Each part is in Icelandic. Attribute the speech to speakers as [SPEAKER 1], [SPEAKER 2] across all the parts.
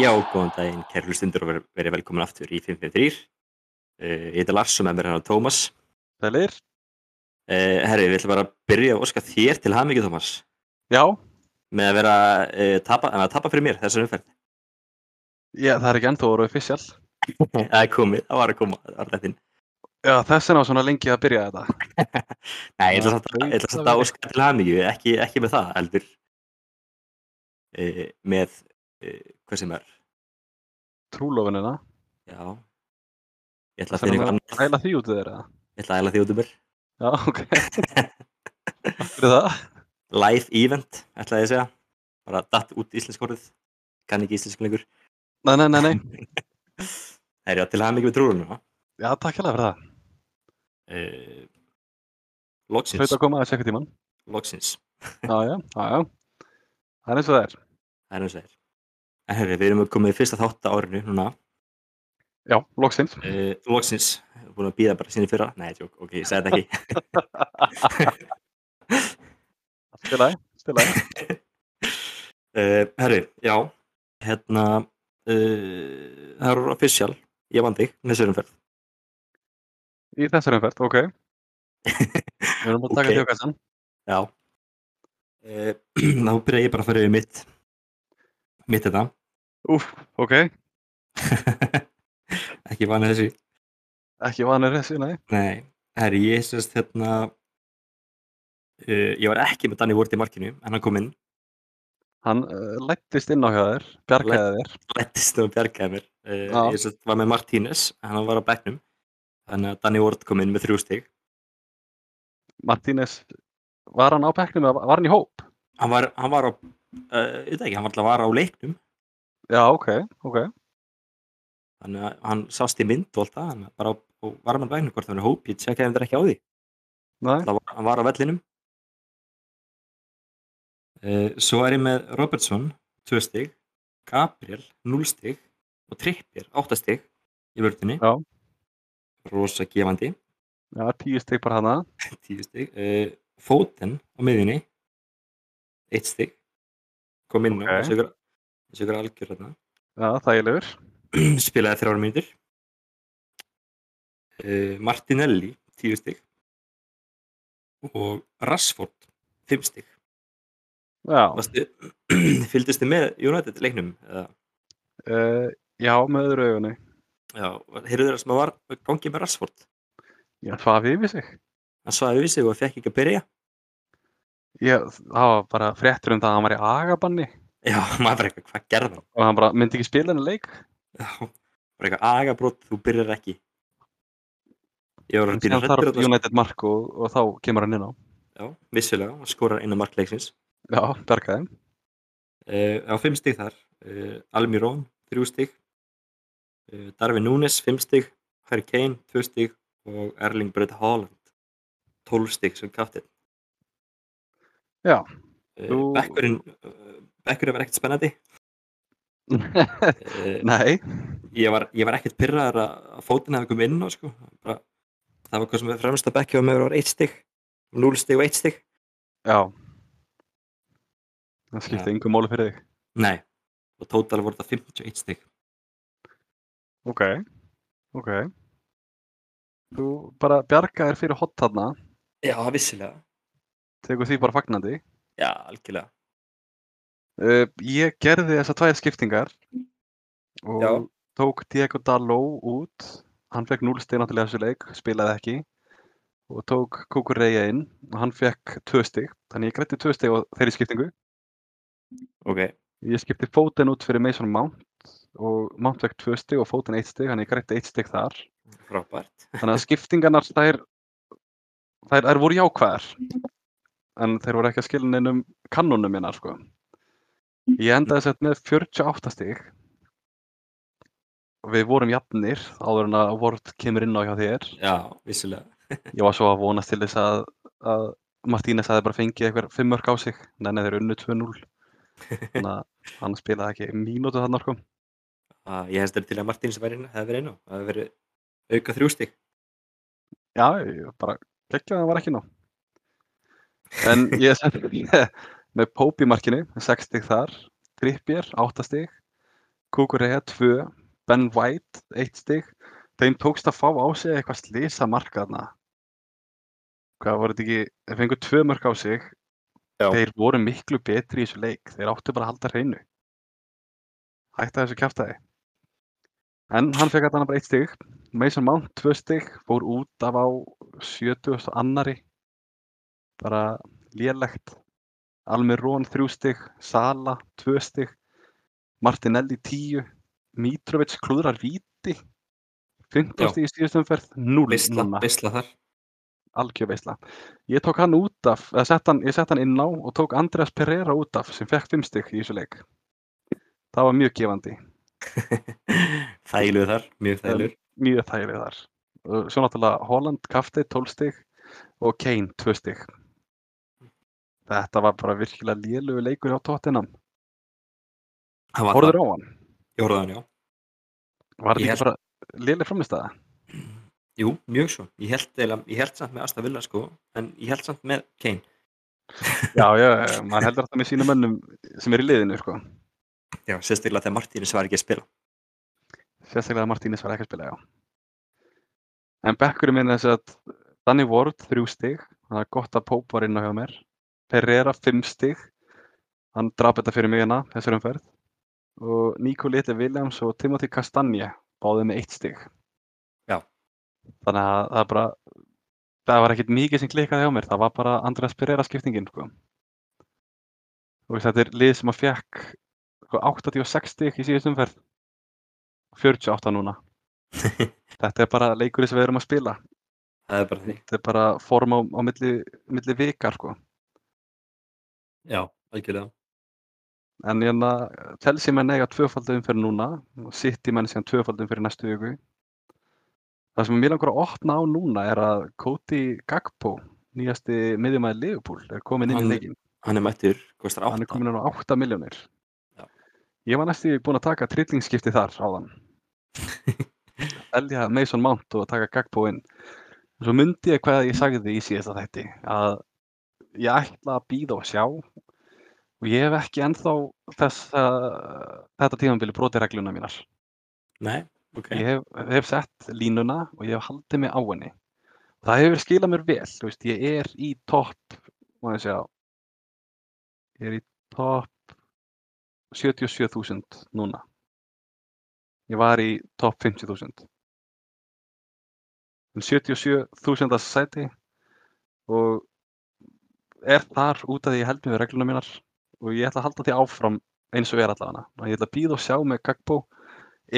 [SPEAKER 1] Já, góðan daginn, kæri hlustundur og ver- verið velkomin aftur í 553. Uh, ég heiti Lars og með mér er hann Tómas.
[SPEAKER 2] Sælir?
[SPEAKER 1] Uh, herri, við ætlum bara að byrja að óska þér til hamingju, Tómas,
[SPEAKER 2] Já,
[SPEAKER 1] með að vera uh, tapa, að tapa fyrir mér þessar umferð.
[SPEAKER 2] já, það er ekki ennþá orðið official.
[SPEAKER 1] Það er komið, það var að koma, það var lettin.
[SPEAKER 2] Já, þess vegna var svona lengi að byrja þetta.
[SPEAKER 1] Nei, ég ætla
[SPEAKER 2] Já,
[SPEAKER 1] samt að- ég ætla
[SPEAKER 2] það
[SPEAKER 1] samt að
[SPEAKER 2] verið.
[SPEAKER 1] óska til hamingju, ekki, ekki með það, heldur uh, með uh, hvað sem er.
[SPEAKER 2] Trúlofinina.
[SPEAKER 1] Já, ég ætla að
[SPEAKER 2] Þannig
[SPEAKER 1] finna
[SPEAKER 2] að
[SPEAKER 1] eitthvað
[SPEAKER 2] það
[SPEAKER 1] annað,
[SPEAKER 2] æla því út við þeirra.
[SPEAKER 1] ég ætla að æla því út um mér.
[SPEAKER 2] Já, ok. Fyrir það?
[SPEAKER 1] Live event, ætlaði ég að segja. Bara datt út íslensk orðið, kann ekki íslensku lengur.
[SPEAKER 2] Nei, nei, nei, nei.
[SPEAKER 1] Það er já, til hafa mikið við trúrunum,
[SPEAKER 2] Já, takk hérlega fyrir það.
[SPEAKER 1] já.
[SPEAKER 2] Hlaut
[SPEAKER 1] Eh, Loksins,
[SPEAKER 2] að koma að sekja tíman.
[SPEAKER 1] loksins,
[SPEAKER 2] Já, já, já, já. Það er eins og það er.
[SPEAKER 1] það er eins og það er. En herri, við erum komið í fyrsta þátt á árinu núna.
[SPEAKER 2] Já, loksins.
[SPEAKER 1] Uh, loksins, búin að býða bara sinni fyrra. Nei, tjók, ok, ég segi þetta ekki.
[SPEAKER 2] Stilaði, stilaði.
[SPEAKER 1] Uh, herri, já, hérna, uh, það er official, ég vann þig, með sörumferð.
[SPEAKER 2] Í þessari umferð, ok. Við erum búin að
[SPEAKER 1] Ok.
[SPEAKER 2] taka okay. þjókastan.
[SPEAKER 1] Já. Uh, þá byrja ég bara að fara yfir mitt, mitt þetta.
[SPEAKER 2] Úf, ok.
[SPEAKER 1] ekki vanið þessu.
[SPEAKER 2] Ekki vanur þessu, nei.
[SPEAKER 1] Nei, herri, ég sérst hérna uh, ég var ekki með Danny Ward í markinu en hann kom inn,
[SPEAKER 2] Hann uh, lættist inn á hjá þér, bjargaði þér.
[SPEAKER 1] lettist og bjargaði mér uh,
[SPEAKER 2] Já.
[SPEAKER 1] ég sérst var með Martínez en hann var á bekknum þannig að Danny Ward kom inn með þrjú stig
[SPEAKER 2] Martínez, var hann á bekknum eða var hann í hóp?
[SPEAKER 1] hann var, hann var á, uh, ég veit ekki, hann var alltaf var á leiknum
[SPEAKER 2] Já, ok, ok.
[SPEAKER 1] þannig að hann sást í mynd og alltaf hann bara á, á varman bekknum hvort hann er hóp, ég tjekkaði hann þetta ekki á því
[SPEAKER 2] Nei,
[SPEAKER 1] Það var, hann var á vellinum uh, svo er ég með Robertson 2 stig, Gabriel 0 stig og Trippier 8 stig í vördunni
[SPEAKER 2] Já.
[SPEAKER 1] rosa gefandi
[SPEAKER 2] já, tíu stygg bara hana.
[SPEAKER 1] 10 stig, uh, Foden á miðjunni 1 stig kom inn
[SPEAKER 2] Ok.
[SPEAKER 1] á þessu ykkur- þessu ykkur algjör hérna. þarna
[SPEAKER 2] Já, þægilegur.
[SPEAKER 1] spilaði þrjár mínútur uh, Martinelli 10 stig og Rashford 5 stig
[SPEAKER 2] Já,
[SPEAKER 1] Vastu, fylgdistu með United leiknum? eða?
[SPEAKER 2] uh, já, með öðru augunni.
[SPEAKER 1] Já, heyrðu þeirra sem var gangið með Rashford.
[SPEAKER 2] Já, svafi yfir sig.
[SPEAKER 1] Hann svaði við sig og fekk ekki að byrja.
[SPEAKER 2] Ég, það var bara fréttur um það að hann var í agabanni
[SPEAKER 1] Já, maður bara eitthvað, hvað gerði hann?
[SPEAKER 2] og hann bara myndi ekki spila henni leik.
[SPEAKER 1] Já, bara eitthvað agabrótt, þú byrjar ekki. Ég var
[SPEAKER 2] En
[SPEAKER 1] að byrja
[SPEAKER 2] síðan
[SPEAKER 1] hrættur
[SPEAKER 2] þarf
[SPEAKER 1] þetta.
[SPEAKER 2] United mark og, og þá kemur hann inn á.
[SPEAKER 1] Já, vissulega, hann skorar inn á markleiksins.
[SPEAKER 2] Já, bjargaði.
[SPEAKER 1] Uh, á fimm stig þar, uh, Almirón, þrjú stig, uh, Darvin Núnes, fimm stig, Harry Kane, tvö stig og Erling Braut Haaland, tólf stig sem kaptinn.
[SPEAKER 2] Já,
[SPEAKER 1] Eh,
[SPEAKER 2] þú-
[SPEAKER 1] Bekkurinn, eh, bekkurinn var ekkert spennandi. Eh,
[SPEAKER 2] Nei,
[SPEAKER 1] Ég var, ég var ekkert pyrraður að að fótinn hefði komið inn á, sko. Bara, það var hvað sem við fremst að bekkja og meður var eitt stig, núl stig og eitt stig.
[SPEAKER 2] já. Það skipti yngum máli fyrir þig.
[SPEAKER 1] Nei, og tótal voru það 51 stig.
[SPEAKER 2] Ok, ok. Þú bara bjargaðir fyrir hot þarna,
[SPEAKER 1] Já, vissilega.
[SPEAKER 2] tegur því bara fagnandi.
[SPEAKER 1] Já, algjörlega.
[SPEAKER 2] Uh, ég gerði þessar tvær skiptingar og
[SPEAKER 1] Já.
[SPEAKER 2] tók Diego Daló út. Hann fekk 0 stig náttúrulega í þessu leik, spilaði ekki. Og tók Kukureya inn og hann fekk 2 stig. Þannig ég grætti 2 stig á þeirri skiptingu.
[SPEAKER 1] Ok,
[SPEAKER 2] Ég skipti Foden út fyrir Mason Mount og Mount fekk 2 stig og Foden 1 stig, þannig ég grætti 1 stig þar.
[SPEAKER 1] frábært.
[SPEAKER 2] Þannig að skiptingarnar þær, þær, þær voru jákvæðar. En þeir voru ekki að skilja neinum kannunum minnar, sko. Ég endaði sett með 48 stig. Við vorum jafnir áður en að Ward kemur inn á hjá þér.
[SPEAKER 1] Já, vissilega.
[SPEAKER 2] Ég var svo að vonast til þess að, að Martínez hefði bara fengið eitthvað fimm mörg á sig. Nei, nei, þeir unnu 2-0. Þannig að hann spilaði ekki mínútu þarna, sko.
[SPEAKER 1] Að, Ah, ég hefst þetta til að Martins væri inn, hefði verið inn á. Það hefði verið auka þrjú stig.
[SPEAKER 2] Já, ég bara geggjaði að það var ekki nóg. En ég sem með Pope í markinu, 6 stig þar, Trippier, 8 stig, Kukurea 2, Ben White 1 stig, þeim tókst að fá á sig eitthvað slisa markaðna hvað voru þetta ekki þeir fengu tvö mörg á sig
[SPEAKER 1] Já.
[SPEAKER 2] þeir voru miklu betri í þessu leik þeir áttu bara að halda hreinu hætta þessu kjaftaði en hann fekk allan bara eitt stig Mason Mount tvö stig fór út af á 70 og annari bara lélegt Almirón þrjú stig Sala tvö stig Martinelli tíu Mitrovic klúðrar víti 15
[SPEAKER 1] Já.
[SPEAKER 2] stig í stíðustumferð 0
[SPEAKER 1] Veisla, veisla þar
[SPEAKER 2] algjör veisla. Ég tók hann út af, eða sett hann, ég sett hann inn á og tók Andreas Pereira út af sem fekk fimm stygg í þessu leik. Það var mjög gefandi,
[SPEAKER 1] Þægilegu þar, mjög þægilegu
[SPEAKER 2] mjög þægileg þar. Uh, Svo náttúrulega Holland, Kafti, 12 stygg og Kane, 2 stygg. Þetta var bara virkilega lélugu leikur á tóttinam. Hóruður á hann?
[SPEAKER 1] Ég horfði á hann, já
[SPEAKER 2] Var þetta
[SPEAKER 1] Ég
[SPEAKER 2] ekki bara léleg framistæða?
[SPEAKER 1] Jú, mjög svo Ég held, eiginlega- ég held samt með Asta Villa sko En ég held samt með Kane
[SPEAKER 2] Já, já, já, maður heldur alltaf með sína mönnum sem er í liðinu, sko.
[SPEAKER 1] Já, sérstaklega þegar Martínus var ekki að spila
[SPEAKER 2] Sérstaklega að Martínez var ekki að spila, já. En bekkurinn minn er þess að Danny Ward, þrjú stig. Það er gott að Pope var inn á hjá mér. Pereira, fimm stig. Hann draf þetta fyrir mig hérna, þessar umferð. Og Nico Little Williams og Timothy Castagne báðið með eitt stig.
[SPEAKER 1] Já.
[SPEAKER 2] Þannig að það er bara, það var ekkert mikið sem klikkaði hjá mér. Það var bara Andreas Pereira skiptingin, sko. Og þetta er lið sem að fekk sko, 86 stig í síðust umferð. 48 núna. Þetta er bara leikurinn sem við erum að spila.
[SPEAKER 1] Það er bara því
[SPEAKER 2] Þetta er bara form á, á milli, milli vikar sko.
[SPEAKER 1] Já, algjörlega
[SPEAKER 2] En hérna, Chelsea menn eiga tvöfaldum fyrir núna og City menn síðan tvöfaldum fyrir næstu viku. Það sem mér langar að opna á núna er að Cody Gagpo, nýjasti miðjumæði Liverpool, er komin inn
[SPEAKER 1] Hann-
[SPEAKER 2] í leikin.
[SPEAKER 1] Hann er mættur, kostar
[SPEAKER 2] Hann er
[SPEAKER 1] 8
[SPEAKER 2] komin inn á 8 miljónir.
[SPEAKER 1] Já.
[SPEAKER 2] Ég var næstu búinn að taka trillingsskipti þar áðan. Elja Mason Mount og taka Gagpo inn. En Svo myndi ég hvað ég sagði í síðasta þætti að ég ætla að býða og sjá og ég hef ekki ennþá þess, þetta tímanbili broti regluna mínar.
[SPEAKER 1] Nei, ok
[SPEAKER 2] Ég hef, hef sett línuna og ég hef haldið mig á henni. Það hefur skilað mér vel, þú veist, ég er í topp, má ég sjá, ég er í topp 77.000 núna. Ég var í topp 50.000. En 77.000 sæti og er þar út af því ég held mig við regluna mínar og ég ætla að halda því áfram eins og er allavega. Og Ég ætla að býða og sjá með Gagbo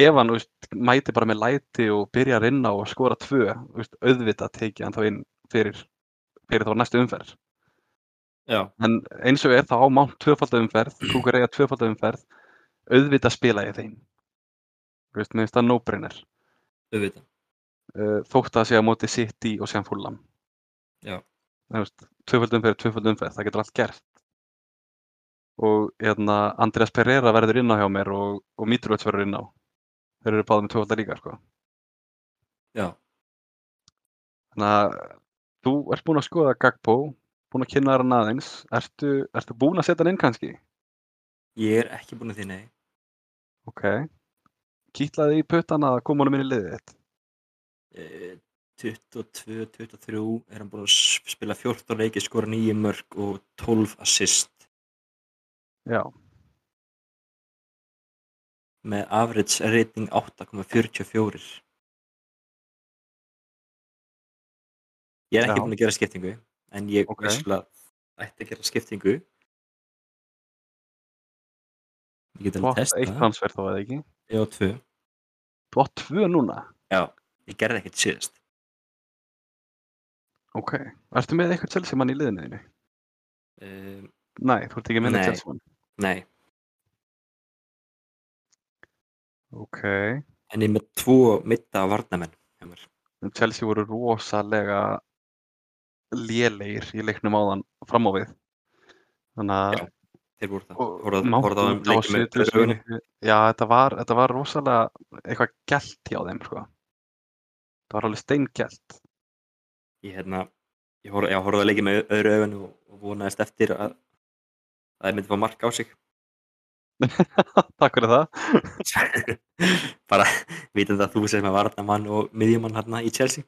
[SPEAKER 2] ef hann þú veist, mæti bara með læti og byrjar inn á og skora tvö þú veist, auðvitað tekið hann þá inn fyrir, fyrir þá næstu umferð
[SPEAKER 1] Já,
[SPEAKER 2] en eins og er þá á mán tvöfaldumferð kúkur eiga tvöfaldumferð auðvitað spila ég þeim Þú veist, mér finnst það nóbreynir
[SPEAKER 1] auðvitað
[SPEAKER 2] uh, þótt að sé að móti sitt í og sem fúllam
[SPEAKER 1] Já.
[SPEAKER 2] tvöfaldumferð, tvöfaldumferð, það getur allt gert og hérna, Andreas Pereira verður inn á hjá mér og, og Mitrovic verður inn á þeir eru báðið með tvöfaldar líka sko.
[SPEAKER 1] Já,
[SPEAKER 2] Þannig að þú ert búinn að skoða Gagpo, búinn að kynna þér hann aðeins. Ertu, ertu búinn að setja hann inn kannski?
[SPEAKER 1] ég er ekki búin að því, nei
[SPEAKER 2] Ok. Kýtlaði í puttan að koma honum inn í liðið þitt.
[SPEAKER 1] Eh, 22, 23 er hann búin að s- spila 14 leiki, skora 9 mörg og 12 assist
[SPEAKER 2] Já.
[SPEAKER 1] með average rating 8,44 Ég er ekki
[SPEAKER 2] Já.
[SPEAKER 1] búin að gera skiptingu en ég
[SPEAKER 2] Ok.
[SPEAKER 1] vissulega ætti að gera skiptingu Ég get
[SPEAKER 2] Þú
[SPEAKER 1] alveg
[SPEAKER 2] átt eitt
[SPEAKER 1] testa
[SPEAKER 2] transfer þó eða ekki.
[SPEAKER 1] Já, tvö
[SPEAKER 2] Þú átt tvö núna.
[SPEAKER 1] Já, ég gerði ekkert síðast
[SPEAKER 2] Ok. Ertu með eitthvað Chelsea mann í liðinu þínu?
[SPEAKER 1] um,
[SPEAKER 2] Nei, þú ert ekki með
[SPEAKER 1] Nei.
[SPEAKER 2] eitthvað Chelsea mann.
[SPEAKER 1] Nei,
[SPEAKER 2] Ok.
[SPEAKER 1] en ég er með tvo mitta varnamenn hjá mér.
[SPEAKER 2] En Chelsea voru rosalega lélegir í leiknum áðan fram á við. Þannig að
[SPEAKER 1] Já. Þeir voru það
[SPEAKER 2] Og
[SPEAKER 1] Horfðu-
[SPEAKER 2] Mount
[SPEAKER 1] horfðu á þeim
[SPEAKER 2] út á
[SPEAKER 1] leikjum með
[SPEAKER 2] 70
[SPEAKER 1] öðru augunni.
[SPEAKER 2] mínútu. Já, þetta var, þetta var rosalega eitthvað gælt hjá þeim, sko. Það var alveg steingælt.
[SPEAKER 1] ég hérna ég horf, já, horfði að leikja með öðru augun og, og vonaðist eftir að að það myndi fá mark á sig
[SPEAKER 2] Takk fyrir það.
[SPEAKER 1] bara vitum það að þú sem er varnamann og miðjumann hérna í Chelsea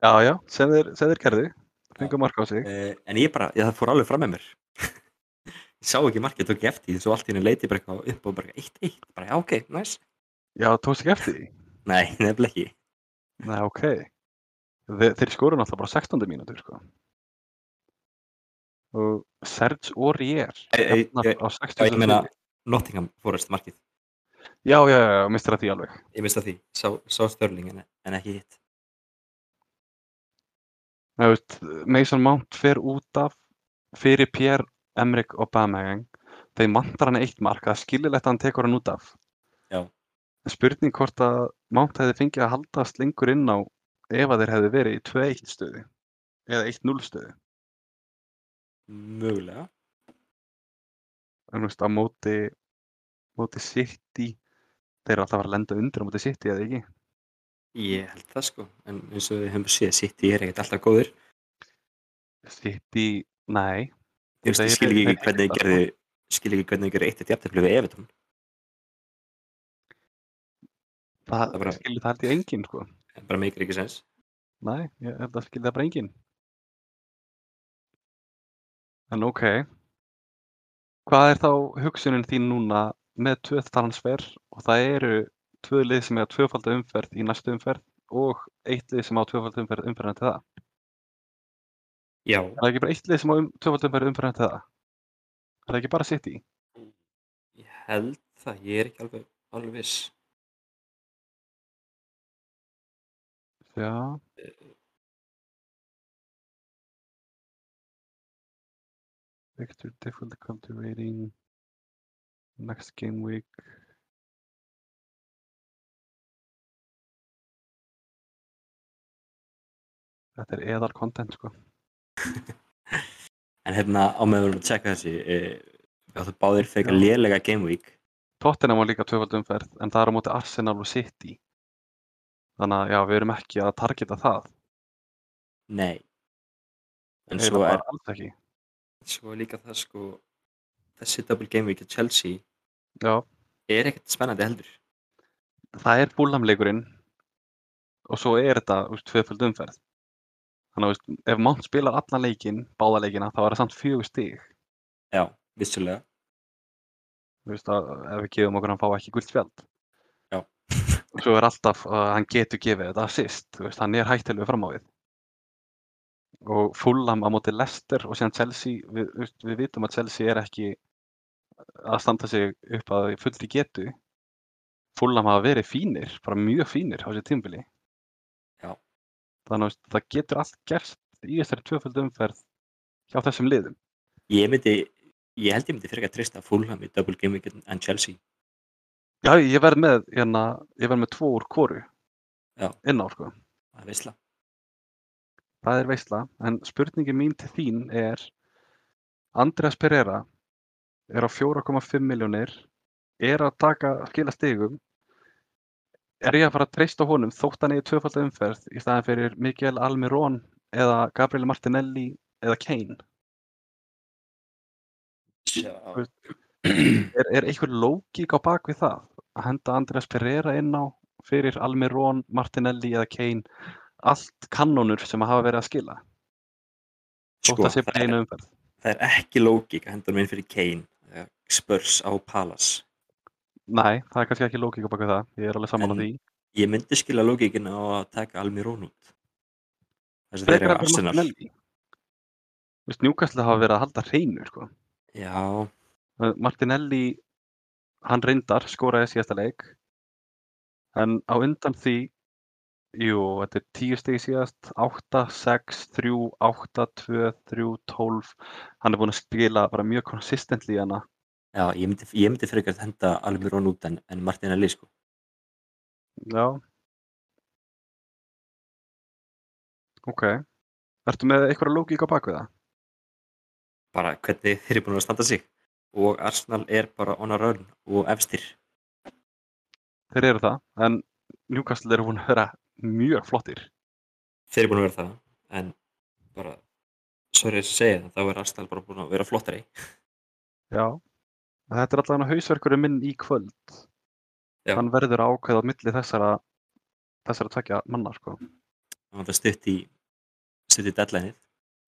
[SPEAKER 2] Já, já, sem þeir, sem þeir gerðu. Fengu marka á sig.
[SPEAKER 1] uh, en ég bara, já, það fór alveg fram með mér ég sá ekki markið, tók ég eftir því, svo allt í henni leiti bara eitthvað upp og bara eitt, eitt, bara já, ok, næs nice.
[SPEAKER 2] Já, tókst ekki eftir því.
[SPEAKER 1] nei, nefnileg ekki,
[SPEAKER 2] Nei, ok. Þe, þeir skoru náttúrulega bara 16. mínútur, sko. Og Serge Aurier
[SPEAKER 1] Ei, ei,
[SPEAKER 2] jafnar
[SPEAKER 1] ei,
[SPEAKER 2] á
[SPEAKER 1] já,
[SPEAKER 2] 60.
[SPEAKER 1] ég meina Nottingham Forest markið,
[SPEAKER 2] Já, já, já, já, mistur að því alveg.
[SPEAKER 1] ég mista því sá, sá Störling en, en ekki hitt
[SPEAKER 2] Nei, þú veist, Mason Mount fer út af fyrir Pierre Emerick Aubameyang þeim vantar hann eitt mark það er skililegt að hann tekur hann út af
[SPEAKER 1] Já.
[SPEAKER 2] spurning hvort að Mount hefði fengið að haldast lengur inn á ef að þeir hefði verið í 2-1 stöðu eða 1-0 stöðu
[SPEAKER 1] mögulega,
[SPEAKER 2] en þú veist, á móti móti City þeir eru alltaf að lenda undir á móti City eða ekki
[SPEAKER 1] ég held það sko en eins og við höfum séð, City er ekkert alltaf góður
[SPEAKER 2] City, nei
[SPEAKER 1] Ég veist, ég skil ekki hvernig þið gerði skil ekki hvernig þið gerði eitt eitt jafntefli við Evertón
[SPEAKER 2] það,
[SPEAKER 1] Það bara-
[SPEAKER 2] skilur það held ég enginn sko
[SPEAKER 1] en bara meikir ekki sens
[SPEAKER 2] Nei, ég held að skilja það bara enginn. En ok. Hvað er þá hugsunin þín núna með tvö transfer og það eru tvö lið sem eiga tvöfalda umferð í næstu umferð og eitt lið sem á tvöfalda umferð umferðin til það.
[SPEAKER 1] já,
[SPEAKER 2] Er það ekki bara eitt lið sem á um, tvöfalda umferð umferðin til það? Er það ekki bara City?
[SPEAKER 1] ég held það, ég er ekki alveg alveg viss
[SPEAKER 2] Já. Victor difficult country rating next game week. Þetta er eðal content sko.
[SPEAKER 1] en hérna á meðan við erum að tjekka þessi eh, við áttu báðir fekar lélega game week
[SPEAKER 2] Tottenham var líka tvöfald umferð en það er á móti Arsenal og City. Þannig að já, við erum ekki að targeta það.
[SPEAKER 1] nei en
[SPEAKER 2] Eiginlega
[SPEAKER 1] svo er
[SPEAKER 2] bara alls ekki.
[SPEAKER 1] svo er líka það sko þessi double game week í Chelsea
[SPEAKER 2] Já.
[SPEAKER 1] er ekkert spennandi heldur
[SPEAKER 2] það er búlamleikurinn og svo er þetta úst, tvöföld umferð. Þannig að úst, ef Mount spilar allan leikinn, báða leikina, þá er það samt fjögur stig.
[SPEAKER 1] já, vissulega
[SPEAKER 2] Þú veist að ef við gefum okkur að hann fá ekki gult spjald.
[SPEAKER 1] Já.
[SPEAKER 2] Og svo er alltaf að hann getur gefið þetta assist, þú veist, hann er hættilegu fram á við. Og fullam á móti Leicester og síðan Chelsea, við, þú veist, við vitum að Chelsea er ekki að standa sig upp að fullri getu. Fullam hafa verið fínir, bara mjög fínir á þessu tímbili.
[SPEAKER 1] Já.
[SPEAKER 2] Þannig að þú veist, það getur allt gerst í þessari tvöföldu umferð hjá þessum liðum.
[SPEAKER 1] ég myndi, ég held ég myndi fyrir að trista Fulham í double game week en Chelsea
[SPEAKER 2] Já, ég verð með, hérna, ég verð með tvo úr kóru
[SPEAKER 1] Já.
[SPEAKER 2] inn á, sko.
[SPEAKER 1] það er vissla
[SPEAKER 2] Það er veisla, en spurningin mín til þín er Andreas Pereira er á 4,5 miljónir, er að taka skila stigum, er ég að fara að treysta honum þótt hann eigi tvöfalda umferð í staðan fyrir Mikael Almirón eða Gabriel Martinelli eða Kane?
[SPEAKER 1] já,
[SPEAKER 2] Er, er einhver lógík á bak við það að henda Andreas Pereira inn á fyrir Almirón, Martinelli eða Kane allt kannonur sem hafa verið að skila þótt
[SPEAKER 1] sko,
[SPEAKER 2] að sé
[SPEAKER 1] það
[SPEAKER 2] bara
[SPEAKER 1] er
[SPEAKER 2] einu umferð
[SPEAKER 1] það er ekki lógík að henda hann inn fyrir Kane eða Spurs á Palace
[SPEAKER 2] Nei, það er kannski ekki lógík á bak við það ég er alveg saman á
[SPEAKER 1] En-
[SPEAKER 2] því
[SPEAKER 1] ég myndi skila lógíkin á að taka Almirón út þess að þeir
[SPEAKER 2] Frekar
[SPEAKER 1] eru
[SPEAKER 2] en fyrir
[SPEAKER 1] Arsenal
[SPEAKER 2] Martinelli Þú veist, Newcastle hafa verið að halda hreinu sko.
[SPEAKER 1] já,
[SPEAKER 2] Uh, Martinelli hann reyndar, skoraði síðasta leik en á undan því jú, þetta er 10 stig síðast 8, 6, 3, 8 2, 3, 12 hann er búinn að spila bara mjög hérna. konsistentli í hana
[SPEAKER 1] já ég, myndi, ég myndi frekar að henda Almirón út en, en Martinelli sko.
[SPEAKER 2] Já Ok Ertu með einhverja lógík á bakvið það?
[SPEAKER 1] bara hvernig þeir eru búin að standa sig og Arsenal er bara on a run og efstir
[SPEAKER 2] Þeir eru það en Newcastle eru búin að vera mjög flottir
[SPEAKER 1] þeir eru búin að vera það en bara, sorry að segja það þá er Arsenal bara búin að vera flottari
[SPEAKER 2] Já Þetta er allavega hausverkurinn minn í kvöld.
[SPEAKER 1] Já.
[SPEAKER 2] Hann verður að ákveða á milli þessara, þessara tvekja manna, sko.
[SPEAKER 1] Það var stutt í, stutt í deadlineið.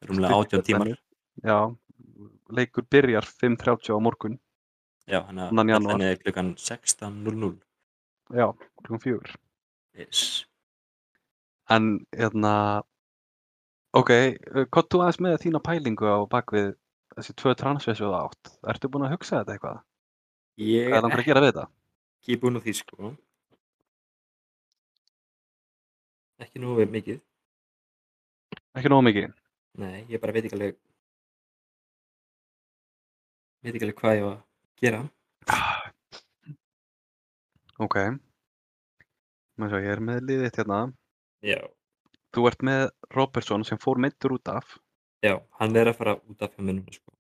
[SPEAKER 1] Rúmlega
[SPEAKER 2] Stutt í
[SPEAKER 1] 18 tímar.
[SPEAKER 2] Já, leikur byrjar 5.30 á morgun,
[SPEAKER 1] Já, hann að
[SPEAKER 2] Annan janúar.
[SPEAKER 1] deadlineið er klukkan 16.00.
[SPEAKER 2] já, klukkan fjögur.
[SPEAKER 1] Yes.
[SPEAKER 2] En, hérna, ok, hvað þú aðeins með þína pælingu á bakvið þessi tvö transfessu það átt? Ertu búin að hugsa þetta eitthvað?
[SPEAKER 1] Ég
[SPEAKER 2] Hvað er
[SPEAKER 1] er
[SPEAKER 2] hann að gera við þetta?
[SPEAKER 1] ekki búinn á því sko. Ekki nógu mikið.
[SPEAKER 2] Ekki nógu mikið.
[SPEAKER 1] Nei, ég bara veit ekki alveg veit ekki alveg hvað ég var að gera Ah.
[SPEAKER 2] Ok. Mér svo, ég er með liðið þitt hérna.
[SPEAKER 1] Já,
[SPEAKER 2] Þú ert með Robertson sem fór meittur út af.
[SPEAKER 1] já, hann er að fara út af hjá mér núna sko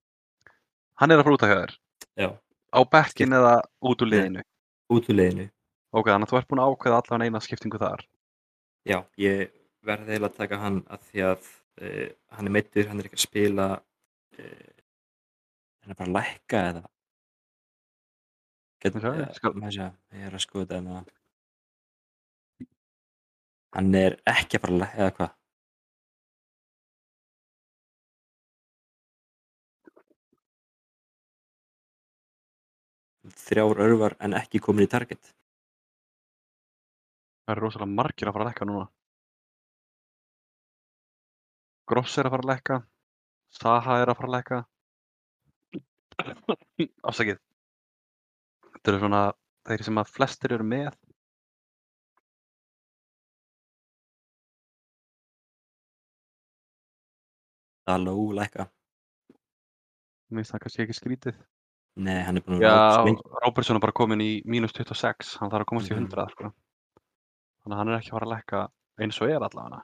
[SPEAKER 2] Hann er að fara út af hjá þér.
[SPEAKER 1] Já,
[SPEAKER 2] Á bekkin eða út úr
[SPEAKER 1] Nei.
[SPEAKER 2] liðinu?
[SPEAKER 1] út úr leiðinu
[SPEAKER 2] Ok, þannig að þú ert búin að ákveða allan eina skiptingu þar.
[SPEAKER 1] Já, ég verði eiginlega að taka hann að því að uh, hann er meittur, hann er ekki að spila uh, hann er bara að lækka eða Get,
[SPEAKER 2] Ég sagði,
[SPEAKER 1] eh,
[SPEAKER 2] skal-
[SPEAKER 1] maður sé að ég er að skoða þetta en að hann er ekki að fara að lækka eða hvað þrjár örvar en ekki komin í target
[SPEAKER 2] Það eru rosalega margir að fara að lekka núna. Gross er að fara að lekka. Saha er að fara að lekka. Afsakið. Þetta eru svona þeir sem að flestir eru með.
[SPEAKER 1] Daló lækka
[SPEAKER 2] Mér finnst það kannski ekki skrítið.
[SPEAKER 1] Nei, hann er búin að
[SPEAKER 2] Já,
[SPEAKER 1] vera svo lengi.
[SPEAKER 2] Robertson er bara komin í mínus 26. Hann þarf að komast í
[SPEAKER 1] Mhm.
[SPEAKER 2] 100, sko. Þannig að hann er ekki að fara að lekka eins og er allavega.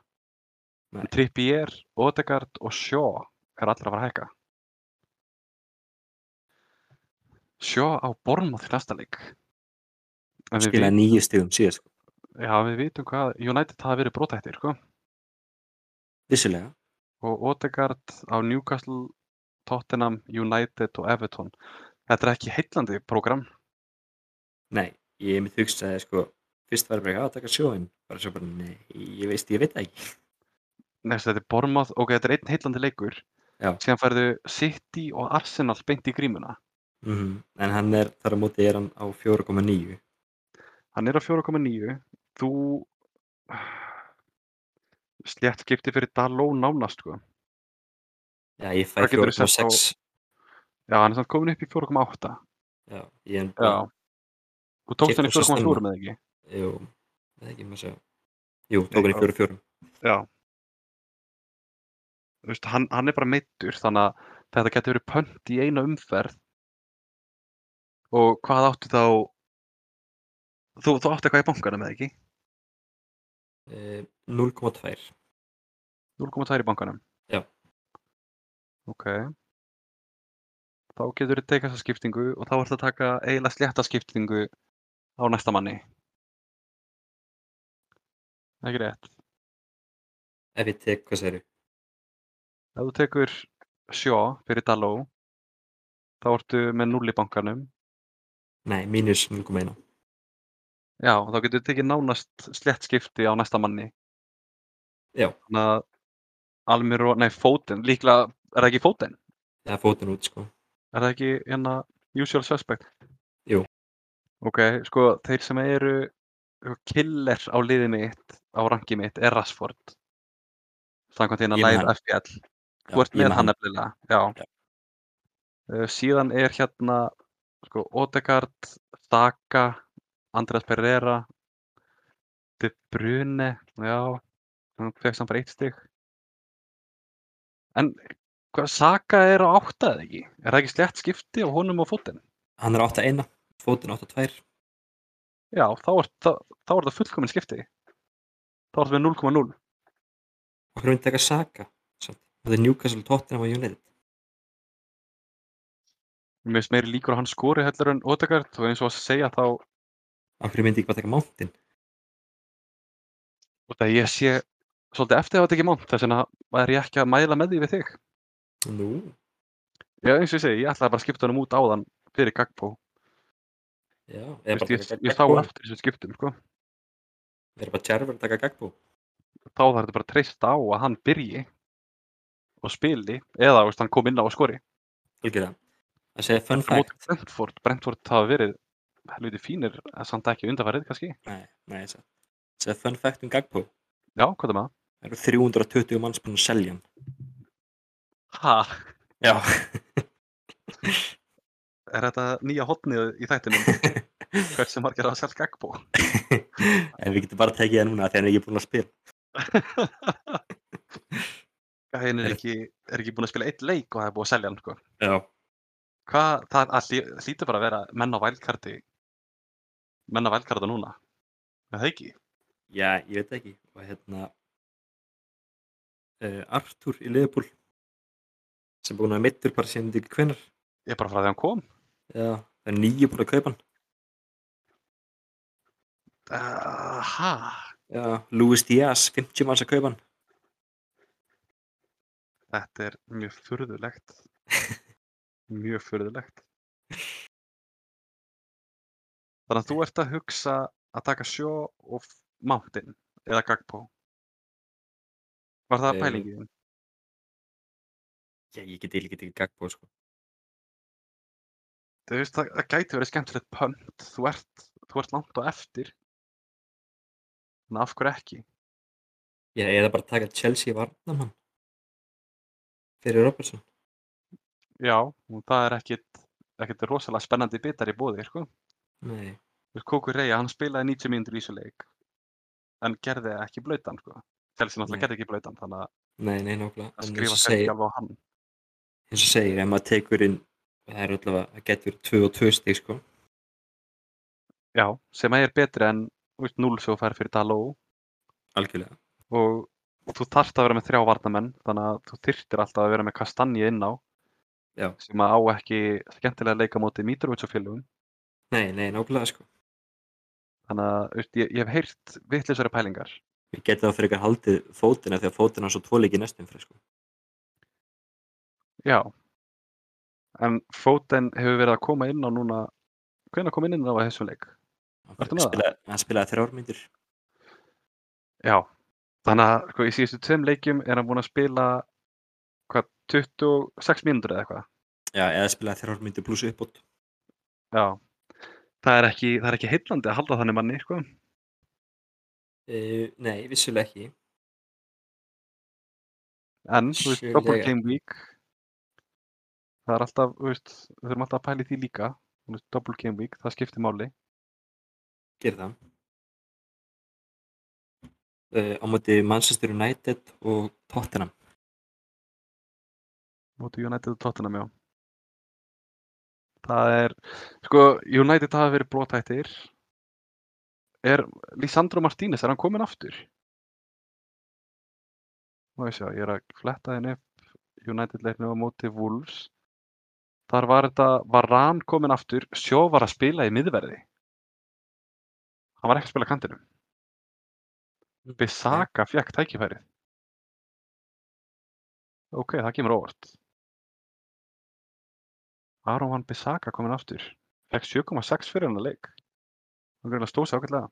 [SPEAKER 1] Nei.
[SPEAKER 2] En Trippier, Odegaard og Shaw er allir að fara að hækka. Shaw á Bournemouth í næsta leik. En við,
[SPEAKER 1] skilaði
[SPEAKER 2] vit,
[SPEAKER 1] nýju stigum síðast sko.
[SPEAKER 2] já, við vitum hvað United hafa verið brotættir, sko.
[SPEAKER 1] Vissulega,
[SPEAKER 2] og Odegaard á Newcastle, Tottenham, United og Everton. Þetta er ekki heillandi prógram.
[SPEAKER 1] nei, ég mitt hugsaði sko, fyrst var ég bara eitthvað að taka sjóin bara svo bara, nei, ég veist, ég veit það ekki
[SPEAKER 2] Nei, þessi, þetta er Bournemouth, ok, þetta er einn heillandi leikur.
[SPEAKER 1] Já.
[SPEAKER 2] Síðan færðu City og Arsenal beint í grímuna.
[SPEAKER 1] en hann er, þar á móti er hann á 4,9
[SPEAKER 2] Hann er á 4,9. Þú slétt skipti fyrir Daló nánast, sko.
[SPEAKER 1] já, ég fæ
[SPEAKER 2] Hvað geturðu sett
[SPEAKER 1] 4,6
[SPEAKER 2] Já, hann er samt komin upp í 4,8.
[SPEAKER 1] já, ég er
[SPEAKER 2] Já.
[SPEAKER 1] bara,
[SPEAKER 2] Þú tókst
[SPEAKER 1] Keypti
[SPEAKER 2] hann í
[SPEAKER 1] svo snemma.
[SPEAKER 2] 4,4 með ekki?
[SPEAKER 1] jú, það er ekki maður að segja jú, tók hann í 4,4
[SPEAKER 2] Já. Þú veist, hann, hann er bara meittur, þannig að þetta getur verið pönt í eina umferð. Og hvað áttu þá? Þú, þú áttu eitthvað í bankanum eða ekki?
[SPEAKER 1] Eh, 0,2
[SPEAKER 2] 0,2 í bankanum?
[SPEAKER 1] Já.
[SPEAKER 2] Ok. Þá getur þú tekið þessa skiptingu og þá ertu að taka eiginlega slétta skiptingu á næsta manni. Ekki rétt.
[SPEAKER 1] ef ég tek, hvað segir
[SPEAKER 2] Ef þú tekur sjó fyrir Daló, þá ertu með 0 í bankanum.
[SPEAKER 1] nei, mínus 0,1
[SPEAKER 2] Já, og þá getur þú tekið nánast slétt skipti á næsta manni.
[SPEAKER 1] Já.
[SPEAKER 2] Þannig að Almiro, nei, Fóten, líklega, er það ekki Fóten?
[SPEAKER 1] eða fótinn út, sko
[SPEAKER 2] Er það ekki hérna usual suspect?
[SPEAKER 1] Jú.
[SPEAKER 2] Ok, sko þeir sem eru sko, killer á liðið mitt, á rangi mitt, er Rashford. Samkvæmt hérna
[SPEAKER 1] Ég er með
[SPEAKER 2] live
[SPEAKER 1] hann.
[SPEAKER 2] FPL.
[SPEAKER 1] Já,
[SPEAKER 2] Þú ert
[SPEAKER 1] ég
[SPEAKER 2] með
[SPEAKER 1] man
[SPEAKER 2] hann nefnilega, já.
[SPEAKER 1] Já.
[SPEAKER 2] Uh, síðan er hérna sko Odegaard, Saka, Andreas Pereira, De Bruyne, já, hann fegst hann bara eitt stig. En hvað, Saka er á átta eða ekki? Er það ekki slett skipti á honum og fótinn?
[SPEAKER 1] hann er 8,1, fótinn 8,2
[SPEAKER 2] Já, þá er, þá, þá er það fullkomin skipti. Þá er það 0,0.
[SPEAKER 1] og hvernig taka Saka samt? það er Newcastle, Tottenham og United
[SPEAKER 2] Mér finnst meiri líkur að hann skori heldur en Odegaard og eins og að segja þá
[SPEAKER 1] af hverju myndi ég ekki bara taka Mountain
[SPEAKER 2] og það ég sé svolítið eftir að þetta ekki mánt þess vegna er ég ekki að mæla með því við þig.
[SPEAKER 1] nú,
[SPEAKER 2] Já, eins og ég segi, ég ætlaði bara að skipta honum út áðan fyrir Gagbo.
[SPEAKER 1] Já,
[SPEAKER 2] Ég,
[SPEAKER 1] eða bara
[SPEAKER 2] ég,
[SPEAKER 1] taka
[SPEAKER 2] ég sá
[SPEAKER 1] Gagbo.
[SPEAKER 2] eftir þessu skiptum, sko.
[SPEAKER 1] Þeir eru bara tjærfur að taka gagbú.
[SPEAKER 2] Þá þarf þetta bara að treysta á að hann byrji og spili eða þú veist, hann kom inn á og skori.
[SPEAKER 1] Algjörða. Það segja fun
[SPEAKER 2] Á móti
[SPEAKER 1] fact.
[SPEAKER 2] Brentford, Brentford hafa verið helviti fínir, en samt ekki undanfærið kannski.
[SPEAKER 1] Nei, nei, það segja fun fact um gagbú.
[SPEAKER 2] Já, hvað um er maður?
[SPEAKER 1] Það eru 320 manns búin að selja hann.
[SPEAKER 2] Ha,
[SPEAKER 1] Já.
[SPEAKER 2] er þetta nýja hotnið í þættinum? Hversu margir hafa selt Gagbo?
[SPEAKER 1] en við getum bara að tekið það núna þegar hann er ekki búin að spila.
[SPEAKER 2] Gæðin er
[SPEAKER 1] Er-
[SPEAKER 2] ekki, er ekki búin að spila eitt leik og það er búið að selja hann, sko.
[SPEAKER 1] Já.
[SPEAKER 2] Hvað, það að lí- hlýtur bara að vera menn á vælkarti menn á vælkarta núna er það ekki?
[SPEAKER 1] Já, ég veit ekki. Og hérna, uh, Artur í Liðbúl, sem er búin að vera mittur bara síðan til hvenar.
[SPEAKER 2] Ég er bara frá því að hann kom
[SPEAKER 1] Já. Það er nýju búin að kaupa hann.
[SPEAKER 2] uh, ha,
[SPEAKER 1] Já. Luis Díaz, 50 manns að kaupa hann.
[SPEAKER 2] þetta er mjög furðulegt mjög furðulegt þannig að þú ert að hugsa að taka sjó og F- mountain eða gagpó var það
[SPEAKER 1] Eh,
[SPEAKER 2] pælingin?
[SPEAKER 1] Já, ég get ekki ekki gagbú, sko.
[SPEAKER 2] Þú veist, það, það gæti verið skemmtilegt pönt. Þú ert, þú ert langt á eftir. Þannig af hverju ekki?
[SPEAKER 1] Já, eða bara taka Chelsea varnamann fyrir Robertson.
[SPEAKER 2] Já, og það er ekkit, ekkit rosalega spennandi bitar í bóði, sko.
[SPEAKER 1] Nei.
[SPEAKER 2] Þú veist, Kókur Reyja, hann spilaði 90 mínútur í þessu leik, en gerði ekki blautan, sko. Chelsea náttúrulega
[SPEAKER 1] Nei.
[SPEAKER 2] gerði ekki blautan, þannig að
[SPEAKER 1] Nei, nei, nákvæmlega. En
[SPEAKER 2] það
[SPEAKER 1] eins og
[SPEAKER 2] skrifa
[SPEAKER 1] segir,
[SPEAKER 2] ekki alveg á hann.
[SPEAKER 1] eins og segir, ef maður tekur inn, það er allavega, það getur 2 og 2 stík, sko.
[SPEAKER 2] Já, sem að er betri en þú veist, 0 sem þú fær fyrir Daló
[SPEAKER 1] Algjörlega.
[SPEAKER 2] og þú þarft að vera með þrjá varnamenn, þannig að þú þyrtir alltaf að vera með Kastanji inn á,
[SPEAKER 1] Já.
[SPEAKER 2] sem að á ekki skemmtilega leika móti Mitrovic og félugum.
[SPEAKER 1] Nei, nei, nákvæmlega, sko.
[SPEAKER 2] Þannig að þú veist, ég, ég hef heyrt vittlisverið pælingar.
[SPEAKER 1] Við getum þá frekar haldið fótina því að fótina er svo tvo leiki næstum fyrir, sko.
[SPEAKER 2] Já. En Foden hefur verið að koma inn á núna, hvenær kom hann inn á að þessum leik?
[SPEAKER 1] Hann
[SPEAKER 2] Ertu með það?
[SPEAKER 1] spilaði- Hann spilaði þrjármyndir.
[SPEAKER 2] Já. Þannig að sko, í síðustu tveim leikjum er hann búinn að spila hvað, 26 mínútur eða eitthvað.
[SPEAKER 1] Já, eða spilaði þrjármyndir pluss uppbót.
[SPEAKER 2] Já. Það er ekki, það er ekki heillandi að halda þannig manni, sko.
[SPEAKER 1] Uh, nei, vissulega ekki.
[SPEAKER 2] En, þú veist, double
[SPEAKER 1] Vissulega.
[SPEAKER 2] game week, það er alltaf, þú veist, við þurfum alltaf að pæla í því líka. Þú veist, double game week, það skiptir máli.
[SPEAKER 1] Gerð það. Uh, á móti Manchester United og Tottenham.
[SPEAKER 2] Móti United og Tottenham, já. Það er, sko, United hafa verið blótættir. Er Lisandro Martínez, er hann kominn aftur? Má ég sjá, ég er að fletta henni upp United leiknum á móti Wolves. Þar var þetta, var Rann kominn aftur, Sjó var að spila í miðverði. Hann var ekki að spila á kantinum. Bissaka fekk tækifærið. Ok, það kemur á óvart. Aron Van Bissaka kominn aftur. Fekk 7,6 fyrir hann að leik. Hann greinlega stóð sér ágætlega.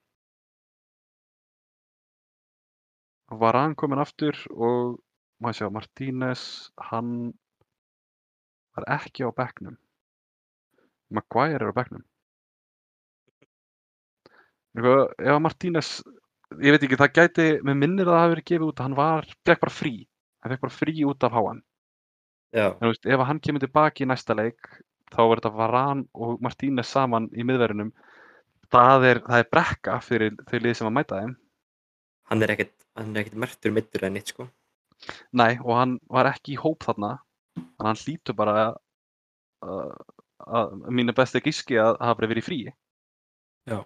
[SPEAKER 2] Var hann kominn aftur og maður sjá, Martínez, hann var ekki á bekknum. Maguire er á bekknum. Eitthvað, Ef að Martínez ég veit ekki, það gæti, mér minnir að það hafi verið gefið út að hann var, fekk bara frí hann fekk bara frí út af háan
[SPEAKER 1] Já.
[SPEAKER 2] en þú veist, ef hann kemur tilbaki í næsta leik þá verður þetta Varan og Martínez saman í miðverðinum það er, það er brekka fyrir þau lið sem að mæta þeim
[SPEAKER 1] Hann er ekkert, hann er ekkert mertur mittur en neitt, sko.
[SPEAKER 2] nei, og hann var ekki í hóp þarna en hann hlýtur bara að, að, að mínu besti gíski að hafa verið verið í fríi
[SPEAKER 1] Já.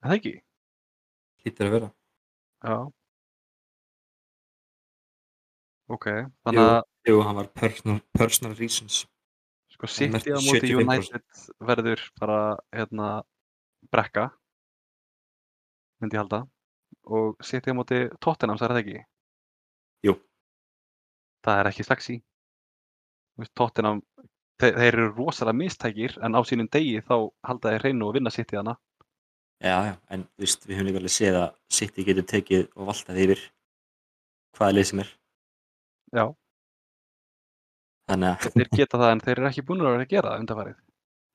[SPEAKER 2] Er það ekki?
[SPEAKER 1] Lítur að vera.
[SPEAKER 2] Já ok, þannig að
[SPEAKER 1] Jú, hann var personal, personal reasons.
[SPEAKER 2] sko
[SPEAKER 1] Hann merkti
[SPEAKER 2] City á móti
[SPEAKER 1] 75%.
[SPEAKER 2] United verður bara hérna brekka myndi ég halda og City á móti Tottenham, það er það ekki?
[SPEAKER 1] Jú.
[SPEAKER 2] Það er ekki sexy Þú veist, Tottenham þeir, þeir eru rosalega mistækir en á sínum degi þá halda þeir hreinu og vinna sitt í hana
[SPEAKER 1] Já, já, en þú veist, við höfum líka alveg séð að City getur tekið og valtað yfir hvaða lið sem er.
[SPEAKER 2] Já.
[SPEAKER 1] Þannig að,
[SPEAKER 2] þeir geta það en þeir eru ekki búin að vera að gera það undanfarið.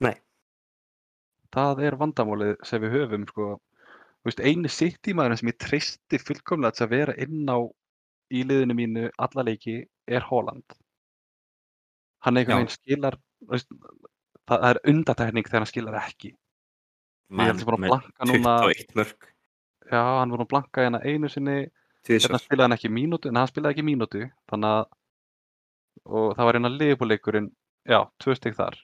[SPEAKER 1] Nei.
[SPEAKER 2] Það er vandamálið sem við höfum sko. Þú veist, eini sitt í maðurinn sem ég treysti fullkomlega til að vera inn á í liðinu mínu alla leiki er Holland.
[SPEAKER 1] Já.
[SPEAKER 2] Hann einhvern veginn skilar, þú veist, það það er undatækning þegar hann skilar ekki. Ég held
[SPEAKER 1] mann
[SPEAKER 2] að bara að
[SPEAKER 1] með
[SPEAKER 2] blanka núna,
[SPEAKER 1] 21 mörg,
[SPEAKER 2] já, hann voru að blanka hérna einu sinni Hérna
[SPEAKER 1] tvisvar.
[SPEAKER 2] spilaði hann ekki mínútu, en hann spilaði ekki mínútu, þannig að og það var hérna liðbúleikurinn, já, tvö stygg þar.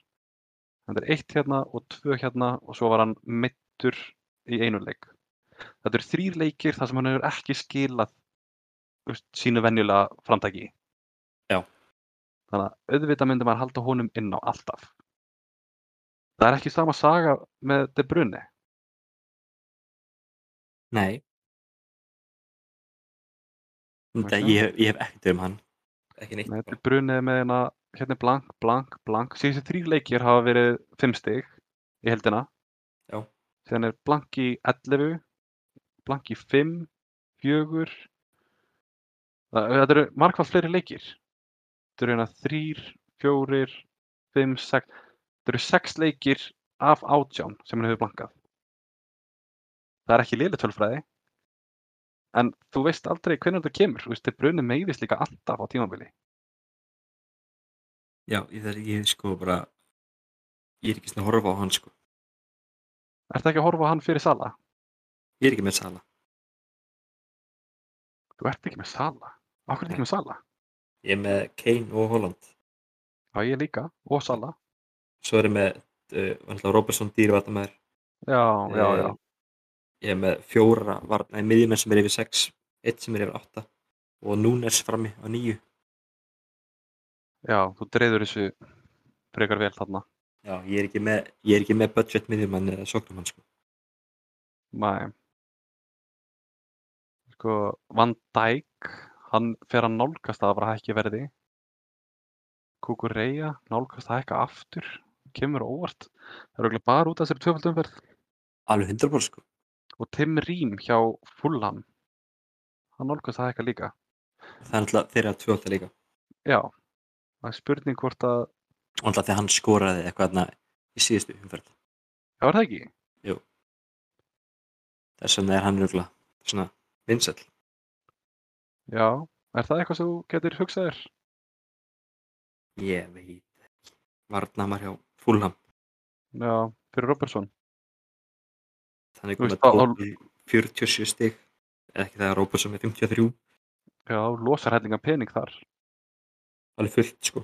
[SPEAKER 2] Þannig er eitt hérna og tvö hérna og svo var hann mittur í einu leik. Þetta eru þrýr leikir þar sem hann hefur ekki skilað þú veist, sínu venjulega framtaki.
[SPEAKER 1] Já.
[SPEAKER 2] Þannig að auðvitað myndi maður halda honum inn á alltaf. Það er ekki sama saga með De Bruyne.
[SPEAKER 1] Nei. Þetta,
[SPEAKER 2] Ok.
[SPEAKER 1] ég, hef- ég hef ekkert um hann. Ekki neitt. sko.
[SPEAKER 2] Nei, þetta er brunið með hérna, hérna er blank, blank, blank. Síðustu þrjú leikir hafa verið fimm stig í heldina.
[SPEAKER 1] Já.
[SPEAKER 2] Síðan er blank í 11, blank í 5, 4. Það, þetta eru markvað fleiri leikir. Þetta eru hérna þrýr, fjórir, fimm, sex. Þetta eru sex leikir af átján sem hann hefur blankað. Það er ekki liðlega tölfræði. En þú veist aldrei hvernig þetta kemur. Þú veist, þetta brunið meiðist líka alltaf á tímabili.
[SPEAKER 1] Já, ég, það, ég sko bara, ég er ekki svona að horfa á hann sko.
[SPEAKER 2] Ertu ekki að horfa á hann fyrir Sala?
[SPEAKER 1] Ég er ekki með Sala.
[SPEAKER 2] Þú ert ekki með Sala. Akkur er ekki með Sala?
[SPEAKER 1] Ég er með Kane og Holland.
[SPEAKER 2] Já, ég líka. Og Sala.
[SPEAKER 1] Svo er ég með, uh, vantlega Robertson dýrvartamæður.
[SPEAKER 2] Já, já,
[SPEAKER 1] Eh,
[SPEAKER 2] já.
[SPEAKER 1] Ég er með fjóra varna í miðjumenn sem er yfir 6, eitt sem er yfir 8 og Núnes frammi á 9.
[SPEAKER 2] Já, þú dreifður þessu frekar vel þarna.
[SPEAKER 1] Já, ég er ekki með, ég er ekki með budget miðjumann eða sóknumann sko.
[SPEAKER 2] Mæ. Sko, Van Dijk, hann fer að nálgast að bara hækki verði. Kukureya, nálgast að hækka aftur. Kemur á óvart. Það er auðvitað bara út af þessari tvöfaldumferð.
[SPEAKER 1] Alveg 100% sko.
[SPEAKER 2] Og Tim Rím hjá Fulham. Hann nálgast að hækka líka.
[SPEAKER 1] Það er alltaf þeirra tvölda líka.
[SPEAKER 2] Já. Það er spurning hvort að,
[SPEAKER 1] Og alltaf þegar hann skoraði eitthvað þarna í síðustu umferð.
[SPEAKER 2] já er það ekki?
[SPEAKER 1] Þess vegna er hann röglega svona vinsæll.
[SPEAKER 2] Já, er það eitthvað sem þú getur hugsað þér?
[SPEAKER 1] Ég veit ekki. Varnamar hjá Fulham.
[SPEAKER 2] Já, fyrir Robertson.
[SPEAKER 1] Þannig
[SPEAKER 2] Þú
[SPEAKER 1] komið
[SPEAKER 2] veist,
[SPEAKER 1] að
[SPEAKER 2] þá-
[SPEAKER 1] tók í 47 stig. Eða ekki það er Róbusson með 53.
[SPEAKER 2] Já, losar hellinga pening þar.
[SPEAKER 1] Alveg fullt sko.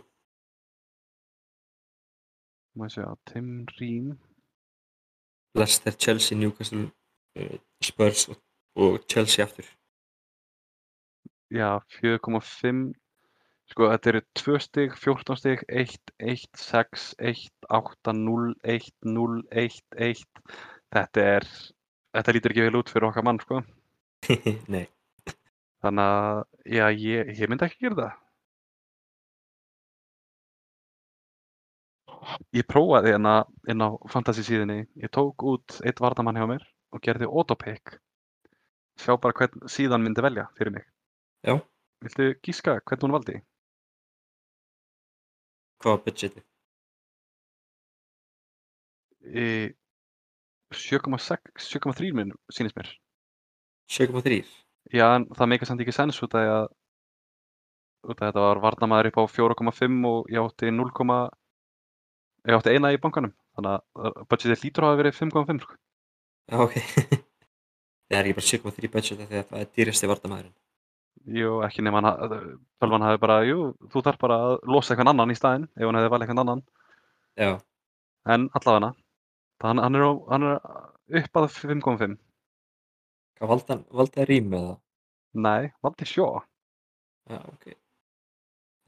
[SPEAKER 2] Má ég segja, Tim Rím.
[SPEAKER 1] Leicester, Chelsea, Newcastle, eh, Spurs og, og Chelsea aftur.
[SPEAKER 2] Já, 4,5. Sko, þetta eru 2 stig, 14 stig, 1, 1, 6, 1, 8, 0, 1, 0, 1, 1. Þetta er, þetta lítur ekki vel út fyrir okkar mann, sko.
[SPEAKER 1] Nei.
[SPEAKER 2] Þannig að, já, ég, ég myndi ekki gera það. Ég prófaði hérna inn á fantasy síðinni. Ég tók út eitt vardamann hjá mér og gerði autopick. Sjá bara hvern síðan myndi velja fyrir mig.
[SPEAKER 1] Já.
[SPEAKER 2] Viltu gíska hvern hún valdi?
[SPEAKER 1] Hvað var budgetið?
[SPEAKER 2] Í 7,6, 7,3 minn sýnist mér.
[SPEAKER 1] 7,3.
[SPEAKER 2] Já, en það meika samt ekki sens út af því að út af þetta var varnamaður upp á 4,5 og ég átti 0, ég átti eina í bankanum þannig að uh, budgetið lítur hafa verið 5,5 sko.
[SPEAKER 1] Já, ok. það er ekki bara 7,3 budgetið þegar það er dýrasti vartamæðurinn.
[SPEAKER 2] Jú, ekki nema hann ha- uh, tölvan hafi bara, jú, þú þarf bara að losa eitthvað annan í staðinn ef hann hefði valið eitthvað annan
[SPEAKER 1] Já.
[SPEAKER 2] en allavega hann, hann, er, á- hann er upp að 5,5
[SPEAKER 1] Hvað valdi hann? Valdi hann rým eða?
[SPEAKER 2] Nei, valdi sjó
[SPEAKER 1] Já, ok.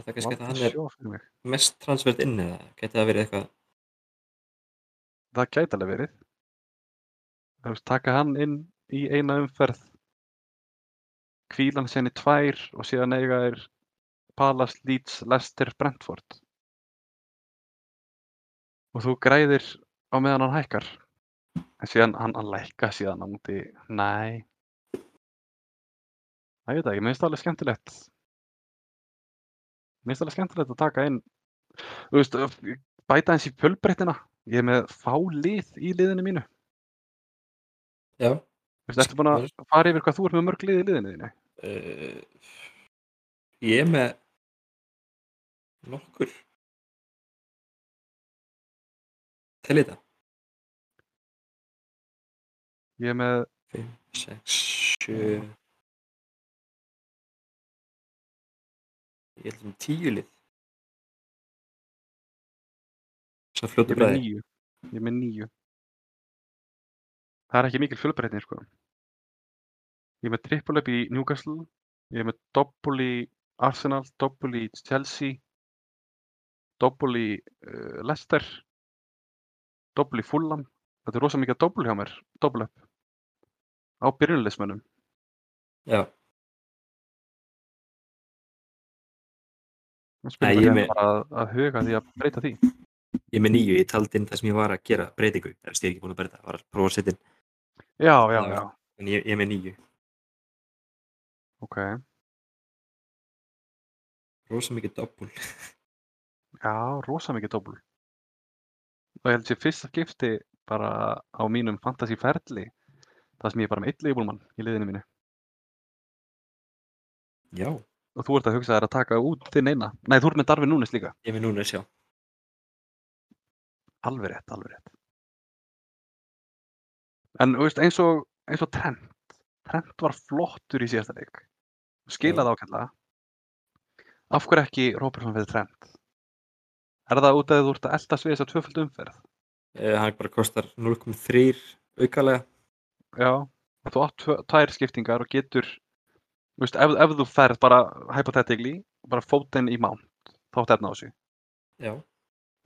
[SPEAKER 1] Það er kannski að hann
[SPEAKER 2] valdi
[SPEAKER 1] er
[SPEAKER 2] sjó fyrir mig
[SPEAKER 1] mest transfert inn eða geti það verið eitthvað
[SPEAKER 2] Það gæti alveg verið Þú veist, taka hann inn í eina umferð hvílan hann í tvær og síðan eiga er Palace, Leeds, Leicester, Brentford og þú græðir á meðan hann hækkar en síðan hann, hann lækkar síðan á múti nei það ég veit það ekki, mér finnst það alveg skemmtilegt mér finnst það alveg skemmtilegt að taka inn þú veist, bæta eins í fjölbreyttina ég er með fá lið í liðinu mínu
[SPEAKER 1] Já.
[SPEAKER 2] Þú veist, ertu búin að fara yfir hvað þú ert með mörg lið í liðinu þínu?
[SPEAKER 1] Uh, ég er með nokkur Til þetta
[SPEAKER 2] Ég er með
[SPEAKER 1] 6, 7 Ég held um 10 lið Svo
[SPEAKER 2] Ég
[SPEAKER 1] fljótu
[SPEAKER 2] er með
[SPEAKER 1] bræði
[SPEAKER 2] nýju. Ég er með nýju. Það er ekki mikil fjölbreytni, sko. Ég er með trippul upp í Newcastle, ég er með doppul í Arsenal, doppul í Chelsea, doppul í uh, Leicester, doppul í Fulham. Þetta er rosa mikið doppul hjá mér, doppul upp. Á byrjunleismönnum.
[SPEAKER 1] Já, Nei, ég
[SPEAKER 2] Ég
[SPEAKER 1] er
[SPEAKER 2] er
[SPEAKER 1] með-
[SPEAKER 2] bara að, að huga að því að breyta því.
[SPEAKER 1] ég er með nýju, ég taldi inn það sem ég var að gera breytingu, ef ég er ekki búin að breyta, það var að prófa að setja inn,
[SPEAKER 2] Já, já,
[SPEAKER 1] Já.
[SPEAKER 2] já.
[SPEAKER 1] en ég, ég er með nýju,
[SPEAKER 2] Ok.
[SPEAKER 1] rosa mikið doppul.
[SPEAKER 2] Já, rosa mikið doppul. Og ég held sér fyrsta skipti bara á mínum fantasy ferli það sem ég er bara með eitt leifbólmann í liðinu mínu
[SPEAKER 1] Já,
[SPEAKER 2] og þú ert að hugsa þér að taka út þinn eina Nei, þú ert með Darvin Núnes líka
[SPEAKER 1] ég er með núna að sjá.
[SPEAKER 2] Alveg rétt, alveg rétt En þú veist, eins og, eins og Trent Trent var flottur í síðasta leik skilaði ákveðlega Af hverju ekki Robertson fyrir Trent? Er það út af því að þú ert að eldast við þess að tvöföldu umferð?
[SPEAKER 1] Uh, hann bara kostar 0,3 aukalega.
[SPEAKER 2] Já, og þú átt tvö- tvær skiptingar og getur, þú veist, ef, ef þú ferð bara hypothetically, bara fótinn í mán, þá átt efna á þessu,
[SPEAKER 1] Já.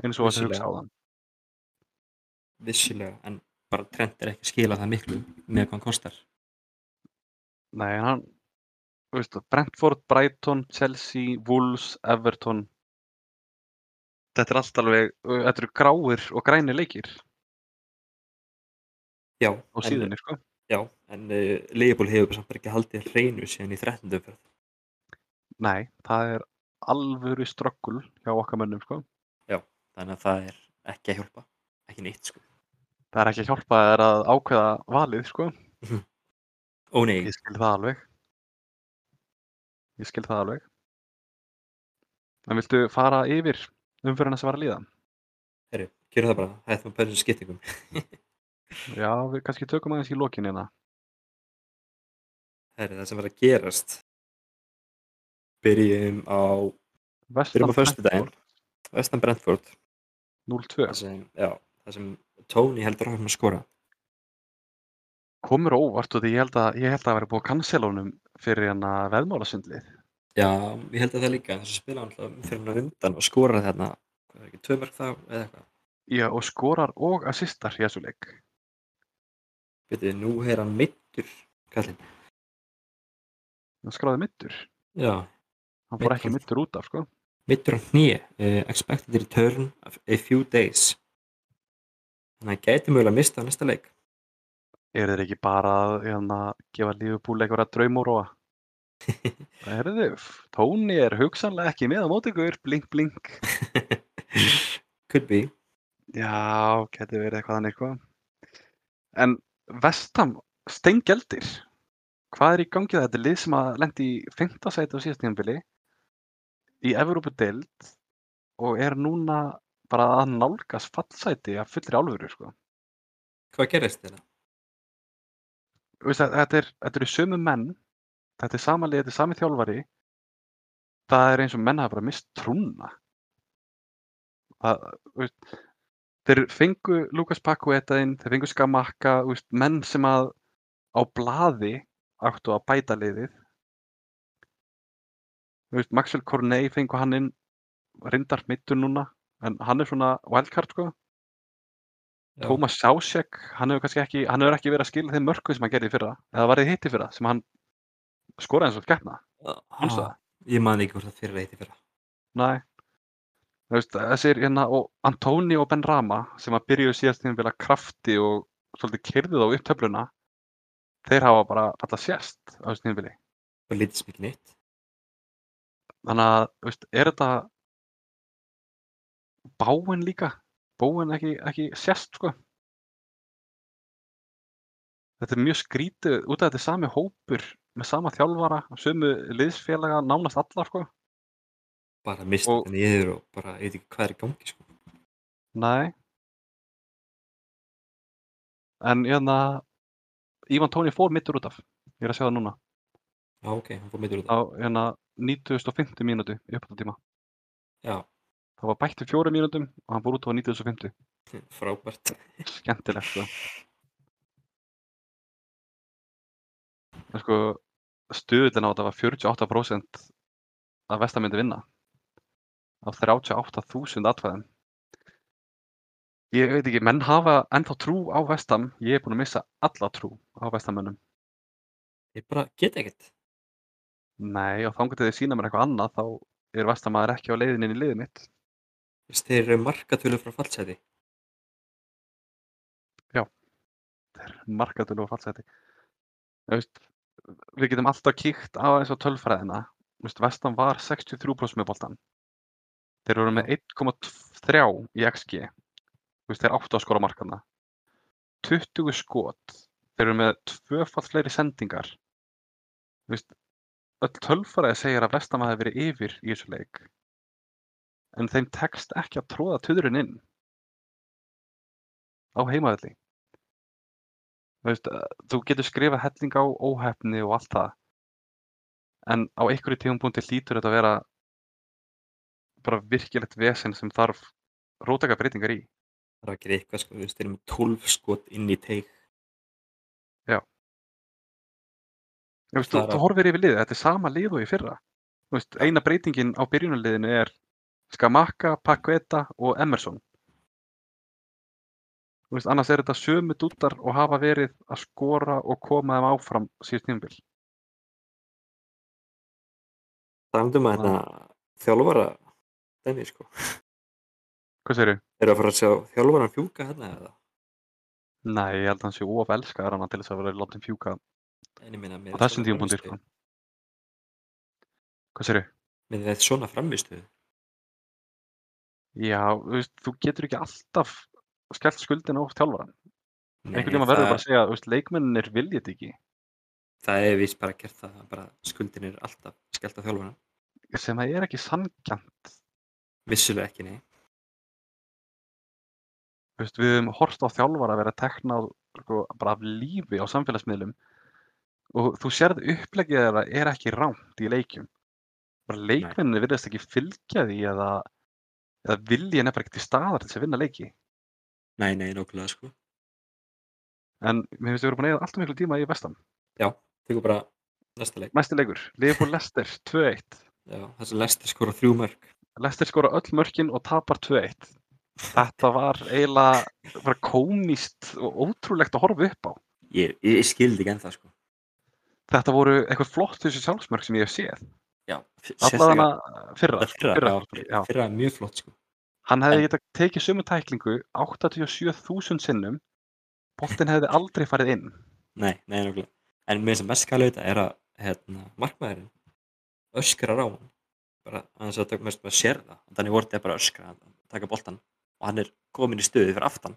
[SPEAKER 2] eins og þessu hugsa
[SPEAKER 1] Vissulega.
[SPEAKER 2] á þann.
[SPEAKER 1] Vissilega, en bara trend er ekki að skila það miklu með hvað hann kostar.
[SPEAKER 2] Nei, en hann, þú veist, Brentford, Brighton, Chelsea, Wolves, Everton, þetta er allt alveg, ö, þetta eru gráir og grænir leikir
[SPEAKER 1] Já,
[SPEAKER 2] á síðunni, sko.
[SPEAKER 1] Já, en uh, Leifból hefur bara samt bara ekki haldið hreinu síðan í 13. umferð.
[SPEAKER 2] Nei, það er alvöru ströggul hjá okkar mönnum, sko.
[SPEAKER 1] Þannig að það er ekki að hjálpa, ekki neitt sko.
[SPEAKER 2] Það er ekki að hjálpa þér að ákveða valið, sko.
[SPEAKER 1] Ó nei,
[SPEAKER 2] Ég skil það alveg. Ég skil það alveg. En viltu fara yfir umfyrirna sem var að líða?
[SPEAKER 1] herru, gera það bara, það er það bara þessum skiptingum.
[SPEAKER 2] Já, við kannski tökum aðeins í lokin hérna.
[SPEAKER 1] Herru, það sem var að gerast. Byrjum á
[SPEAKER 2] Vestan
[SPEAKER 1] á föstudaginn.
[SPEAKER 2] Brentford,
[SPEAKER 1] Vestan Brentford,
[SPEAKER 2] 0-2.
[SPEAKER 1] það sem, já, það sem Tony heldur áfram að skora.
[SPEAKER 2] Komur á óvart og því ég held að ég held að það væri búið að cancela honum fyrir hérna veðmálasundlið.
[SPEAKER 1] Já, ég held að það líka, þess að spila hann alltaf um fyrir hann undan og skora þarna, hvað er ekki, tvö mörg þá eða eitthvað.
[SPEAKER 2] Já, og skorar og assistar í þessu leik.
[SPEAKER 1] Vitið, nú er hann meittur, kallinn.
[SPEAKER 2] Hann skráði middur.
[SPEAKER 1] Já,
[SPEAKER 2] Hann fór
[SPEAKER 1] Meiddur.
[SPEAKER 2] ekki middur út af, sko.
[SPEAKER 1] mittur á hnýi uh, expected return of a few days þannig að hann gæti mögulega mista á næsta leik
[SPEAKER 2] Er þeir ekki bara að hérna, gefa lífubúl einhverja draumóróa? Herðu, Tóni er hugsanlega ekki með á móti ykkur, blink, blink.
[SPEAKER 1] could be
[SPEAKER 2] Já, getur verið eitthvað þannig eitthvað. En Vestam, steingeldir. Hvað er í gangi það? Þetta er lið sem að lendi í fimmta sæti á síðast tímabili í Evrópudeild og er núna bara að nálgast fallsæti að fullri álfuru, sko.
[SPEAKER 1] hvað gerist
[SPEAKER 2] hérna?
[SPEAKER 1] þetta?
[SPEAKER 2] Þú veist, að- Þetta er, þetta eru sömu menn, þetta er sama lið, þetta er sami þjálfari. Það er eins og menn hafa bara mist trúna. Það, þú veist, þeir fengu Lukas Pakueta inn, þeir fengu Skamakka, þú veist, menn sem að á blaði áttu að bæta liðið. Þú veist, Maxwell Corney fengu hann inn, reyndar mittur núna, en hann er svona wildcard sko.
[SPEAKER 1] Já.
[SPEAKER 2] Thomas Sjásek, hann hefur kannski ekki, hann hefur ekki verið að skila þeim mörgum sem hann gerði í fyrra, eða var þið hitti fyrra, sem hann skoraði eins og skætna,
[SPEAKER 1] Ah,
[SPEAKER 2] mannstu það?
[SPEAKER 1] ég man ekki hvort það fyrir reyti fyrra
[SPEAKER 2] Nei. Þú veist, þessir hérna og Antoni og Ben Rama sem að byrjuðu síðast þegar vilja krafti og svolítið kyrðu þá upp töfluna þeir hafa bara alltaf sést á þessu tímabili.
[SPEAKER 1] og lítið sem ekki neitt
[SPEAKER 2] Þannig að, þú veist, er þetta báin líka? Báin ekki, ekki sérst, sko? Þetta er mjög skrítið, út af þetta er sami hópur með sama þjálfara, sömu liðsfélaga, nánast alla, sko?
[SPEAKER 1] bara mist
[SPEAKER 2] Og-
[SPEAKER 1] þetta niður og bara ég veit ekki hvað er í gangi sko.
[SPEAKER 2] Nei. En, hérna, Ívan Tóni fór mittur út af, ég er að sjá það núna,
[SPEAKER 1] já ok, hann fór meitur út
[SPEAKER 2] á, hérna, 90.50 mínútu í uppáttíma.
[SPEAKER 1] Já.
[SPEAKER 2] Það var bætt í fjóra mínútum og hann fór út á 90.50.
[SPEAKER 1] af frábært
[SPEAKER 2] skemmtilegt sko. En sko, stuðullin á þetta var 48% að Vesta myndi vinna á 38.000 atkvæðum. Ég veit ekki, menn hafa ennþá trú á Vestam, ég er búinn að missa alla trú á Vestamönnum.
[SPEAKER 1] ég bara get ekkert
[SPEAKER 2] Nei, og þá getur þið sína mér eitthvað annað, þá er Vestamæður ekki á leiðinni inn í liðið mitt.
[SPEAKER 1] Þú veist, þeir eru markatölu frá fallseti
[SPEAKER 2] markatölu og fallseti Þú veist, við getum alltaf kíkt á eins og tölfræðina Þú veist, vestan var 63% með boltan þeir voru með 1,3 í XG Þú veist, þeir áttu að skora markana 20 skot þeir eru með tvöfall fleiri sendingar Þú veist, öll tölfræði segir að vestan hafi verið yfir í þessu leik en þeim tekst ekki að tróða töðurinn inn á heimavelli Þú veist, eh, þú getur skrifað helling á óhefni og allt það en á einhverju tíðumbúndi hlýtur þetta að vera bara virkilegt vesen sem þarf rótaka breytingar í
[SPEAKER 1] það er að gera eitthvað sko, þú veist, þeir eru með 12 skot inn í teik
[SPEAKER 2] Þú veist, þú,
[SPEAKER 1] Það er
[SPEAKER 2] þú
[SPEAKER 1] að-
[SPEAKER 2] horfir yfir liðið, þetta er sama lið og í fyrra Þú veist, eina breytingin á byrjunarliðinu er Skamaka, Paqueta og Emerson Þú veist, annars er þetta sömu dúttar og hafa verið að skora og koma þeim áfram síðust tímabil
[SPEAKER 1] talandum að
[SPEAKER 2] Já.
[SPEAKER 1] þetta hérna þjálfara dæmi sko
[SPEAKER 2] Hvað segirðu?
[SPEAKER 1] eru að fara að sjá þjálfaran fjúka hérna eða
[SPEAKER 2] Nei, ég held að hann sé of elskaðar hann til þess að vera látið fjúka
[SPEAKER 1] en ég meina með
[SPEAKER 2] á þessum
[SPEAKER 1] svona
[SPEAKER 2] tímapunkti sko.
[SPEAKER 1] frammistöðu-
[SPEAKER 2] Hvað séru?
[SPEAKER 1] með með svona framistuð
[SPEAKER 2] Já, þú, veist, þú getur ekki alltaf skellt skuldin á þjálfaran. Einhvern tíma verður
[SPEAKER 1] það,
[SPEAKER 2] bara að segja að leikmenninir vilja þetta ekki,
[SPEAKER 1] það er vist bara gert það bara skuldin er alltaf skellt á þjálfaran
[SPEAKER 2] sem það er ekki sanngjarnt.
[SPEAKER 1] vissulega ekki nei
[SPEAKER 2] Þú veist, Við höfum horft á þjálfara að vera teknað sko, bara af lífi á samfélagsmiðlum og þú sérð upplegið þeirra er ekki rámt í leikjum. Bara leikmenninir virðast ekki fylgja því eða, eða viljið nefnir ekki til staðar til þess að vinna leiki.
[SPEAKER 1] nei nei nokkulega sko
[SPEAKER 2] En mér finnst við vera búin að eða alltaf miklu tíma í vestam.
[SPEAKER 1] tekur bara næsta leik
[SPEAKER 2] Næsti leikur, Liverpool Leicester 2-1.
[SPEAKER 1] Já, það sem lestir skora þrjú mörg
[SPEAKER 2] Leicester skora öll mörkin og tapar 2-1. Þetta var eiginlega bara komist og ótrúlegt að horfa upp á.
[SPEAKER 1] ég, ég, ég skildi ekki ennþá sko
[SPEAKER 2] Þetta voru eitthvað flott þessu sjálfsmörk sem ég hef séð.
[SPEAKER 1] Já,
[SPEAKER 2] Allavega fyrra.
[SPEAKER 1] fyrra, fyrra,
[SPEAKER 2] fyrra,
[SPEAKER 1] já,
[SPEAKER 2] já.
[SPEAKER 1] fyrra er mjög flott sko
[SPEAKER 2] Hann hefði
[SPEAKER 1] En-
[SPEAKER 2] getað tekið sömu tæklingu 87.000 sinnum. Boltinn hefði aldrei farið inn.
[SPEAKER 1] Nei, nei, nokkulega. En mér sem mest skal auðvitað er að hérna, markmaðurinn öskrar á hann. Bara aðeins að það mest maður sér það. Þannig voru þetta bara að öskra að taka boltan og hann er komin í stöðu fyrir aftan.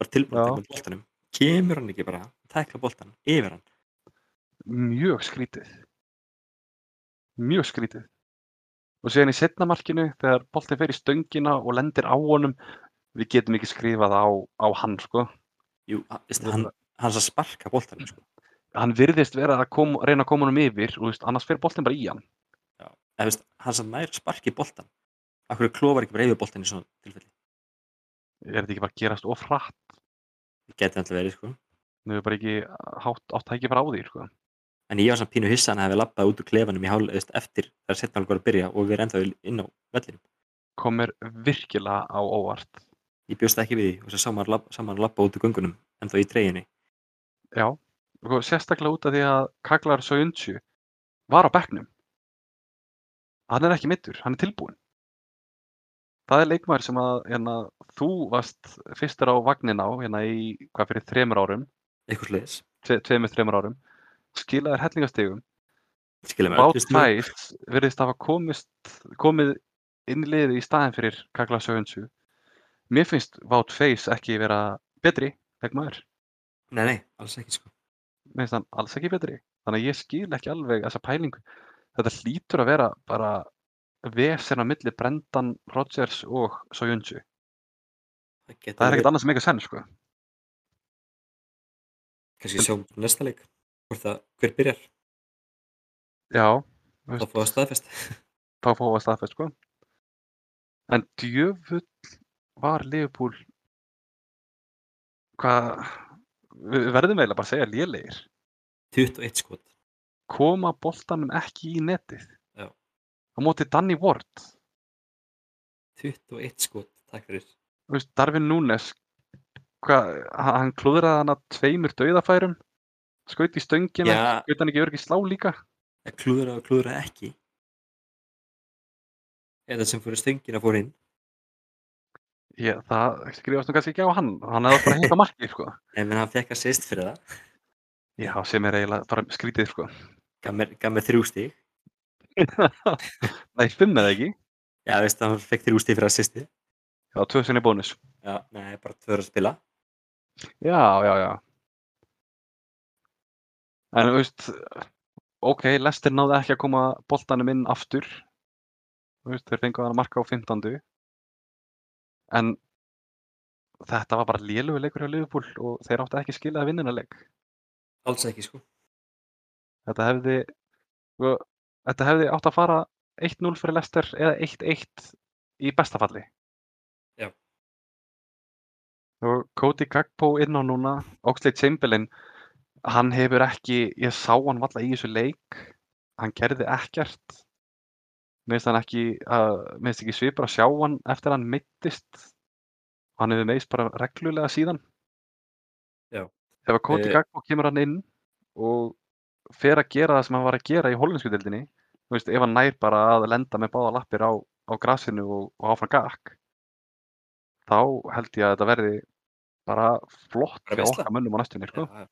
[SPEAKER 1] Bara tilbúin að
[SPEAKER 2] Já.
[SPEAKER 1] taka við boltanum. Kemur hann ekki bara að tekla boltan yfir hann.
[SPEAKER 2] Mjög skrítið. Mjög skrítið. Og síðan í setna markinu þegar boltinn fer í stöngina og lendir á honum. Við getum ekki skrifað á, á hann sko.
[SPEAKER 1] Jú, a- veistu, hann, hann er að sparka boltanum sko.
[SPEAKER 2] hann virðist vera að kom, reyna að koma honum yfir og þú veist, annars fer boltin bara í hann
[SPEAKER 1] Eða, veist, hann sem nær sparki boltan. Akkur klófar ekki bara yfir boltan í svona tilfelli.
[SPEAKER 2] er þetta ekki bara að gerast of hratt
[SPEAKER 1] Það geti alltaf verið sko.
[SPEAKER 2] nú er bara ekki hátt, átt að ekki bara á því sko.
[SPEAKER 1] En ég var samt pínu hissa að hann hefði labbað út úr klefanum í hálf, veist, eftir þegar setna alveg var að byrja og við erum ennþá inn á vellinum.
[SPEAKER 2] komur virkilega á óvart
[SPEAKER 1] ég bjóst ekki við því og svo sá maður lab- sá maður lappa út úr göngunum en þá í treyjunni
[SPEAKER 2] já, sko, sérstaklega út af því að Kaglar Söundsjö var á bekknum hann er ekki mittur, hann er tilbúin Það er leikmaður sem að hérna, þú varst fyrstur á vagnin á hérna í hvað fyrir þremur árum,
[SPEAKER 1] eitthvað sliðis
[SPEAKER 2] tve, tveimur þremur árum, skilaður hellingastegum.
[SPEAKER 1] skilja mér
[SPEAKER 2] Bát Sæs virðist hafa komist, komið inn í liðið í staðin fyrir Kakla Sövensu. Mér finnst Bát Sæs ekki vera betri leikmaður,
[SPEAKER 1] nei, nei, alls ekki sko
[SPEAKER 2] mér finnst hann alls ekki betri. Þannig að ég skil ekki alveg þessa pælingu. Þetta hlýtur að vera bara vesina milli Brendan Rodgers og Sövensu.
[SPEAKER 1] það,
[SPEAKER 2] Það er ekkert annað sem eitthvað senn, sko.
[SPEAKER 1] kannski sjáum við næsta leik hvort það, hver byrjar,
[SPEAKER 2] Já,
[SPEAKER 1] þá fóðu að staðfest
[SPEAKER 2] þá fáum við að staðfæð sko en djöfull var Liverpool hvað við við verðum eiginlega bara að segja lélegir
[SPEAKER 1] 21 skot,
[SPEAKER 2] koma boltanum ekki í netið
[SPEAKER 1] Já.
[SPEAKER 2] á móti Danny Ward
[SPEAKER 1] 21 skot, takk fyrir
[SPEAKER 2] Þú veist, Darvin Núnes hvað, hann hann klúðraði hana tveimur dauðafærum skaut í stöngina,
[SPEAKER 1] já,
[SPEAKER 2] skaut hann ekki örg í slá líka
[SPEAKER 1] klúðra og klúðra ekki eða sem fyrir stöngina fór inn
[SPEAKER 2] Já, það skrifast nú kannski ekki á hann hann hefði átt bara að hitta markið sko
[SPEAKER 1] en menn hann fekk að sýst fyrir það
[SPEAKER 2] Já, sem er eiginlega bara skrítið sko
[SPEAKER 1] gaf mér, gaf mér þrjú stíg
[SPEAKER 2] Nei, fimm eða ekki
[SPEAKER 1] já, veist það, hann fekk þrjú stíg fyrir að sýsti
[SPEAKER 2] Já, tvö sinni bónus.
[SPEAKER 1] já, nei, bara tvöra að spila
[SPEAKER 2] Já, já, já. En þú veist, ok, Lester náði ekki að koma boltanum inn aftur. Þú veist, þeir fengu að marka á 15. En þetta var bara lélugu leikur hjá Liverpool og þeir áttu ekki skilið að vinna leik.
[SPEAKER 1] alls ekki sko,
[SPEAKER 2] Þetta hefði, sko, þetta hefði átt að fara 1-0 fyrir Lester eða 1-1 í bestafalli.
[SPEAKER 1] Já.
[SPEAKER 2] Og Cody Gagpo inn á núna, Oxlade Chamberlain, hann hefur ekki, ég sá hann valla í þessu leik, hann gerði ekkert. Mér finnst hann ekki, uh, mér finnst ekki svipur að sjá hann eftir að hann mittist. Hann hefur meist bara reglulega síðan.
[SPEAKER 1] Já.
[SPEAKER 2] Ef að Cody
[SPEAKER 1] Eh,
[SPEAKER 2] Gagpo kemur hann inn og fer að gera það sem hann var að gera í hollensku deildinni þú veist, ef hann nær bara að lenda með báða lappir á, á grasinu og, og áfram gakk þá held ég að þetta verði bara flott
[SPEAKER 1] Bara
[SPEAKER 2] hjá
[SPEAKER 1] veisla.
[SPEAKER 2] okkar mönnum á næstunni sko.
[SPEAKER 1] já, já.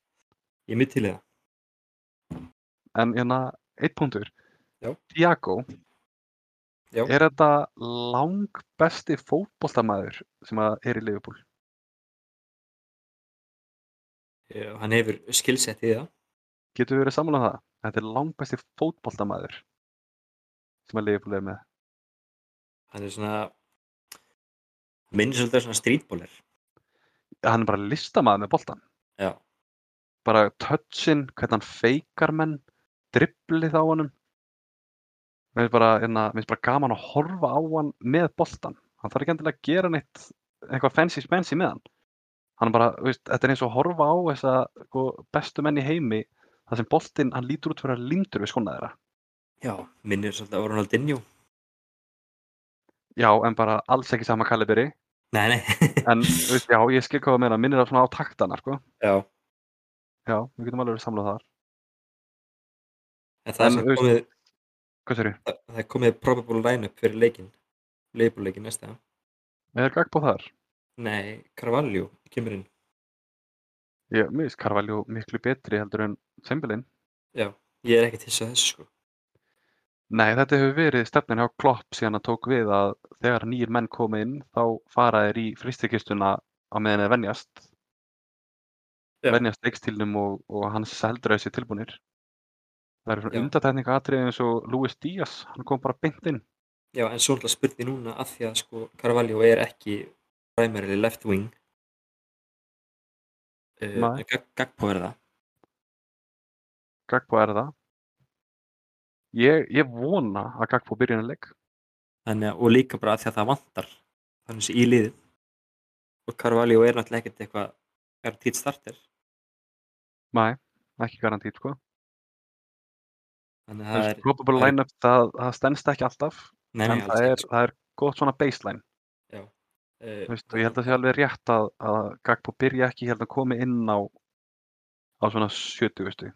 [SPEAKER 1] ég er mitt til í það
[SPEAKER 2] en hérna, eitt punktur
[SPEAKER 1] Já.
[SPEAKER 2] Tiago
[SPEAKER 1] Já.
[SPEAKER 2] er þetta lang besti fótboltamaður sem að er í Liverpool
[SPEAKER 1] Eh, og hann hefur skilsett í það
[SPEAKER 2] getur við verið sammála um það? Þetta er lang besti fótboltamaður sem að Liverpool er með
[SPEAKER 1] hann er svona minnir svolítið á svona strítbólir
[SPEAKER 2] hann er bara listamaður með boltan
[SPEAKER 1] já,
[SPEAKER 2] bara touchin, hvernig hann feikar menn, dribblið á honum. Mér finnst bara, hérna, mér finnst bara gaman að horfa á hann með boltan. Hann þarf ekki endilega að gera neitt, eitthvað fancy spensi með hann. Hann er bara, þú veist, þetta er eins og að horfa á þessa sko, bestu menn í heimi, þar sem boltinn, hann lítur út fyrir að lindur við skona þeirra.
[SPEAKER 1] já, minnir svolítið á Ronaldinho
[SPEAKER 2] Já, en bara alls ekki sama kaliberi.
[SPEAKER 1] nei, nei,
[SPEAKER 2] En, þú veist, já, ég skil hvað að meina, minnir það svona á taktana, sko.
[SPEAKER 1] já
[SPEAKER 2] Já, við getum alveg verið samlað þar.
[SPEAKER 1] En það,
[SPEAKER 2] En,
[SPEAKER 1] en,
[SPEAKER 2] þú
[SPEAKER 1] komið,
[SPEAKER 2] Hvað sér ég?
[SPEAKER 1] það, það er komið probable line-up fyrir leikinn. Leifbúrleikin næsta.
[SPEAKER 2] Er Gagbo þar?
[SPEAKER 1] Nei, Carvalho kemur inn.
[SPEAKER 2] Ég, mér finnst Carvalho miklu betri heldur en Sembelin.
[SPEAKER 1] Ég er ekkert hissað þessu sko.
[SPEAKER 2] Nei, þetta hefur verið stefnin hjá Klopp síðan að tók við að þegar nýjir menn koma inn þá fara þeir í fristikistuna á meðan þeir venjast.
[SPEAKER 1] Já.
[SPEAKER 2] Venjast leikstílnum og, og hans heldur að þessi tilbúnir. Það eru
[SPEAKER 1] Já.
[SPEAKER 2] svona undatækninga atriði eins og Luis Díaz, hann kom bara beint inn.
[SPEAKER 1] Já, en svo náttúrulega spurning núna að því að sko Carvalho er ekki primarily left wing. Eh, Uh,
[SPEAKER 2] Nei.
[SPEAKER 1] Gagpo er það.
[SPEAKER 2] Gagbo er það. Ég, ég vona að Gagbo byrja henni leik.
[SPEAKER 1] Þannig að, og líka bara að því að það vantar. Þannig sé í liðið. Og Carvalho er náttúrulega ekkert eitthvað er títt starter.
[SPEAKER 2] Nei, ekki garantít sko.
[SPEAKER 1] Þannig að það
[SPEAKER 2] Það
[SPEAKER 1] er,
[SPEAKER 2] Probable
[SPEAKER 1] það er-
[SPEAKER 2] line-up, það, það stennst ekki alltaf,
[SPEAKER 1] nei, nei,
[SPEAKER 2] en
[SPEAKER 1] alls
[SPEAKER 2] það er,
[SPEAKER 1] ekki. sko.
[SPEAKER 2] það er gott svona baseline. Þú
[SPEAKER 1] Uh,
[SPEAKER 2] veist, og ég held að það sé alveg rétt að, að Gagbo byrja ekki hérna að komi inn á á svona 70, veistu.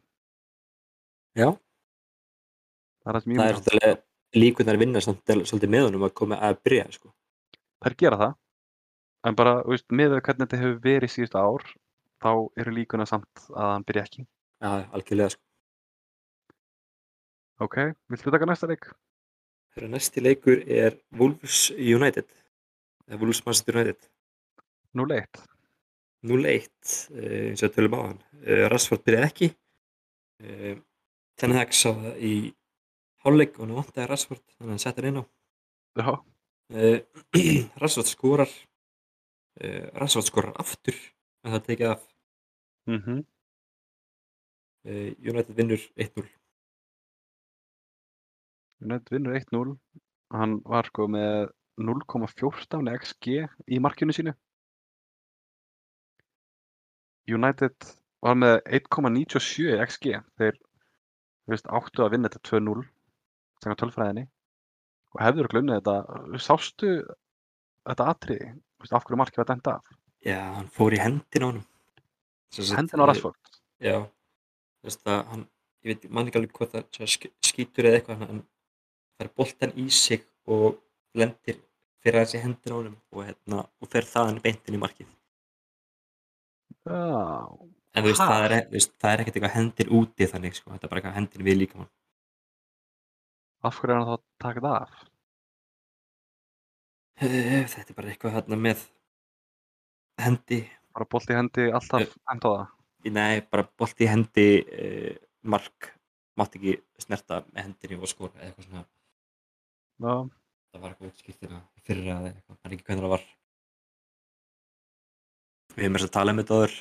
[SPEAKER 1] já,
[SPEAKER 2] Það er það
[SPEAKER 1] það er
[SPEAKER 2] sem ég myndi halda.
[SPEAKER 1] náttúrulega líkunar vinna samt del- svolítið með honum að koma að byrja sko.
[SPEAKER 2] þær gera það en bara, þú veist, með við hvernig þetta hefur verið síðustu ár þá eru líkuna samt að hann byrja ekki
[SPEAKER 1] Já, já, algjörlega sko.
[SPEAKER 2] ok, viltu taka næsta leik?
[SPEAKER 1] Þeirra næsti leikur er Wolves United. Eða Wolves Manchester United.
[SPEAKER 2] Nú leitt,
[SPEAKER 1] 0-1 eh, eins og við tölum á hann. Rassford byrjaði ekki. Þannig að sá það í hálfleik og hann vantaði Rassford þannig að hann setti hann inn á.
[SPEAKER 2] já,
[SPEAKER 1] Uh, Rassford skorar uh, Rassford skorar aftur en það er tekið af
[SPEAKER 2] mhm
[SPEAKER 1] uh, United vinnur 1-0
[SPEAKER 2] United vinnur 1-0 hann var sko með 0,14 XG í markjunni sínu United var með 1,97 XG þeir þú veist, áttu að vinna þetta 2-0 þannig tölfræðinni og hefður að glunni þetta sástu þetta atriði Þú veist, af hverju markið var dæmt af
[SPEAKER 1] Já, hann fór í hendin á hann eh,
[SPEAKER 2] hendin á Rashford
[SPEAKER 1] Já, þú veist að hann ég veit, man ekki alveg hvað það svo sk- skýtur eða eitthvað hann það er boltan í sig og lendir fyrir hans í hendin á hann og, hérna, og fer þaðan beintin í markið
[SPEAKER 2] já,
[SPEAKER 1] en þú veist,
[SPEAKER 2] Ha?
[SPEAKER 1] það er, e, þú veist, það er ekkert eitthvað hendir úti þannig sko, þetta er bara eitthvað hendin við líka
[SPEAKER 2] af hverju er hann þá að taka þetta af
[SPEAKER 1] Þetta er bara eitthvað hérna með hendi
[SPEAKER 2] bara bolti í hendi alltaf hend á það
[SPEAKER 1] Nei, bara bolti í hendi uh, mark mátt ekki snerta með hendinni og skora eða eitthvað svona
[SPEAKER 2] já,
[SPEAKER 1] það var eitthvað hérna útskýrtina fyrir að eitthvað, það er ekki hvernig það var Við hefum þess að tala um þetta áður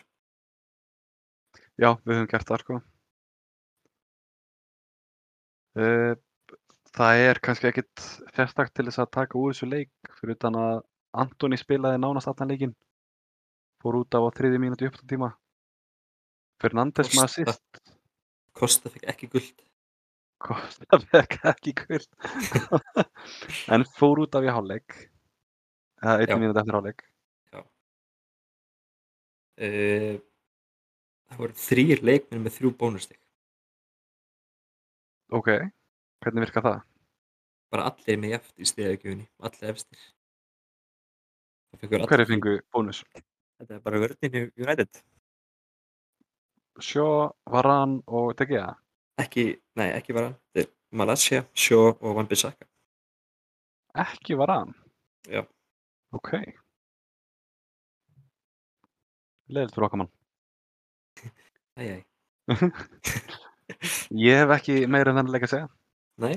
[SPEAKER 2] Já, við höfum gert það sko. Eh, Það er kannski ekkit sérstakt til þess að taka úr þessu leik fyrir utan að Antoni spilaði nánast allan leikinn fór út af á þriði mínúti upptátíma Fernandes
[SPEAKER 1] Kosta.
[SPEAKER 2] maður sýst
[SPEAKER 1] Kosta fekk ekki guld
[SPEAKER 2] Kosta fekk ekki kvöld en fór út af í hálfleik eða
[SPEAKER 1] Já.
[SPEAKER 2] einni mínúti eftir hálfleik
[SPEAKER 1] uh, Það voru þrýr leikminn með þrjú bónustig
[SPEAKER 2] Ok, hvernig virkar það?
[SPEAKER 1] bara allir með jæft í stegjöfunni allir efstir Það fekkur allir,
[SPEAKER 2] Hverju fengu bónus?
[SPEAKER 1] þetta er bara vörðinu United
[SPEAKER 2] Sjó, Varan og De Gea
[SPEAKER 1] ekki, nei, ekki var hann þetta er Malaysia, Shaw og Van Bissaka
[SPEAKER 2] Ekki Varan?
[SPEAKER 1] Já.
[SPEAKER 2] Ok. Leðilt fyrir okkar mann.
[SPEAKER 1] Æj, æj,
[SPEAKER 2] Ég hef ekki meira en þennan leik að segja.
[SPEAKER 1] nei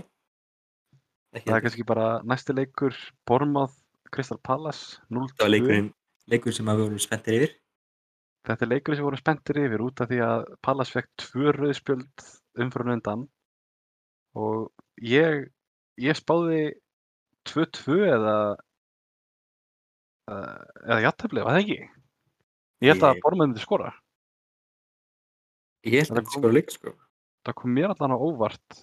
[SPEAKER 1] ekki
[SPEAKER 2] Það er
[SPEAKER 1] heldur.
[SPEAKER 2] kannski bara næsti leikur, Bormað, Crystal Palace, 0-2.
[SPEAKER 1] Þetta var leikurinn, leikurinn sem að við vorum spenntir yfir.
[SPEAKER 2] Þetta er leikur sem voru spenntir yfir út af því að Palace fekk tvö rauðspjöld umfram undan. Og ég, ég spáði 2-2 eða, eða, eða játtöfli, var það ekki? Ég held
[SPEAKER 1] Ég-
[SPEAKER 2] að Bormað myndi skora.
[SPEAKER 1] Ég held
[SPEAKER 2] Þetta
[SPEAKER 1] að þetta skora líka sko.
[SPEAKER 2] það kom mér allan á óvart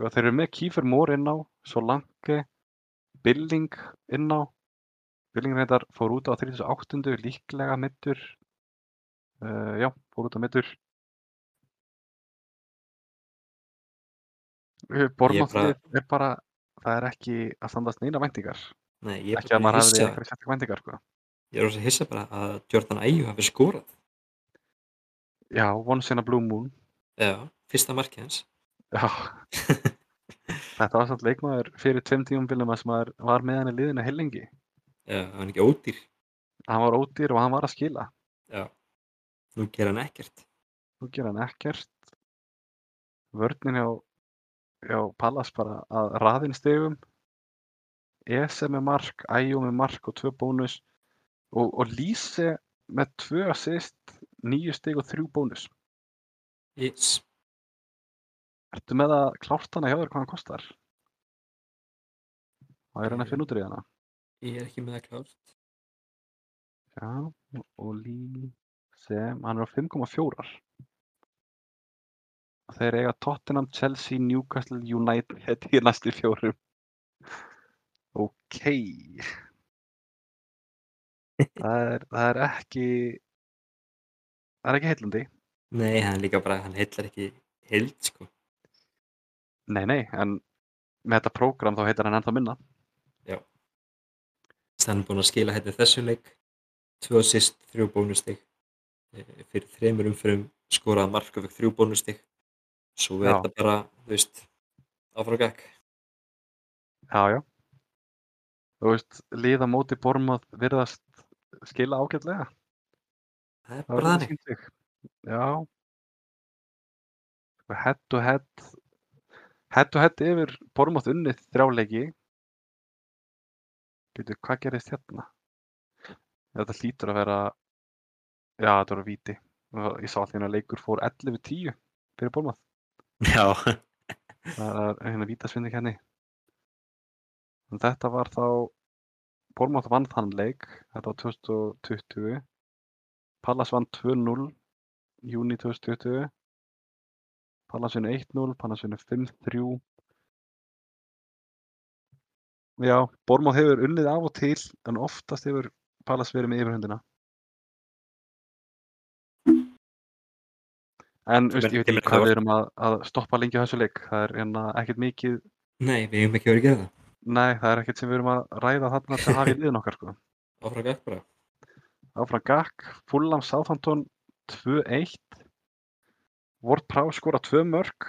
[SPEAKER 2] hvað þeir eru með Kífur Mór inn á Solanke Billing inn á Billing reyndar fór út á 38. líklega mittur uh, já, fór út á mittur Bormáttið Eh, er bara það er ekki að standast neina væntingar
[SPEAKER 1] Nei, ég er
[SPEAKER 2] ekki
[SPEAKER 1] bara
[SPEAKER 2] að maður
[SPEAKER 1] að
[SPEAKER 2] hafði
[SPEAKER 1] hissa,
[SPEAKER 2] eitthvað sérstakar væntingar sko.
[SPEAKER 1] ég er að hissa bara að Jordan Ayew hafi skorað.
[SPEAKER 2] já, once in a blue moon
[SPEAKER 1] Já, fyrsta markið hans.
[SPEAKER 2] Já. Þetta var samt leikmaður fyrir tveim tíumbilum að sem maður var með hann í liðinu hellingi.
[SPEAKER 1] Já, það var ekki ódýr.
[SPEAKER 2] Hann var ódýr og hann var að skila.
[SPEAKER 1] Já. Nú ger hann ekkert.
[SPEAKER 2] Nú gera hann ekkert. Vörnin hjá, hjá Pallas bara að raðin stegum. ESE með mark, IO með mark og tvö bónus. Og, og Lýse með tvö assist, nýju steg og þrjú bónus.
[SPEAKER 1] Yes.
[SPEAKER 2] Ertu með að klárt hann að hjá þér hvað hann kostar? Það er hann að finna út úr í hana.
[SPEAKER 1] Ég er ekki með það klárt.
[SPEAKER 2] Já, og Lee sem, hann er á 5,4 og þeir eiga Tottenham, Chelsea, Newcastle, United í næstu fjórum Ok Það er, það er ekki það er ekki heillandi
[SPEAKER 1] Nei, hann er líka bara, hann heillar ekki heild sko.
[SPEAKER 2] Nei, nei, en með þetta prógram þá heitar hann ennþá minna
[SPEAKER 1] Já. Stann búinn að skila hætti þessum leik tvö assist, þrjú bónustig Eh, fyrir þremur umfyrum skoraði mark og fekk þrjú bónustig svo er
[SPEAKER 2] Já.
[SPEAKER 1] þetta bara, þú veist áfram og gekk
[SPEAKER 2] Já, já. Þú veist, liða móti Bormað virðast skila ágætlega.
[SPEAKER 1] það er
[SPEAKER 2] Það
[SPEAKER 1] bara
[SPEAKER 2] verður
[SPEAKER 1] þannig
[SPEAKER 2] sýnt sig. Já. Sko, Head to head, head to head yfir Bormað unnið þrjáleiki. Býtu, hvað gerist hérna? Þetta hlýtur að vera, já þetta voru víti. Ég sá allir að leikur fór 11-10 fyrir Bormað.
[SPEAKER 1] já,
[SPEAKER 2] Það er hérna vítasvinni kenni. En þetta var þá, Bormátt vann þann leik, þetta var 2020. Pallas vann 2-0, júni 2020. Pallas vinnu 1-0, Pallas vinnu 5-3. Já, Bormátt hefur unnið af og til, en oftast hefur Pallas verið með yfirhundina. En
[SPEAKER 1] Kemur-
[SPEAKER 2] veist, ég
[SPEAKER 1] kemur
[SPEAKER 2] veit ekki
[SPEAKER 1] ekki á
[SPEAKER 2] hvað
[SPEAKER 1] óvart.
[SPEAKER 2] við erum að, að stoppa lengi á þessu leik. Það er hérna ekkert mikið
[SPEAKER 1] nei, við hefum ekki verið að gera það
[SPEAKER 2] Nei, það er ekkert sem við erum að ræða þarna til að hafa í liðin okkar sko.
[SPEAKER 1] áfram og gekk bara,
[SPEAKER 2] Áfram Gakk, Fulham Southampton 2-1 Ward Prowse skora 2 mörg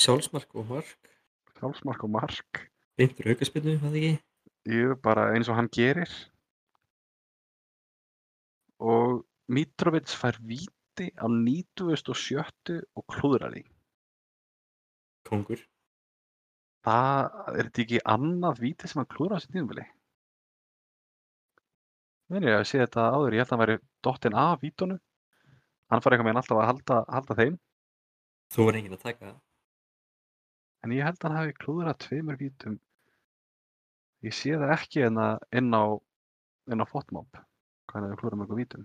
[SPEAKER 1] sjálfsmark og mark
[SPEAKER 2] Sjálfsmark og mark
[SPEAKER 1] beintur aukaspinnu, það ekki
[SPEAKER 2] Jú, bara eins og hann gerir og Mitrovic fær víti á 97 og klúðrar því
[SPEAKER 1] kongur,
[SPEAKER 2] Það er þetta ekki annað víti sem hann klúðrar á sér tíðumvili Meni, ég sé þetta áður, ég held að hann væri dottinn af vítunum Hann fari eitthvað með alltaf að halda, halda þeim
[SPEAKER 1] þú var enginn að taka það
[SPEAKER 2] En ég held að hann hafi klúðrað tveimur vítum. Ég sé það ekki en inn á, inn á fotmob. Hvað hann hefur klúðrað mörgum vítum.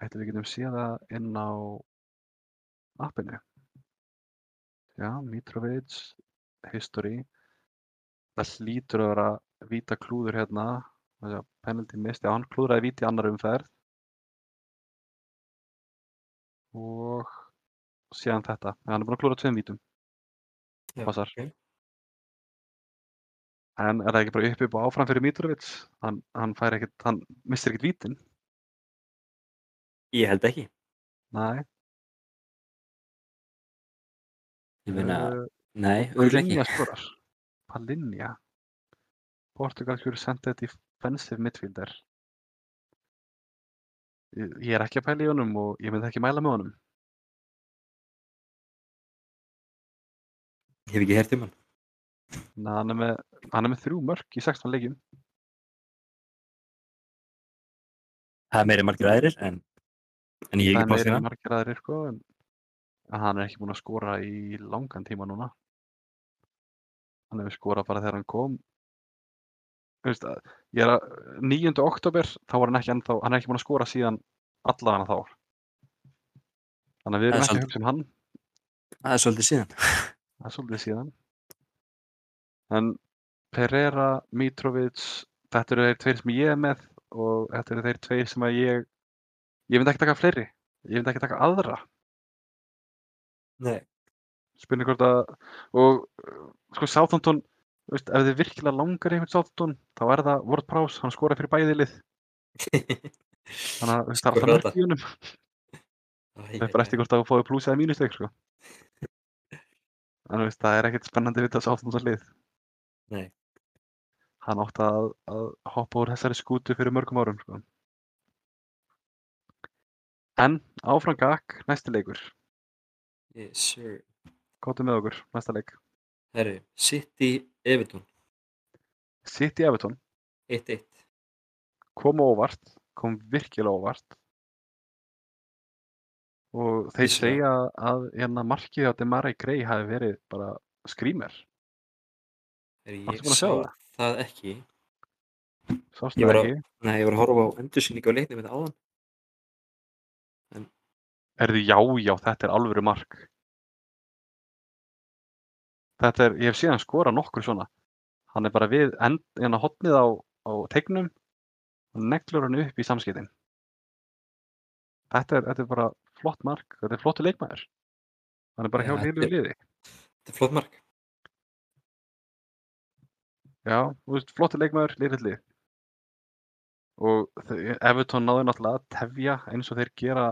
[SPEAKER 2] Ætli við getum séð það inn á appinu. Já, Mitrovic, History. Það hlýtur að vera víta klúður hérna. Þessi að penalty misti, hann klúðraði víti í annar umferð. Og síðan þetta. Já, Hann er búinn að klúðra tveim vítum.
[SPEAKER 1] Já,
[SPEAKER 2] Passar.
[SPEAKER 1] ok.
[SPEAKER 2] En er það ekki bara upp upp og áfram fyrir Mitrovic? Hann, hann fær ekkert, hann missir ekkert vítin.
[SPEAKER 1] ég held ekki,
[SPEAKER 2] Nei.
[SPEAKER 1] ég meina,
[SPEAKER 2] eh,
[SPEAKER 1] nei, örugglega
[SPEAKER 2] Palinja
[SPEAKER 1] ekki
[SPEAKER 2] skorar. Palinja. Portugalskur sendið þetta í defensive midfielder. Ég ég er ekki að pæla í honum og ég myndi ekki mæla með honum.
[SPEAKER 1] ég hef ekki hert um hann
[SPEAKER 2] Þannig að Hann er með, hann er með þrjú mörk í 16 leikjum.
[SPEAKER 1] það er meiri margir aðrir, en en ég er ekki
[SPEAKER 2] Það er
[SPEAKER 1] bátt
[SPEAKER 2] meira
[SPEAKER 1] hérna
[SPEAKER 2] en margir aðrir sko, en en hann er ekki búinn að skora í langan tíma núna. Hann hefur skorað bara þegar hann kom. Þú Veist, að- ég er að, 9. oktober, þá var hann ekki ennþá, hann er ekki búinn að skora síðan allavega þá. Þannig að við
[SPEAKER 1] Það er
[SPEAKER 2] erum ekki að
[SPEAKER 1] svolítið-
[SPEAKER 2] hugsa um hann,
[SPEAKER 1] það er svolítið síðan
[SPEAKER 2] það er svolítið síðan. En Pereira, Mitrovic, þetta eru þeir tveir sem ég er með og þetta eru þeir tveir sem að ég, ég myndi ekki taka fleiri, ég myndi ekki taka aðra.
[SPEAKER 1] nei,
[SPEAKER 2] spurning hvort að og uh, sko Southampton þú veist, ef þið virkilega langar einhvern Southampton þá er það Ward Prowse, hann skoraði fyrir bæði lið þannig að þú veist, það er alltaf
[SPEAKER 1] Skoraði
[SPEAKER 2] mörg í honum
[SPEAKER 1] Æ,
[SPEAKER 2] það er bara eftir hvort að þú fáið pluss eða mínusteg sko. þannig að þú veist, það er ekkert spennandi við þetta Southampton lið
[SPEAKER 1] Nei.
[SPEAKER 2] hann átti að, að hoppa úr þessari skútu fyrir mörgum árum sko. en áfram gakk næsti leikur,
[SPEAKER 1] yes, sir.
[SPEAKER 2] kóttu með okkur næsta leik,
[SPEAKER 1] Herri, City Everton
[SPEAKER 2] City Everton
[SPEAKER 1] 1-1
[SPEAKER 2] kom á óvart, kom virkilega á óvart og þeir
[SPEAKER 1] Vissulega.
[SPEAKER 2] segja að hérna markið á Demari Grey hafi verið bara skrýmer
[SPEAKER 1] Herri,
[SPEAKER 2] Varstu
[SPEAKER 1] ég
[SPEAKER 2] búinn að sjá
[SPEAKER 1] sá
[SPEAKER 2] það?
[SPEAKER 1] það ekki
[SPEAKER 2] sástu
[SPEAKER 1] Ég
[SPEAKER 2] það
[SPEAKER 1] var að-
[SPEAKER 2] ekki,
[SPEAKER 1] Nei, ég var að horfa á endursynningu á leiknum þetta áðan
[SPEAKER 2] er þið já, já, þetta er alvöru mark þetta er, ég hef síðan skorað nokkur svona hann er bara við end, hérna hotnið á, á tegnum og neglur hann upp í samskiptin þetta er, þetta er bara flott mark, þetta er flottu leikmaður hann er bara
[SPEAKER 1] Já,
[SPEAKER 2] hjá
[SPEAKER 1] þetta er-
[SPEAKER 2] liðu liði
[SPEAKER 1] Þetta er flott mark
[SPEAKER 2] Já, þú veist, flottir leikmaður, lirill lið. Og þau- Everton náði náttúrulega að tefja eins og þeir gera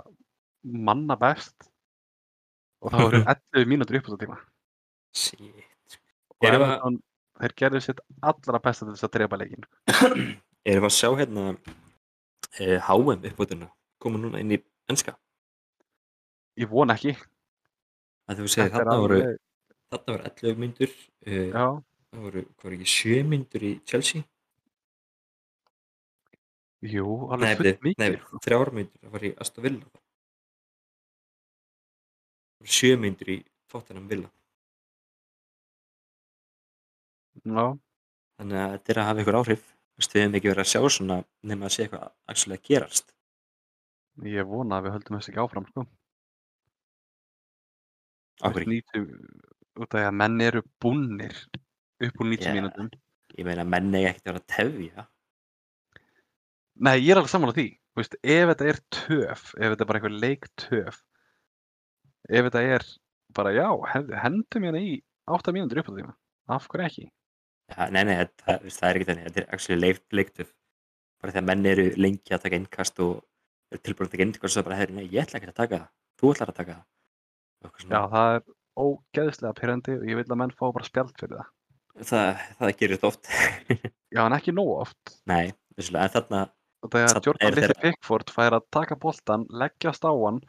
[SPEAKER 2] manna best og það voru 11 mínútur upp á tíma.
[SPEAKER 1] Shit.
[SPEAKER 2] Og
[SPEAKER 1] Erum við-
[SPEAKER 2] Everton, þeir gerðu sitt allra besta til þess að trefa leikin.
[SPEAKER 1] Erum við að sjá hérna eh, HM uppbútuna koma núna inn í ennska
[SPEAKER 2] Ég vona ekki.
[SPEAKER 1] að þú segir
[SPEAKER 2] Þetta er
[SPEAKER 1] þarna voru,
[SPEAKER 2] alveg-
[SPEAKER 1] þarna voru 11 myndur uh,
[SPEAKER 2] Já,
[SPEAKER 1] það voru, hvað er ekki, 7 myndur í Chelsea Nei,
[SPEAKER 2] jú, alveg
[SPEAKER 1] byrju,
[SPEAKER 2] fullt mikið.
[SPEAKER 1] nei,
[SPEAKER 2] sko.
[SPEAKER 1] 3 myndur, það var í Aston Villa Það voru 7 myndur í Tottenham Villa
[SPEAKER 2] Já,
[SPEAKER 1] þannig að þetta er að hafa einhver áhrif Þú veist, við hefum ekki verið að sjá svona nema að sé eitthvað actually að gerast
[SPEAKER 2] ég vona að við höldum þess ekki áfram, sko.
[SPEAKER 1] Af hverju?
[SPEAKER 2] 90, út af því að menn eru búnir upp úr 90
[SPEAKER 1] Já.
[SPEAKER 2] mínútum.
[SPEAKER 1] ég meina menn eigi ekkert að vera að tefja
[SPEAKER 2] Nei, ég er alveg sammála því. Þú Veist, ef þetta er töf, ef þetta er bara einhver leiktöf, ef þetta er bara já, hef- hendum hérna í 8 mínútur upp á tíma. Af hverju ekki?
[SPEAKER 1] Ja, nei, nei, það, það, veist, það er ekki þannig, þetta er actually leif- leiktöf bara þegar menn eru lengi að taka innkast og eru tilbúin að taka innkast og bara, heyrðu, nei, ég ætla ekki að taka það, þú ætlar að taka það Og eitthvað
[SPEAKER 2] Já,
[SPEAKER 1] svona,
[SPEAKER 2] það er ógeðslega pyrrandi og ég vil að menn fá bara spjald fyrir það.
[SPEAKER 1] það, það gerir þetta oft
[SPEAKER 2] Já, en ekki nóg oft.
[SPEAKER 1] nei, vissulega, en þarna
[SPEAKER 2] Og Þegar
[SPEAKER 1] Þarna
[SPEAKER 2] Jordan
[SPEAKER 1] er
[SPEAKER 2] Little
[SPEAKER 1] þeirra-
[SPEAKER 2] Pickford fær að taka boltan, leggjast á hann,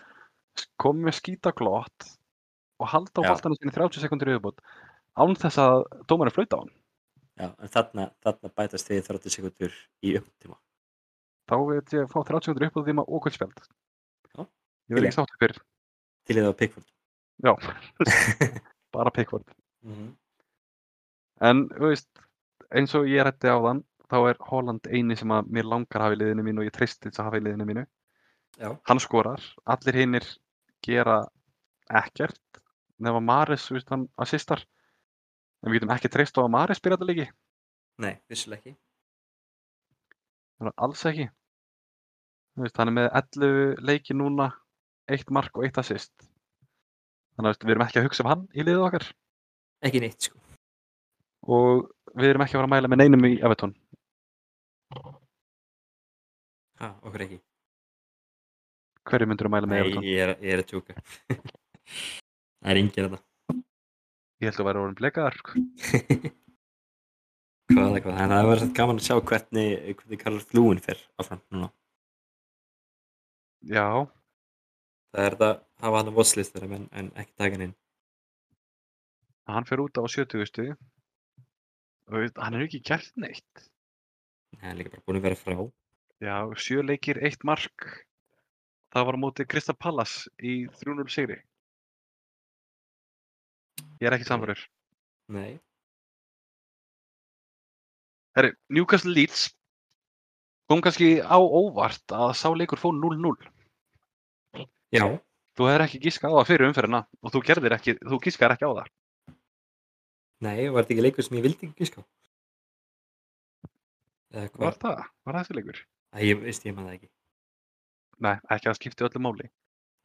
[SPEAKER 2] komið með skítaglott og halda á
[SPEAKER 1] Já.
[SPEAKER 2] boltanum sinni 30 sekundur yfirbútt án þess að dómarinn flauta á hann.
[SPEAKER 1] já, en þarna, þarna bætast þið 30 sekundur í upptíma
[SPEAKER 2] Þá veit ég að fá 30 sekundur upp á tíma og kvöldspjald.
[SPEAKER 1] Já,
[SPEAKER 2] Ég verð
[SPEAKER 1] til
[SPEAKER 2] ekki sáttu fyrir.
[SPEAKER 1] til eða á Pickford
[SPEAKER 2] Já, bara Pickford.
[SPEAKER 1] Mhm,
[SPEAKER 2] En þú veist, eins og ég rætti á þann, þá er Holland eini sem að mér langar að hafa í liðinu mínu og ég treysti til þess að hafa í liðinu mínu.
[SPEAKER 1] Já.
[SPEAKER 2] Hann skorar, allir hinnir gera ekkert, nema Maris, þú veist, hann assistar. En við getum ekki treyst á að Maris byrja þetta leiki,
[SPEAKER 1] nei, vissulega ekki
[SPEAKER 2] þannig að alls ekki. Þú veist, hann er með 11 leiki núna, eitt mark og eitt assist. Þannig að þú veist, við erum ekki að hugsa um hann í liðið okkar
[SPEAKER 1] ekki neitt, sko
[SPEAKER 2] og við erum ekki að fara að mæla með neinum í Evertón.
[SPEAKER 1] ha, okkur ekki,
[SPEAKER 2] Hverju myndur að mæla með
[SPEAKER 1] nei,
[SPEAKER 2] Evertón?
[SPEAKER 1] ég er, ég er að tjúka það er engin að
[SPEAKER 2] Ég held að vera orðin blekaðar, sko.
[SPEAKER 1] það hvað, hvað, en það verður samt gaman að sjá hvernig, hvernig Karl Flúin fer áfram núna
[SPEAKER 2] Já,
[SPEAKER 1] það er þetta að hafa hann að votslist þeirra menn en ekki taka hann inn
[SPEAKER 2] hann fer út á 70 stuði og við- hann er ekki gert neitt.
[SPEAKER 1] það er líka bara búin að vera frá
[SPEAKER 2] Já, sjö leikir, eitt mark. Það var á móti Krista Pallas í 3-0 sigri. Ég er ekki samverður.
[SPEAKER 1] nei,
[SPEAKER 2] Herri, Newcastle Leeds kom kannski á óvart að sá leikur fór 0-0.
[SPEAKER 1] já,
[SPEAKER 2] Þú hefur ekki gískað á það fyrir umferðina og þú gerðir ekki, þú gískar ekki á það.
[SPEAKER 1] nei, var þetta ekki leikur sem ég vildi ekki sko eða
[SPEAKER 2] Var
[SPEAKER 1] hvað,
[SPEAKER 2] það? Var það þessi leikur?
[SPEAKER 1] að ég veist ég maður það ekki
[SPEAKER 2] Nei, ekki að það skipti öllu máli.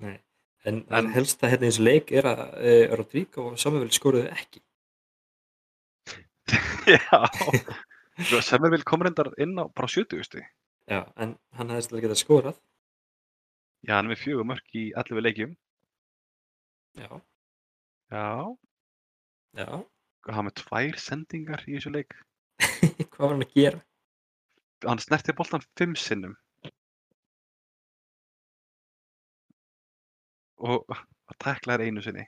[SPEAKER 1] en, en helst að hérna eins og leik er að uh, Rodvík og Samuvel skoruðu ekki
[SPEAKER 2] Já, Semmerville kom reyndar inn á bara 70 stuði.
[SPEAKER 1] já, en hann hefði stil ekki að skorað
[SPEAKER 2] Já, hann er með fjögur mörk í 11 leikjum.
[SPEAKER 1] já,
[SPEAKER 2] Já.
[SPEAKER 1] já,
[SPEAKER 2] Hann er með tvær sendingar í þessu leik.
[SPEAKER 1] hvað var hann að gera
[SPEAKER 2] Hann snerti boltan fimm sinnum. Og að tekla þær einu sinni.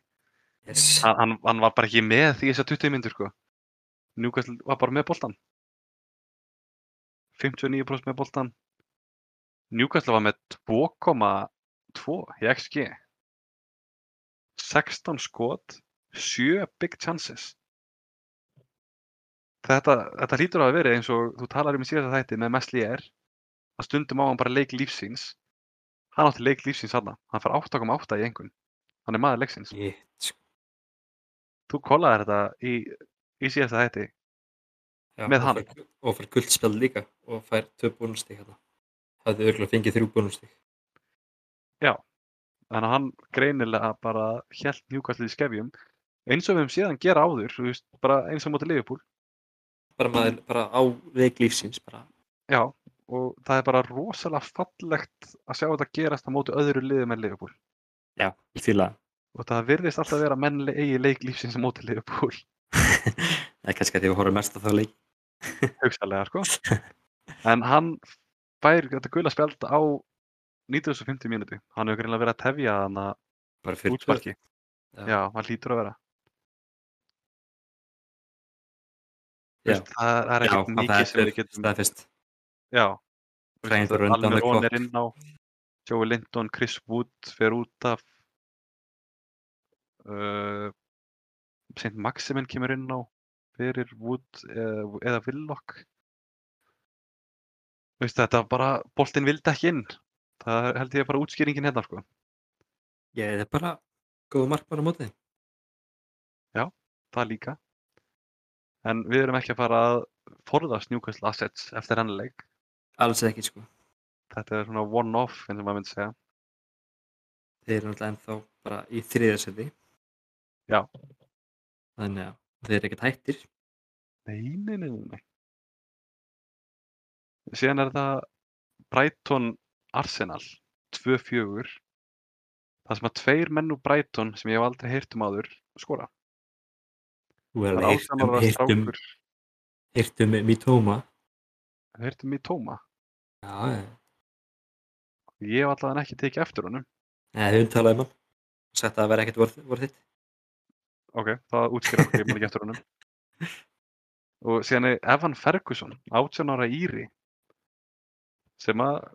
[SPEAKER 1] yes.
[SPEAKER 2] Hann, hann, hann var bara ekki með því þessar 20 myndur, sko. Newcastle var bara með boltan. 59% með boltan. Newcastle var með 2,2 í XG. 16 skot, 7 big chances. Þetta, þetta hlýtur að hafa verið eins og þú talar um í síðasta þætti með Meslier að stundum á hann bara leik lífsins. Hann átti leik lífsins hann. Hann fær 8,8 í engun. Hann er maður leiksins.
[SPEAKER 1] Shit, sko.
[SPEAKER 2] Þú kollaði þetta í, í síðasta þætti.
[SPEAKER 1] já,
[SPEAKER 2] Með
[SPEAKER 1] og
[SPEAKER 2] hann.
[SPEAKER 1] fær- og fær guldspjald líka og fær tvö bónustík hérna hafði örgulega fengið þrjú bónustík
[SPEAKER 2] Þannig að hann greinilega bara hjælt njúkastlið í skefjum eins og við höfum séð hann gera áður, þú veist, bara eins og móti Liverpool.
[SPEAKER 1] bara maður bara á veik lífsins bara.
[SPEAKER 2] Já, og það er bara rosalega fallegt að sjá þetta gerast á móti öðru liði með Liverpool.
[SPEAKER 1] Já, ég fýla það.
[SPEAKER 2] Og það virðist alltaf vera að menn le- eigi leik lífsins á móti Liverpool,
[SPEAKER 1] Það er kannski að því að horfa mest á þá leik.
[SPEAKER 2] hugsalega, sko. En hann fær þetta gula spjald á 950 mínúti. Hann hefur greinlega verið að tefja hann að
[SPEAKER 1] Bara fyrir
[SPEAKER 2] útsparki.
[SPEAKER 1] Já.
[SPEAKER 2] Já, hann lítur að vera.
[SPEAKER 1] Já.
[SPEAKER 2] Veist, það er- það er
[SPEAKER 1] Já,
[SPEAKER 2] ekkert
[SPEAKER 1] það
[SPEAKER 2] mikið
[SPEAKER 1] er
[SPEAKER 2] sem við
[SPEAKER 1] fyrir
[SPEAKER 2] getum
[SPEAKER 1] staðfest.
[SPEAKER 2] Já.
[SPEAKER 1] Ryan Thurston on the
[SPEAKER 2] Almirón
[SPEAKER 1] clock.
[SPEAKER 2] er inn á Joey Linton, Chris Wood fer út af uh, Saint Maximin kemur inn á fyrir Wood eða, eða Willock Veist þetta bara boltinn vildi ekki inn það er- held ég bara útskýringin hérna sko
[SPEAKER 1] Ég það er bara góð mark bara á móti. þeim.
[SPEAKER 2] það líka en við erum ekki að fara að forðast Newcastle Assets eftir hann leik
[SPEAKER 1] Alls ekki sko.
[SPEAKER 2] þetta er svona one-off eins og maður myndi segja
[SPEAKER 1] Þeir eru náttúrulega ennþá bara í þriðarsæti.
[SPEAKER 2] Já.
[SPEAKER 1] Þannig að þeir eru ekkert hættir.
[SPEAKER 2] Nei, nei, nei, nei, nei. Síðan er það Brighton Arsenal 2-4 það sem að tveir menn úr Brighton sem ég hef aldrei heyrt um áður skora.
[SPEAKER 1] Þú er
[SPEAKER 2] Það er
[SPEAKER 1] alveg um-
[SPEAKER 2] 18 ára
[SPEAKER 1] hirtum,
[SPEAKER 2] strákur
[SPEAKER 1] hirtum, hirtum í tóma.
[SPEAKER 2] heyrtum um í Tóma.
[SPEAKER 1] Já, já.
[SPEAKER 2] Ég hef allavega ekki tekið eftir honum.
[SPEAKER 1] Nei, þau umtalaði mann. Sett að það væri ekkert vorð, vorð þitt.
[SPEAKER 2] Ok, það útskýra okkur, ég man ekki eftir honum. Og síðan er Evan Ferguson, 18 ára Íri sem að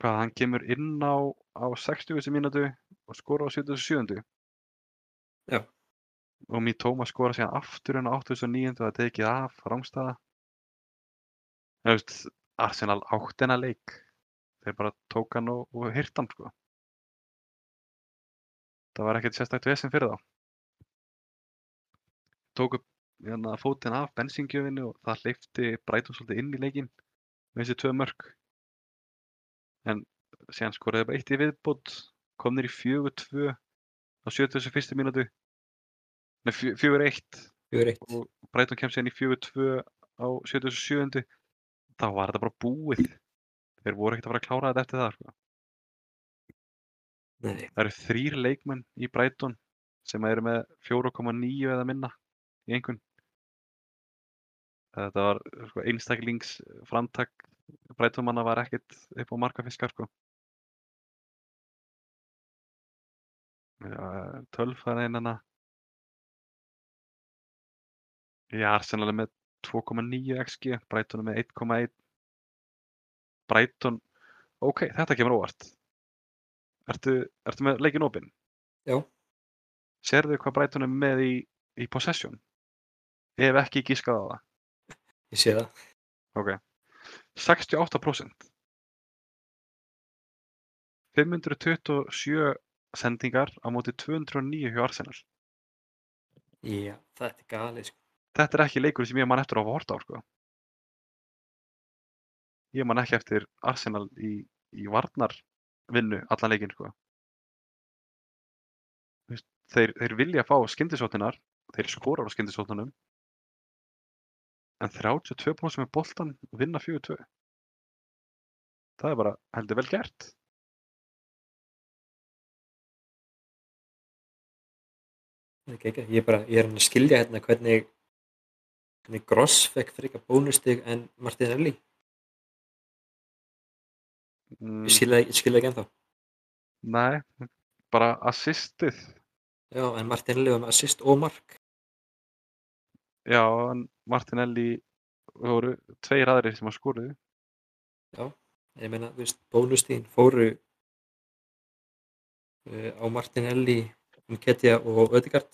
[SPEAKER 2] hvað, hann kemur inn á, á 60. mínútu og skora á 77.
[SPEAKER 1] Já.
[SPEAKER 2] Og mér tóma skora síðan aftur en á 89. og það er tekið af rámstæða. Það veist, Arsenal átt hennar leik. Þeir bara tók hann og, og hirt hann, sko. Það var ekkert sérstakt vesen fyrir þá. Tóku hérna, fótinn af bensingjöfinu og það hleyfti Brighton svolítið inn í leikinn með þessi tvö mörg. En síðan skoraði bara eitt í viðbót, kom þeir í 4-2 á 71. mínútu. Nei, fjö- 4-1
[SPEAKER 1] Fjögur eitt.
[SPEAKER 2] og Brighton kemst síðan í 4-2 á 77. Þá var þetta bara búið. Þeir voru ekkert að fara að klára þetta eftir það. Sko.
[SPEAKER 1] Nei,
[SPEAKER 2] Það eru þrýr leikmenn í Brighton sem eru með 4,9 eða minna í einhvern. Þetta var sko, einstaklingsframtak Brightonmanna var ekkert upp á markafiskar sko. Já, Tölf það er einana. Já, Arsenal er með 2,9 XG, Brighton er með 1,1. Brighton, ok, þetta kemur óvart. Ertu, ertu með leikin opinn?
[SPEAKER 1] Já.
[SPEAKER 2] Sérðu hvað Brighton er með í, í possession? Ef ekki gískað á það.
[SPEAKER 1] ég sé það.
[SPEAKER 2] Ok. 68%. 527 sendingar á móti 209 hjá Arsenal.
[SPEAKER 1] Já, þetta er galið sko.
[SPEAKER 2] Þetta er ekki leikur sem ég man eftir að horta á, sko. Ég man ekki eftir Arsenal í, í varnarvinnu allan leikinn, sko. Þú veist, Þeir, þeir vilja fá skyndisóttinar, þeir skorar á skyndisóttunum, en 32% með boltan vinna 4-2. Það er bara heldur vel gert.
[SPEAKER 1] Það er ekki Ég er bara, ég er hann að skilja hérna hvernig hvernig Gross fekk frekar bónustig en Martinelli.
[SPEAKER 2] Mm,
[SPEAKER 1] Ég skilja, ég skilja ekki ennþá.
[SPEAKER 2] nei, bara assistið.
[SPEAKER 1] Já, en Martinelli var með assist og mark.
[SPEAKER 2] Já, en Martinelli það voru tveir aðrir sem að skoruðu.
[SPEAKER 1] Ég meina, þú veist, bónustíðin fóru uh, á Martinelli, Nketja og Ödegard.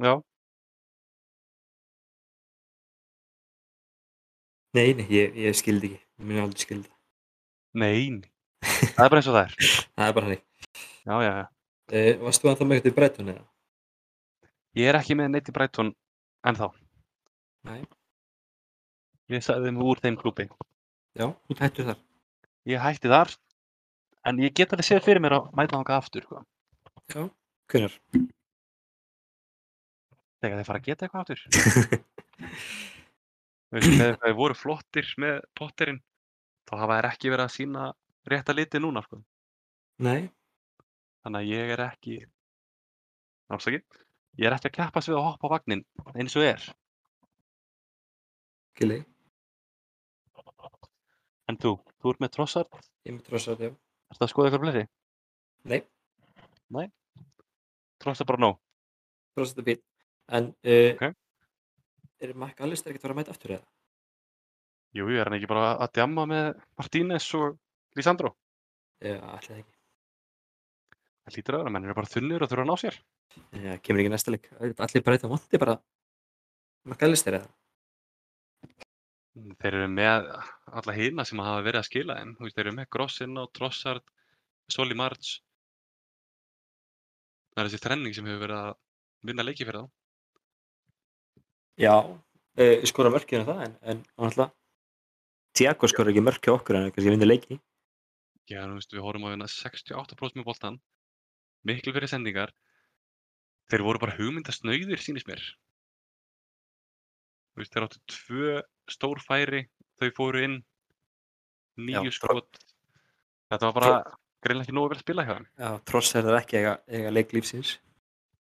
[SPEAKER 2] Já,
[SPEAKER 1] Nei, nei, ég, ég skildi ekki. Ég minn aldrei skildi.
[SPEAKER 2] Nein. Það er bara eins og það er.
[SPEAKER 1] Það er bara hannig.
[SPEAKER 2] Já, já, já.
[SPEAKER 1] Uh, varst þú ennþá með eitthvað í breytun eða?
[SPEAKER 2] Ég er ekki með neitt í Brighton ennþá.
[SPEAKER 1] Nei.
[SPEAKER 2] Ég sagði þeim úr þeim klúpi.
[SPEAKER 1] Já, þú tættur þar.
[SPEAKER 2] Ég hætti þar, en ég get alveg séð fyrir mér að mæta þangað aftur. Sko.
[SPEAKER 1] Hvenær?
[SPEAKER 2] þegar þeir fara að geta eitthvað áttur veist, þegar þeir voru flottir með potterinn þá hafa þeir ekki verið að sína rétta liti núna sko.
[SPEAKER 1] Nei,
[SPEAKER 2] þannig að ég er ekki námsaki ég er ekki að keppast við að hoppa á vagnin eins og er
[SPEAKER 1] ekki leið.
[SPEAKER 2] en þú, þú ert með trossar
[SPEAKER 1] Ég með trossat, já.
[SPEAKER 2] ertu að skoða ykkur fleiri?
[SPEAKER 1] Nei.
[SPEAKER 2] Nei? Trossar bara nóg
[SPEAKER 1] Trossat er fín. En, uh,
[SPEAKER 2] Ok.
[SPEAKER 1] er Mac Allister ekkert að vera að mæta aftur eða?
[SPEAKER 2] Jú, ég er hann ekki bara að djamma með Martínez og Lisandro
[SPEAKER 1] Já, alltaf ekki.
[SPEAKER 2] Það lítur að vera, menn eru bara þunnir og þurfa að ná sér
[SPEAKER 1] Já, kemur ekki í næsta leik. Auðvitað, Allir bara eitthvað vandi bara Mac Allister eða?
[SPEAKER 2] Mm, Þeir eru með alla hýna sem hafa verið að skila þeim. Þú veist, þeir eru með Grossin og Trossard, Soli March. Það er þessi þrenning sem hefur verið að vinna leiki fyrir þá.
[SPEAKER 1] Já. Uh, skora mörkið en það, en, en náttúrulega Tiago skora ekki mörkið okkur en kannski vindu leiki.
[SPEAKER 2] Já, þú veist, við horfum hérna að vinna 68% með boltan, miklu fyrir sendingar. Þeir voru bara hugmyndasnauðir, sýnist mér. Þú veist, þeir áttu tvö stór færi, þau fóru inn,
[SPEAKER 1] Já,
[SPEAKER 2] nýju
[SPEAKER 1] Tro-
[SPEAKER 2] skot. Þetta var bara greinlega ekki nógu vel að spila hjá þeim.
[SPEAKER 1] Já, tross er það ekki eiga, eiga leik lífsins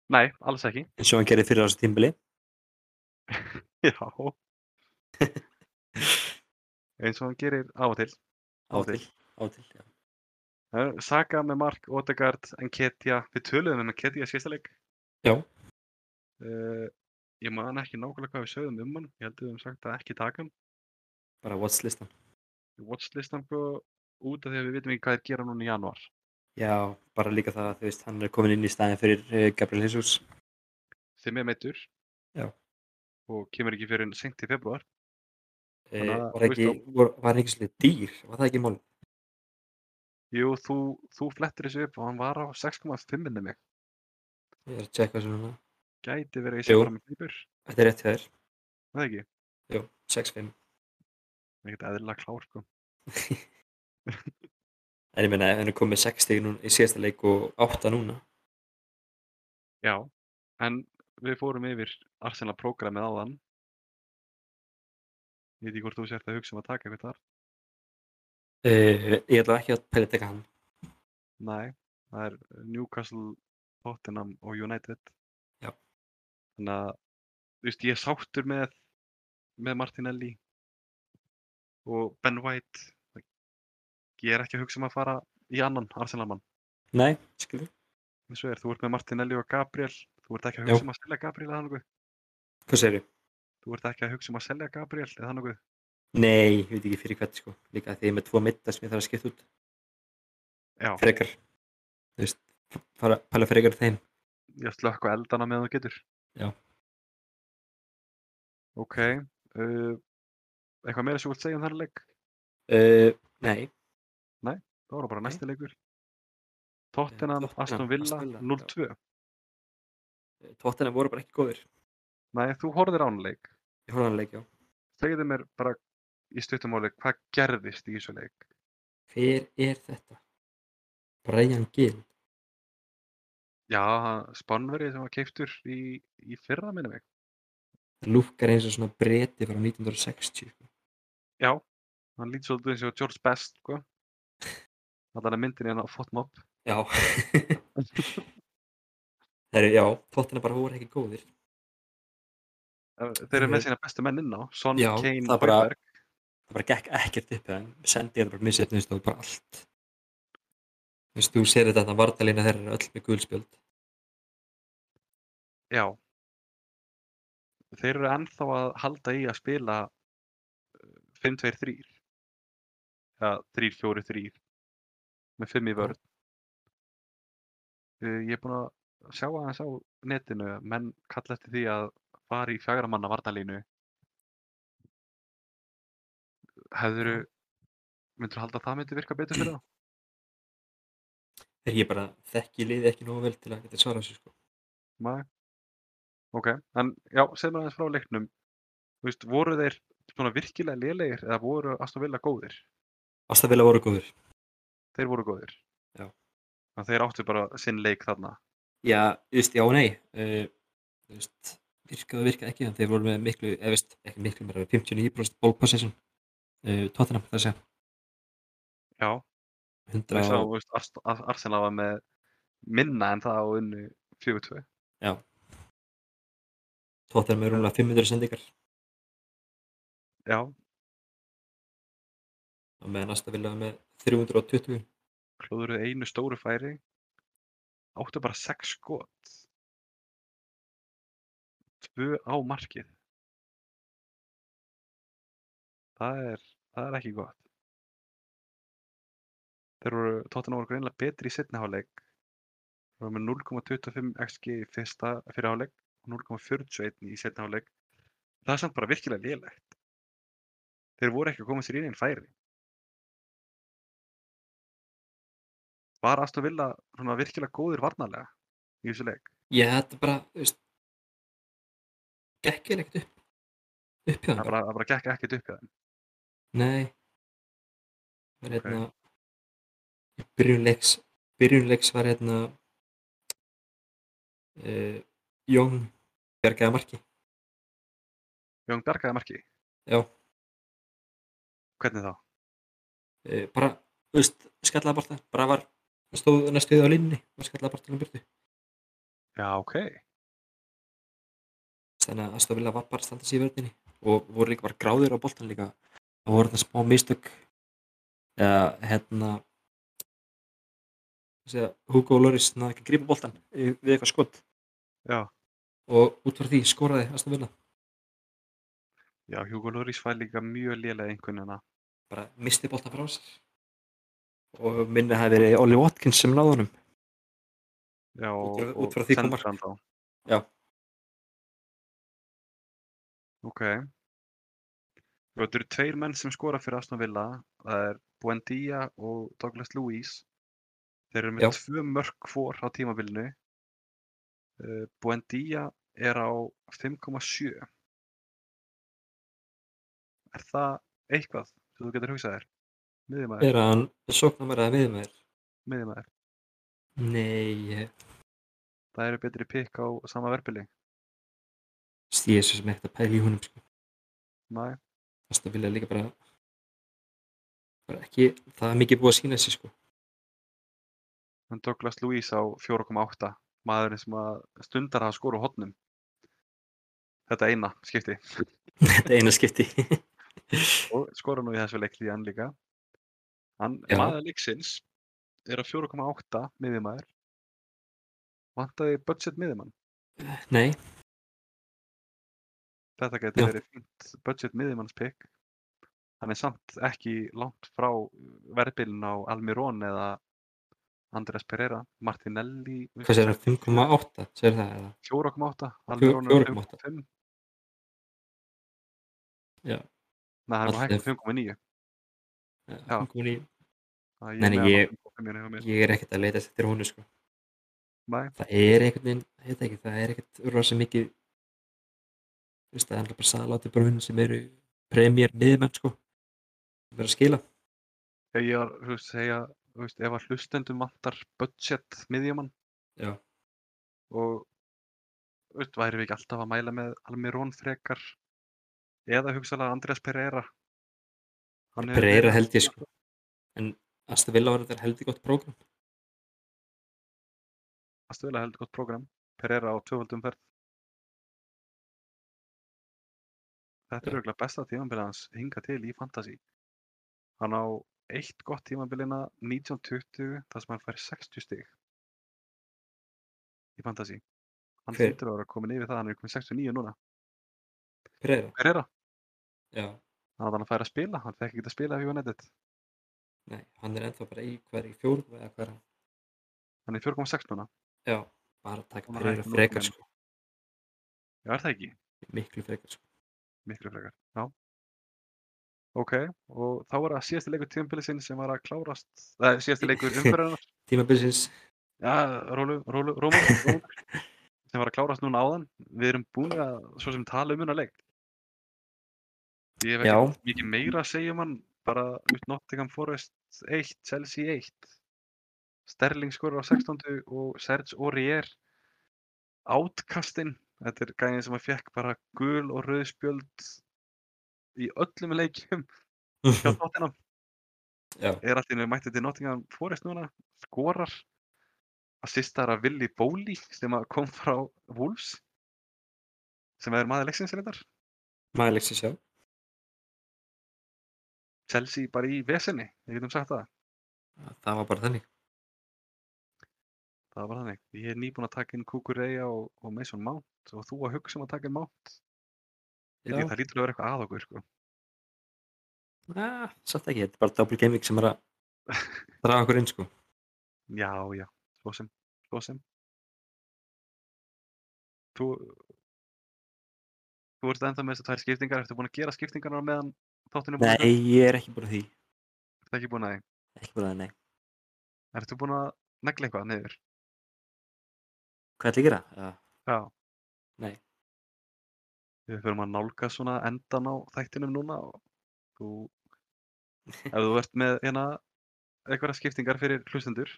[SPEAKER 2] Nei, alls ekki.
[SPEAKER 1] eins og hann gerir fyrir þessu tímbili.
[SPEAKER 2] Já. Eins og hann gerir á og til.
[SPEAKER 1] Átil, átil, já.
[SPEAKER 2] Það er Saka með Mark, Odegaard, Enketia. Við töluðum um Enketia síðasta leik.
[SPEAKER 1] Já.
[SPEAKER 2] Uh, ég man ekki nákvæmlega hvað við sögðum um hann. Ég held að við höfum sagt að ekki taka hann.
[SPEAKER 1] Bara watchlistan.
[SPEAKER 2] Við watchlistan sko út af því að við vitum ekki hvað þeir gera núna í januar.
[SPEAKER 1] Já, bara líka það að þú veist, hann er komin inn í staðin fyrir uh, Gabriel Jesus.
[SPEAKER 2] Þeim er meittur.
[SPEAKER 1] Já.
[SPEAKER 2] Og kemur ekki fyrir en senkt í februar.
[SPEAKER 1] Uh,
[SPEAKER 2] Þannig að,
[SPEAKER 1] var,
[SPEAKER 2] þú veist,
[SPEAKER 1] ekki, var, var ekki svolítið dýr, var það ekki mál?
[SPEAKER 2] Jú, þú, þú flettir þessu upp og hann var á 6,5 minni mig.
[SPEAKER 1] Ég er að checka sem núna.
[SPEAKER 2] Gæti verið í
[SPEAKER 1] Jú.
[SPEAKER 2] samfara með hlýpur.
[SPEAKER 1] Þetta er rétt hjá þér.
[SPEAKER 2] Það ekki.
[SPEAKER 1] Jú, 6-5.
[SPEAKER 2] ekkert eðlilega klár sko.
[SPEAKER 1] En ég meina, ef hann er komið 6 stík núna í síðasta leik og 8 núna.
[SPEAKER 2] Já, en við fórum yfir Arsenal prógramið áðan. Ég veit ekki hvort þú sért að hugsa um að taka eitthvað þar.
[SPEAKER 1] Uh, ég ætla ekki að pæla að taka hann.
[SPEAKER 2] Nei, það er Newcastle, Tottenham og United.
[SPEAKER 1] Já.
[SPEAKER 2] Þannig að, þú veist, ég er sáttur með, með Martinelli og Ben White. Ég er ekki að hugsa um að fara í annan Arsenal-mann.
[SPEAKER 1] Nei, skilur.
[SPEAKER 2] Eins og er, þú ert með Martinelli og Gabriel. Þú ert ekki að
[SPEAKER 1] Já.
[SPEAKER 2] hugsa um að selja Gabriel eða nokkuð.
[SPEAKER 1] Hvað segir
[SPEAKER 2] Þú ert ekki að hugsa um að selja Gabriel eða nokkuð.
[SPEAKER 1] Nei, ég veit ekki fyrir hvert sko. Líka því ég er með tvo midda sem ég þarf að skipta út.
[SPEAKER 2] Já,
[SPEAKER 1] Frekar. Þú veist, fara, pæla frekar þeim.
[SPEAKER 2] ég slökka eldana meðan þú getur.
[SPEAKER 1] Já.
[SPEAKER 2] Ok, uh, eitthvað meira sem þú vilt segja um þannig leik?
[SPEAKER 1] Uh, nei.
[SPEAKER 2] Það voru bara
[SPEAKER 1] Nei.
[SPEAKER 2] næsti leikur. Tottenham,
[SPEAKER 1] Tottenham,
[SPEAKER 2] Aston Villa,
[SPEAKER 1] Aston Villa, já.
[SPEAKER 2] 0-2.
[SPEAKER 1] Tóttina voru bara ekki góðir.
[SPEAKER 2] Nei, þú horfðir án leik.
[SPEAKER 1] Ég horfði á hann leik, já.
[SPEAKER 2] Segðu mér bara í stuttum áleik, hvað gerðist í þessu leik?
[SPEAKER 1] Hver er þetta? Brian Gill.
[SPEAKER 2] Já, Spannverið sem var keiftur í, í fyrra minni mig.
[SPEAKER 1] Það lúkkar eins og svona breti frá 1960.
[SPEAKER 2] Já, hann lít svolítið eins og George Best, sko. Þannig að myndin er hann á Fotmob.
[SPEAKER 1] Já. Þeir, já, tóttina bara voru ekki góðir.
[SPEAKER 2] Þeir eru með sína bestu menn inn á, Son,
[SPEAKER 1] Já,
[SPEAKER 2] Kane,
[SPEAKER 1] það bara-
[SPEAKER 2] Højberg.
[SPEAKER 1] Það bara gekk ekkert upp hjá þeim. Sendi hérna bara misjöfnust og bara allt. Þú veist, þú sér þetta að vartalina þeirra er öll með gulspjöld.
[SPEAKER 2] Já. Þeir eru ennþá að halda í að spila uh, 5-2-3. Eða 3-4-3. Með 5 í vörð. Ég er búinn að sjá aðeins á netinu að menn kalla eftir því að fara í fjagra manna varnalínu. Hefðuru, myndur halda að það myndi virka betur fyrir þá?
[SPEAKER 1] Þegar ég bara þekki liði ekki nógu vel til að geta svara þessu sko.
[SPEAKER 2] Nei. Ok, en já, segð mér aðeins frá leiknum. Þú veist, voru þeir svona virkilega lélegir eða voru Aston Villa góðir?
[SPEAKER 1] Ástafélag voru góðir.
[SPEAKER 2] Þeir voru góðir.
[SPEAKER 1] Já.
[SPEAKER 2] Þannig að þeir áttu bara sinn leik þarna.
[SPEAKER 1] Já, Eh, þú veist, já og nei. Uh, þú veist, virkaði og virkaði ekki en þeir voru með miklu, eða veist, ekki miklu bara 59% ball possession uh, Tottenham þar segja
[SPEAKER 2] Já,
[SPEAKER 1] 100
[SPEAKER 2] við
[SPEAKER 1] og-
[SPEAKER 2] sáum, þú veist, Ars- Ars- Arsenal var með minna en það á unnu 4-2.
[SPEAKER 1] Tottenham er rúmlega 500 sendingar
[SPEAKER 2] Já,
[SPEAKER 1] og með næsta vilja með 320
[SPEAKER 2] klúðuruð einu stóru færi, áttu bara 6 skot. Tvö á markið. Það er, það er ekki gott. Þeir voru, Tottenham voru greinlega betri í setni hálfleik. Þeir voru með 0,25 xg í fyrsta fyrir hálfleik og 0,41 í setni hálfleik. Það er samt bara virkilega lélegt. Þeir voru ekki að koma sér í einn færi. Var Aston Villa svona virkilega góðir varnarlega í þessu leik?
[SPEAKER 1] ég þetta bara þú veist, gekk ég leikt upp upp hjá þeim
[SPEAKER 2] Það
[SPEAKER 1] bara.
[SPEAKER 2] bara, það bara gekk ekkert upp hjá þeim.
[SPEAKER 1] nei var hérna í byrjun leiks byrjun leiks var hérna uh, Jón bjargaði marki
[SPEAKER 2] Jón Bjargaði marki?
[SPEAKER 1] Já.
[SPEAKER 2] Hvernig þá?
[SPEAKER 1] uh, bara þú veist, skallaði bara það bara var stóð næstu við á línni var skallaði bara til um byrtu
[SPEAKER 2] Já, ok.
[SPEAKER 1] þannig að Aston Villa var bara að standa sér í vörðinni og voru líka bara gráðir á boltan líka og voru þarna smá mistök eða hérna segja, Hugo Loris náði ekki að grípa boltan í- við eitthvað skot
[SPEAKER 2] Já.
[SPEAKER 1] og út frá því skoraði Aston Villa
[SPEAKER 2] Já, Hugo Lloris var líka mjög lélega einhvernina.
[SPEAKER 1] bara misti boltan frá sér og minni að það hafi verið Ollie Watkins sem náði honum
[SPEAKER 2] Já,
[SPEAKER 1] Út frá-
[SPEAKER 2] og-
[SPEAKER 1] út frá því kom
[SPEAKER 2] og
[SPEAKER 1] mark.
[SPEAKER 2] sendi hann þá.
[SPEAKER 1] Já.
[SPEAKER 2] Ok. Og þetta eru tveir menn sem skora fyrir Aston Villa. Það er Buendia og Douglas Luiz. Þeir eru með
[SPEAKER 1] Já.
[SPEAKER 2] tvö mörk hvor á tímabilinu. Uh, Buendia er á 5,7. Er það eitthvað sem þú getur hugsað þér? Miðjumæður,
[SPEAKER 1] er að hann sóknar mér að við mér
[SPEAKER 2] miðjumæður.
[SPEAKER 1] nei, ég
[SPEAKER 2] Það eru betri pikk á sama verpili.
[SPEAKER 1] stíði svo sem ekkert að pæla í honum sko.
[SPEAKER 2] Næ,
[SPEAKER 1] Aston Villa er líka bara, bara ekki, það er mikið búið að sína sér sko.
[SPEAKER 2] en Douglas Luiz á 4,8 maðurinn sem að stundar að skora úr hotnum þetta eina skipti
[SPEAKER 1] þetta eina skipti
[SPEAKER 2] og skora nú í þessu leik því hann líka hann,
[SPEAKER 1] Já.
[SPEAKER 2] maður leiksins er á 4,8 miðjumæður vantaði budget miðjumann
[SPEAKER 1] nei,
[SPEAKER 2] þetta getur
[SPEAKER 1] Já.
[SPEAKER 2] verið fínt budget miðjumanns pick hann er samt ekki langt frá verðbilin á Almirón eða Andrés Pereira Martinelli þú
[SPEAKER 1] hvað
[SPEAKER 2] veist,
[SPEAKER 1] sér það, 5,8 sér það eða
[SPEAKER 2] 4,8
[SPEAKER 1] Fjó-
[SPEAKER 2] Almirón er
[SPEAKER 1] 4,8.
[SPEAKER 2] 5,5
[SPEAKER 1] Já.
[SPEAKER 2] Nei, það er nú
[SPEAKER 1] Allt
[SPEAKER 2] hægt
[SPEAKER 1] er-
[SPEAKER 2] 5,9 Já.
[SPEAKER 1] Hún komin í,
[SPEAKER 2] Það
[SPEAKER 1] Nei, nei, ég-
[SPEAKER 2] er með hann á 5,5 hjá mér.
[SPEAKER 1] ég er ekkert að leita eftir honu sko.
[SPEAKER 2] Nei.
[SPEAKER 1] það er einhvern veginn, ég veit ekki, það er ekkert rosa mikið þú veist, það er náttúrulega bara saláti brun sem eru premjör miðmenn sko. sem eru að skila
[SPEAKER 2] Þegar ég var, þú veist, segja, þú veist, ef að hlustendum vantar budget miðjumann
[SPEAKER 1] Já.
[SPEAKER 2] og, þú veist, væri við ekki alltaf að mæla með Almirón frekar eða hugsalega Andrés Pereira Hann hefur
[SPEAKER 1] Pereira
[SPEAKER 2] verið-
[SPEAKER 1] held ég sko. en Aston Villa var þetta heldur gott prógram
[SPEAKER 2] Aston Villa heldur gott prógram Pereira á tvöfaldum ferð Þetta er
[SPEAKER 1] Já.
[SPEAKER 2] auðvitað besta tímabilið hans hinga til í Fantasí Hann á eitt gott tímabilina 1920 þar sem hann fær 60 stig í Fantasí Hann
[SPEAKER 1] Hver-
[SPEAKER 2] hlýtur að vera komin yfir það, hann er komin 69 núna
[SPEAKER 1] Pereira,
[SPEAKER 2] Pereira,
[SPEAKER 1] já,
[SPEAKER 2] hann átti hann að færa að spila, hann fekk ekki að spila fyrir United
[SPEAKER 1] nei, hann er ennþá bara í hverju fjórðu eða hverja
[SPEAKER 2] Hann er 4,6 núna,
[SPEAKER 1] Já, bara taka
[SPEAKER 2] Búin að
[SPEAKER 1] Pereira
[SPEAKER 2] hækka
[SPEAKER 1] frekar
[SPEAKER 2] markmenn.
[SPEAKER 1] sko,
[SPEAKER 2] já er það ekki?
[SPEAKER 1] miklu frekar sko.
[SPEAKER 2] miklu frekar, já ok, og þá var það síðasti leikur tímabilisinn sem var að klárast það er síðasti leikur umferðarinnar
[SPEAKER 1] Tímabilsins,
[SPEAKER 2] já, rólu, rólu, rómur sem var að klárast núna áðan við erum búin að, svo sem tala um hennar leik ég hef
[SPEAKER 1] Já.
[SPEAKER 2] ekki mikið meira að segja um hann bara út Nottingham Forest 1, Chelsea 1 Sterling skorur á 16. og Serge Aurier átkastinn Þetta er gæðin sem að fekk bara gul og rauð spjöld í öllum leikjum hjá Tottenham.
[SPEAKER 1] Já.
[SPEAKER 2] Er allt í hennu mættið til Nottingham Forest núna, skorar, assistar að Willi Bóli sem að kom frá Wolves sem er maður leiksins reyndar.
[SPEAKER 1] Maður leiksins, já.
[SPEAKER 2] Chelsea bara í vesenni, við getum sagt það.
[SPEAKER 1] Það var bara þannig.
[SPEAKER 2] Það var þannig. Ég er nýbúin að taka inn Kukureya og, og Mason Mount og þú að hugsa um að taka inn Mount. Ég veit
[SPEAKER 1] Já.
[SPEAKER 2] ekki, það lítur að vera eitthvað að okkur, sko.
[SPEAKER 1] Ah, samt ekki, þetta er bara double gaming sem er að draga okkur inn, sko.
[SPEAKER 2] Já, já, svo sem, svo sem. Þú, þú ert ennþá með þessar tvær skiptingar, ertu búin að gera skiptingarnar á meðan þáttinu búin
[SPEAKER 1] Nei, ég er ekki búin að því.
[SPEAKER 2] Ertu ekki búin að því?
[SPEAKER 1] Ekki búin að því, nei.
[SPEAKER 2] Ertu búin að negla eitthvað niður?
[SPEAKER 1] Hvað ætla ég að gera? Ah, Já.
[SPEAKER 2] Já.
[SPEAKER 1] Nei.
[SPEAKER 2] Við förum að nálga svona endan á þættinum núna og þú, ef þú ert með hérna einhverja skiptingar fyrir hlustendur,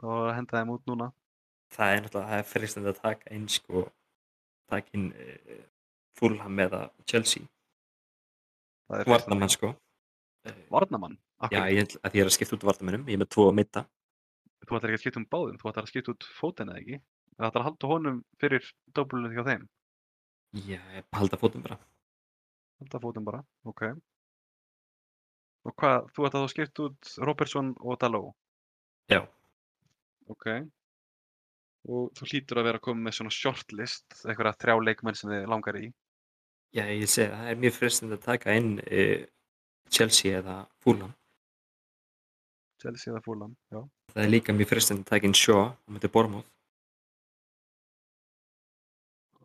[SPEAKER 2] þá er að henda þeim út núna.
[SPEAKER 1] Það er náttúrulega, það er fyrirstund að taka inn, sko, taka inn uh, Fulham eða Chelsea.
[SPEAKER 2] Það er
[SPEAKER 1] Vardamann, sko. Eh,
[SPEAKER 2] Varnamann?
[SPEAKER 1] Já,
[SPEAKER 2] Akkur,
[SPEAKER 1] ég, að ég er að skipta út vartamennum, ég er með tvo að mitta.
[SPEAKER 2] Þú ætlar ekki að skipta um báðum, þú ætlar að skipta út fótinn eða ekki? Það ætlar að halda honum fyrir dobbulunum hjá þeim?
[SPEAKER 1] Ég halda fótum bara.
[SPEAKER 2] Halda fótinn bara, ok. Og hvað, þú ætlar þá að skipta út Robertson og Daló?
[SPEAKER 1] Já.
[SPEAKER 2] Ok. Og þú hlýtur að vera að koma með svona shortlist, einhverja þrjá leikmenn sem þið langar í.
[SPEAKER 1] Já, ég segi það, það er mjög fyrirstund að taka inn uh, Chelsea eða Fulham.
[SPEAKER 2] Chelsea eða Fulham, já.
[SPEAKER 1] Það er líka mjög fyrirstund að taka inn Shaw á myndi Bormóð.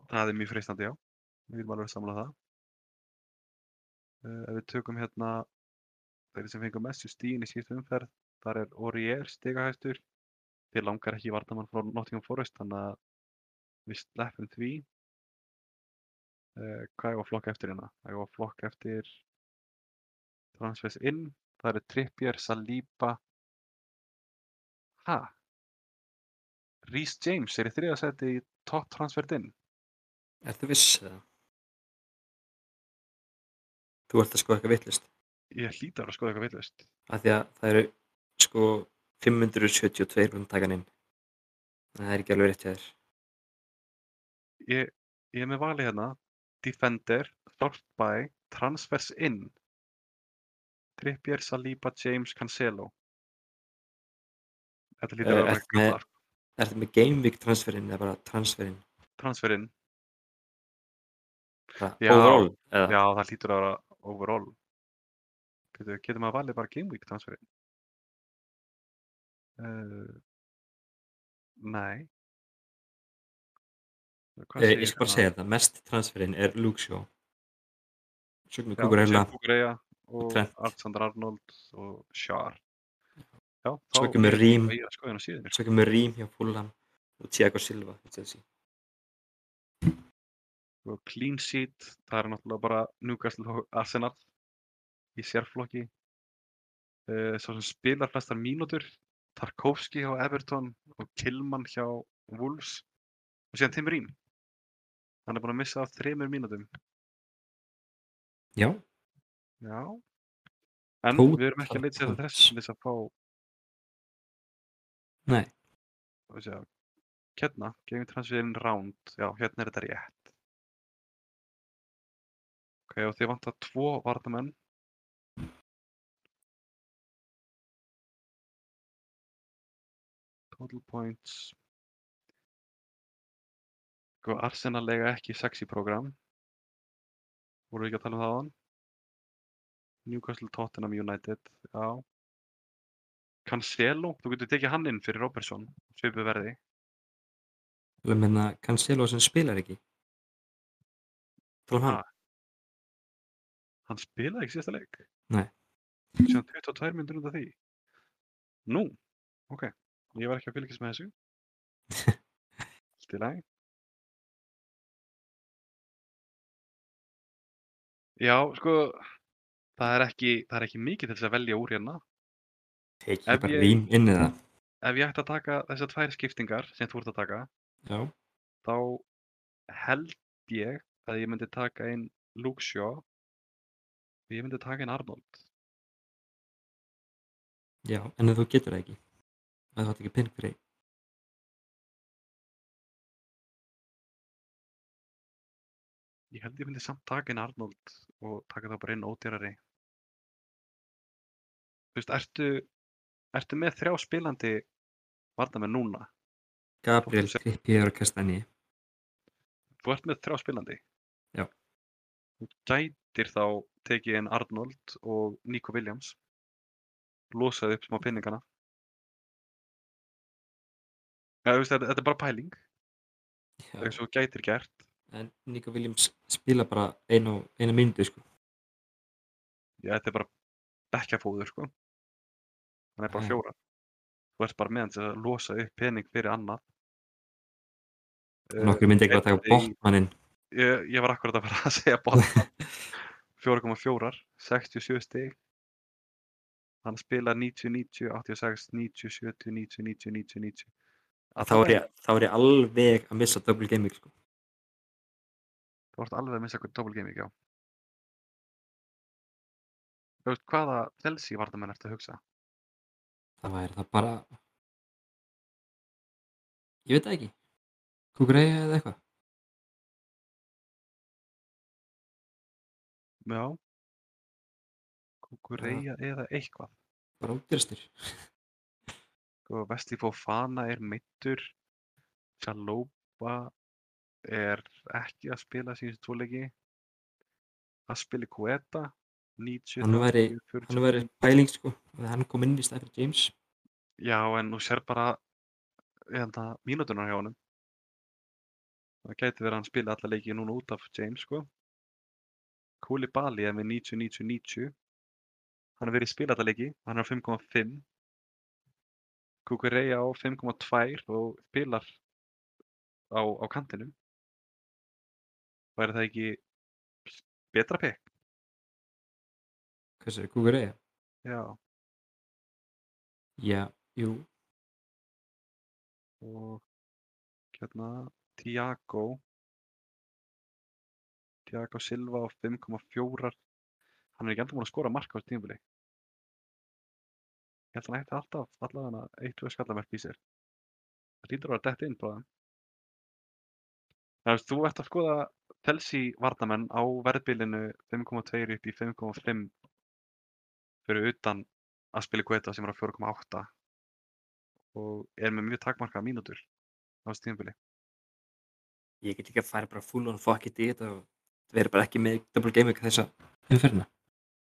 [SPEAKER 2] Það er mjög freistandi, já. Við viljum alveg samla það. Uh, ef við tökum hérna þeirri sem fengur mestu stíðin í síðustu umferð, þar er Orier stigahæstur. Þið langar ekki vartamann frá Nottingham Forest, þannig að við sleppum því. Uh, hvað er að flokka eftir hérna? Það er að flokka eftir Transfers inn. Það eru Trippier, Saliba. Ha? Rhys James er í þriða seti í top transfert inn.
[SPEAKER 1] Ertu viss eða? Þú ert að sko eitthvað vittlust.
[SPEAKER 2] Ég hlýt að vera að skoða eitthvað vitlaust.
[SPEAKER 1] Af því að það eru sko 572 um takan inn. Það er ekki alveg rétt hjá þér.
[SPEAKER 2] Ég, ég er með valið hérna. Defender, Dort by, Transfers in. Trippier, Saliba, James, Cancelo. Þetta hlýtur
[SPEAKER 1] Eh,
[SPEAKER 2] að vera
[SPEAKER 1] ertu með-
[SPEAKER 2] gamlar.
[SPEAKER 1] Ertu með Game Week transferinn eða bara transferinn?
[SPEAKER 2] Transfer in.
[SPEAKER 1] Bara
[SPEAKER 2] Já.
[SPEAKER 1] Overall eða?
[SPEAKER 2] Já, það hlýtur að vera overall. Getur, getur maður valið bara Game Week transferinn? Uh, nei. Hvað
[SPEAKER 1] Eh,
[SPEAKER 2] segir
[SPEAKER 1] Ég skal bara
[SPEAKER 2] hérna?
[SPEAKER 1] segja þetta, mest transferinn er Luke Shaw. Svo kemur
[SPEAKER 2] Já,
[SPEAKER 1] Kukur
[SPEAKER 2] Jim
[SPEAKER 1] Hella,
[SPEAKER 2] Kukureya og
[SPEAKER 1] Trent.
[SPEAKER 2] Alexander Arnold og Sjár. Já,
[SPEAKER 1] Svo kemur Rím.
[SPEAKER 2] Ég er að skoða hérna síðan.
[SPEAKER 1] svo kemur Rím hjá Fulham og Thiago Silva. í Chelsea.
[SPEAKER 2] Og sko, Clean Sheet, það er náttúrulega bara Newcastle og Arsenal í sérflokki. Uh, svo sem spilar flestar mínútur, Tarkovski hjá Everton og Kilman hjá Wolves. Og síðan Tim Rím. Hann er búin að missa af þremur mínútum.
[SPEAKER 1] Já,
[SPEAKER 2] Já. En
[SPEAKER 1] Tóta
[SPEAKER 2] við erum ekki að leita sér þetta
[SPEAKER 1] Tarkovs.
[SPEAKER 2] þessu til þess að fá
[SPEAKER 1] nei,
[SPEAKER 2] Hvað sé ég að- hérna, Game Transferin Round, já, hérna er þetta rétt. Ok, og þið vantar tvo varnamenn. Total points. Sko, Arsenal lega ekki sexy program. Voru við ekki að tala um það áðan? Newcastle Tottenham United, já. Cancelo, þú getur tekið hann inn fyrir Robertson, svipu verði.
[SPEAKER 1] ég meina hérna Cancelo sem spilar ekki. Tala um hann,
[SPEAKER 2] Hann spilaði ekki síðasta leik.
[SPEAKER 1] Nei.
[SPEAKER 2] Síðan 22 myndir undan því. Nú, ok. Ég var ekki að fylgjast með þessu. Allt í lagi. Já, sko, það er ekki, það er ekki mikið til þess að velja úr hérna.
[SPEAKER 1] tekið
[SPEAKER 2] Ef
[SPEAKER 1] ég bara
[SPEAKER 2] ég-
[SPEAKER 1] Rím inn eða?
[SPEAKER 2] Ef ég ætti að taka þessar tvær skiptingar sem þú ert að taka,
[SPEAKER 1] Já.
[SPEAKER 2] þá held held ég að ég myndi taka inn Luke Shaw og ég myndi taka inn Arnold.
[SPEAKER 1] Já, en ef þú getur það ekki að þú hatt ekki pening fyrir því,
[SPEAKER 2] Ég held ég myndi samt taka inn Arnold og taka þá bara inn ódýrari. Þú veist, ertu, ertu með þrjá spilandi varnamenn núna?
[SPEAKER 1] Gabriel,
[SPEAKER 2] sem-
[SPEAKER 1] Trippier og Kastani
[SPEAKER 2] Þú ert með þrjá spilandi?
[SPEAKER 1] Já.
[SPEAKER 2] Þú gætir þá tekið inn Arnold og Nico Williams, losaði upp smá pinningana. Ja, þú veist, þetta, þetta er bara pæling,
[SPEAKER 1] Já,
[SPEAKER 2] eins og þú gætir gert.
[SPEAKER 1] en Nico Williams spila bara eina, eina myndu sko
[SPEAKER 2] Já, þetta er bara bekkjafóður, sko. Hann er bara
[SPEAKER 1] Já.
[SPEAKER 2] fjóra. Þú ert bara með hans að losa upp pening fyrir annað. Eh,
[SPEAKER 1] nokkur myndi ekki að taka
[SPEAKER 2] gæti-
[SPEAKER 1] botmannin
[SPEAKER 2] Eh, Ég, ég var akkurat að fara að segja bóta. 4,4, 67 stig. Hann spilar 90, 90, 86, 90, 70, 90, 90, 90, 90.
[SPEAKER 1] þá er ég, þá er ég alveg að missa double gaming sko
[SPEAKER 2] Þú ert alveg að missa eitthvað double gaming, já. Þú veist, hvaða Chelsea vartamenn ertu að hugsa?
[SPEAKER 1] það væri það bara ég veit það ekki kúkureyja eða eitthvað
[SPEAKER 2] Já. Kukureyja eða eitthvað.
[SPEAKER 1] bara útgjörastur
[SPEAKER 2] Sko, Vesti Fofana er meittur, Saloba er ekki að spila síðan tvoleiki, að spila Kueta, 90,
[SPEAKER 1] Hann væri-
[SPEAKER 2] 30, 40.
[SPEAKER 1] hann væri pæling sko að hann kom inn í stað fyrir James
[SPEAKER 2] Já, en þú sér bara hérna, mínútunar hjá honum. Það gæti verið að hann spila alla leiki núna út af James, sko. Koulibaly er með 90, 90, 90. Hann er verið að spila alla leiki, hann er á 5,5. Kukureya á 5,2 og spilar á, á kantinum. Væri það ekki betra pekk?
[SPEAKER 1] hvað sér kúkureyja
[SPEAKER 2] Já.
[SPEAKER 1] já jú
[SPEAKER 2] og hérna Tiago Tiago Silva á 5,4 hann er ekki enda múin að skora marka á þessu tímabili ég held að hann ætti alltaf allavega eitt og skallamerk í sér það lítur að vera dætt inn bráðum Þannig að þú ert að skoða Chelsea varnamenn á verðbilinu 5,2 upp í 5,5 fyrir utan að spila Guetta sem er á 4,8 og er með mjög takmarkað mínútur á þessu tímabili.
[SPEAKER 1] ég get líka að fara bara full on fuck it í þetta og það verður bara ekki með double gaming þessa umferðina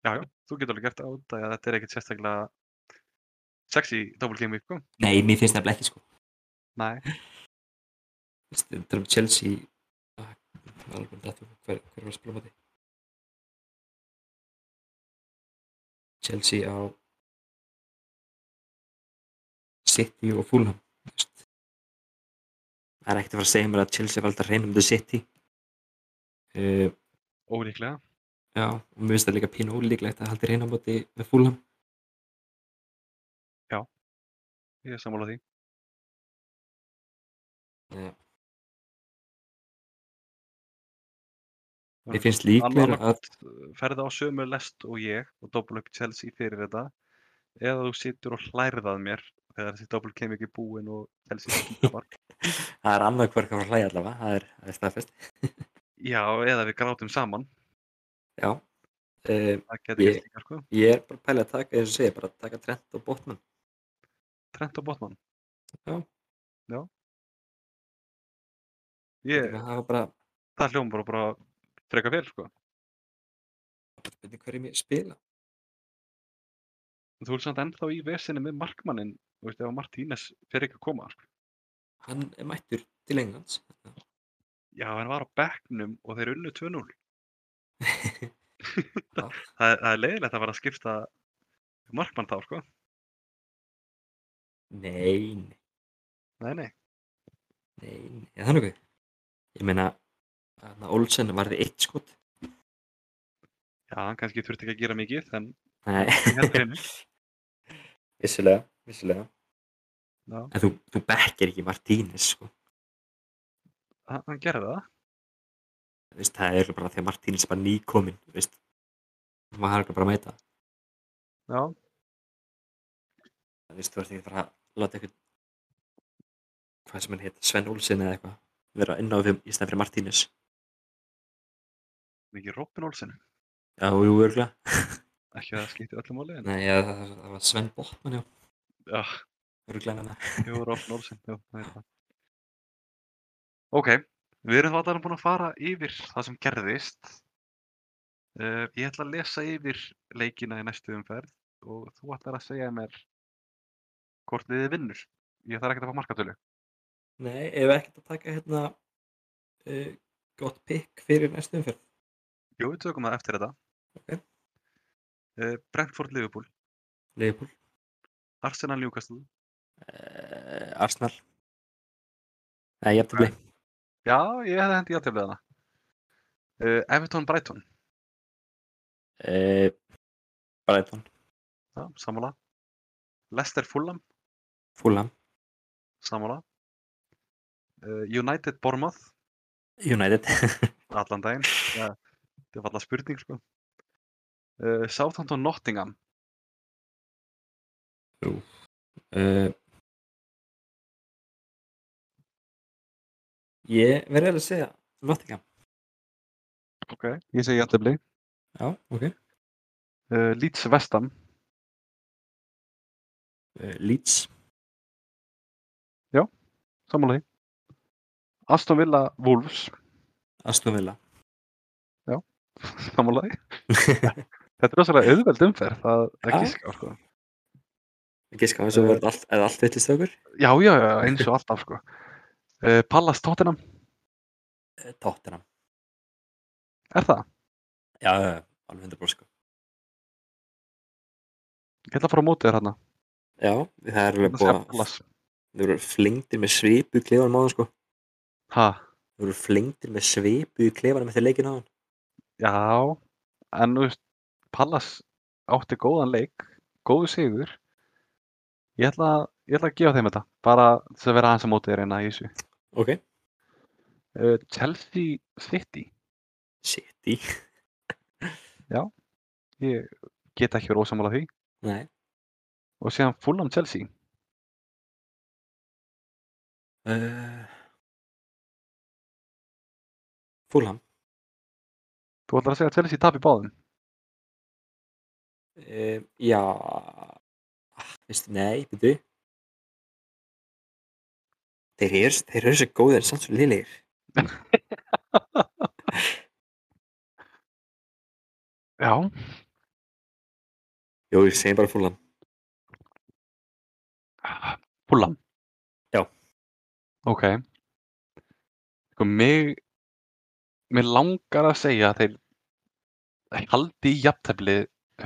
[SPEAKER 2] Já, já, þú getur alveg gert á þetta að þetta er ekkert sérstaklega sexy double game week, sko.
[SPEAKER 1] nei, mér finnst það ekki sko
[SPEAKER 2] Nei,
[SPEAKER 1] það er um Chelsea Ah, það er alveg dættu hver, hver var að spila á móti Chelsea á City og Fulham þú veist. það er ekkert að fara að segja mér að Chelsea var alltaf reynum til City uh,
[SPEAKER 2] ólíklega.
[SPEAKER 1] já, og mér finnst það líka pínu ólíklegt að haldi reynum móti með Fulham
[SPEAKER 2] Ég er sammála því.
[SPEAKER 1] Já.
[SPEAKER 2] Já.
[SPEAKER 1] mér finnst líklega að
[SPEAKER 2] Annarkvort ferð á sömu lest og ég og double upp Chelsea fyrir þetta eða þú situr og hlærið að mér þegar þessi double game week er búin og Chelsea skapar.
[SPEAKER 1] það er annað hver hvað var að hlæja allavega það er, það er staðfest
[SPEAKER 2] Já, eða við grátum saman.
[SPEAKER 1] já, uh,
[SPEAKER 2] Það getur
[SPEAKER 1] Ég-
[SPEAKER 2] gert líka, sko.
[SPEAKER 1] ég er bara að pæla að taka eins og segja, bara að taka Trent og Botman
[SPEAKER 2] Trent og Botman.
[SPEAKER 1] Já.
[SPEAKER 2] Já.
[SPEAKER 1] yeah.
[SPEAKER 2] Ég,
[SPEAKER 1] það var bara
[SPEAKER 2] það hljóma bara, bara freka vel, sko.
[SPEAKER 1] veitir hverjum ég spila
[SPEAKER 2] En Þú ert samt ennþá í vesinni með markmannin, þú veist, ef að Martínez fer ekki að koma. sko.
[SPEAKER 1] hann er mættur til Englands
[SPEAKER 2] Já, hann var á bekknum og þeir unnu 2-0.
[SPEAKER 1] Já.
[SPEAKER 2] það, það er- það er leiðilegt að vera að skipta markmann þá, sko.
[SPEAKER 1] nei, nei,
[SPEAKER 2] Nei, nei.
[SPEAKER 1] nei, nei, er það nokkuð ég meina þarna Olsen varði eitt skot
[SPEAKER 2] Já, hann kannski þurfti ekki að gera mikið, en
[SPEAKER 1] nei,
[SPEAKER 2] ég held hreinu.
[SPEAKER 1] vissulega, vissulega
[SPEAKER 2] Já.
[SPEAKER 1] en þú, þú bekkir ekki Martínez sko
[SPEAKER 2] hann, hann gerði það.
[SPEAKER 1] veist, það er bara því að Martínez bara nýkomin veist. maður har ekki bara að mæta
[SPEAKER 3] Já,
[SPEAKER 1] Það veist, þú ert ekki bara að láta eitthvað hvað sem hann heit, Sven Olsen eða eitthvað vera inn á þeim í stæðan fyrir Martínez
[SPEAKER 2] Mikið Robin Olsen,
[SPEAKER 1] Já, jú, örgulega
[SPEAKER 2] ekki að það skipti öllu máli en
[SPEAKER 1] Nei, já, það, það var Sven Botman, já
[SPEAKER 2] Já.
[SPEAKER 1] Örgulega hann
[SPEAKER 2] Jú, Robin Olsen, já, það er það. Ok, við erum þá þarna búin að fara yfir það sem gerðist. Uh, ég ætla að lesa yfir leikina í næstu umferð og þú ætlar að segja mér hvort liðið vinnur. Ég þarf ekkert að fá markatölu.
[SPEAKER 1] Nei, ef ekkert að taka hérna uh, gott pick fyrir næstu umferð
[SPEAKER 2] Jú, við tökum það eftir þetta.
[SPEAKER 1] Ok.
[SPEAKER 2] Uh, Brentford Liverpool,
[SPEAKER 1] Leifbúl
[SPEAKER 2] Arsenal Newcastle.
[SPEAKER 1] uh, Arsenal Nei, ég eftir blei
[SPEAKER 2] Já, ég hefði hendi játeflið hana. Uh, Everton Brighton,
[SPEAKER 1] uh, Brighton,
[SPEAKER 2] já, sammála. Leicester Fulham.
[SPEAKER 1] Fulham,
[SPEAKER 2] Samála. Uh, United Bournemouth,
[SPEAKER 1] United
[SPEAKER 2] allan daginn. Það það var alltaf spurning, sko. Uh, Southampton Nottingham,
[SPEAKER 1] uh, Ég verði alveg að segja Nottingham
[SPEAKER 3] ok. Ég segi jættefli.
[SPEAKER 1] Já, ok
[SPEAKER 2] uh, Leeds Vestam,
[SPEAKER 1] uh, Leeds,
[SPEAKER 3] Sammála því.
[SPEAKER 2] Aston Villa Wolves,
[SPEAKER 1] Aston Villa
[SPEAKER 3] Sammála því.
[SPEAKER 2] þetta er rosalega auðveld umferð, það er
[SPEAKER 1] Já.
[SPEAKER 2] ekki skjá, sko.
[SPEAKER 1] Giska, þessu
[SPEAKER 2] Eh,
[SPEAKER 1] var allt, eða allt villist okkur
[SPEAKER 2] Já, já, já, eins og alltaf, sko. Uh, Pallas Tottenham,
[SPEAKER 1] uh, Tottenham,
[SPEAKER 2] er það?
[SPEAKER 1] já, já, já, alveg 100% sko.
[SPEAKER 2] Ég ætla að fara á mótið þér hérna.
[SPEAKER 1] Já, það er alveg
[SPEAKER 2] Hérna
[SPEAKER 1] búið
[SPEAKER 2] skal
[SPEAKER 1] að
[SPEAKER 2] Pallas.
[SPEAKER 1] Þú eru flengdir með svipu í klefanum á hann sko
[SPEAKER 2] Ha,
[SPEAKER 1] Þú eru flengdir með svipu í klefanum eftir leikin á hann
[SPEAKER 2] já, en þú veist, Pallas átti góðan leik, góðu sigur. Ég ætla, að- ég ætla að gefa þeim þetta, bara þess að vera aðeins á mótið þér hérna í þessu.
[SPEAKER 1] Ok
[SPEAKER 2] Uh, Chelsea City,
[SPEAKER 1] City
[SPEAKER 2] ég get ekki verið ósamála því.
[SPEAKER 1] Nei
[SPEAKER 2] Og síðan Fulham Chelsea,
[SPEAKER 1] uh, Fulham
[SPEAKER 2] þú ætlar að segja að Chelsea tapi báðum.
[SPEAKER 1] Um, já, ah, veistu, nei, byrju. Þeir eru, þeir eru svo góðir en samt svo liðlegir.
[SPEAKER 2] Já.
[SPEAKER 1] Jó, ég segi bara fúlan.
[SPEAKER 2] Fulham?
[SPEAKER 1] Já.
[SPEAKER 2] Ok. Sko, mig, mig langar að segja að þeir haldi í jafntefli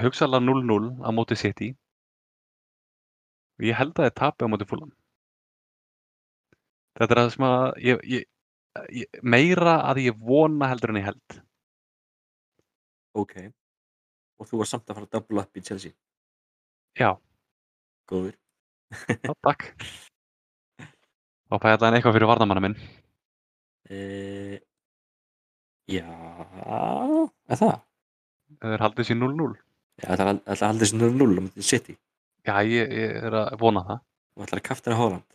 [SPEAKER 2] hugsaðlega 0-0 á móti City. Og Ég held að þeir tapi á móti Fulham. Þetta er það sem að ég, ég, ég, meira að ég vona heldur en ég held.
[SPEAKER 1] Ok. Og þú var samt að fara að double up í Chelsea.
[SPEAKER 2] Já.
[SPEAKER 1] Góður.
[SPEAKER 2] Já, takk. Og fæði allan eitthvað fyrir varnamanna minn.
[SPEAKER 1] Uh, já, er það?
[SPEAKER 2] Þeir haldið sér 0-0.
[SPEAKER 1] Já, það er alltaf þessi 0-0 um City.
[SPEAKER 2] Já, ég, ég er að vona það.
[SPEAKER 1] Og ætlar að kaftina Haaland.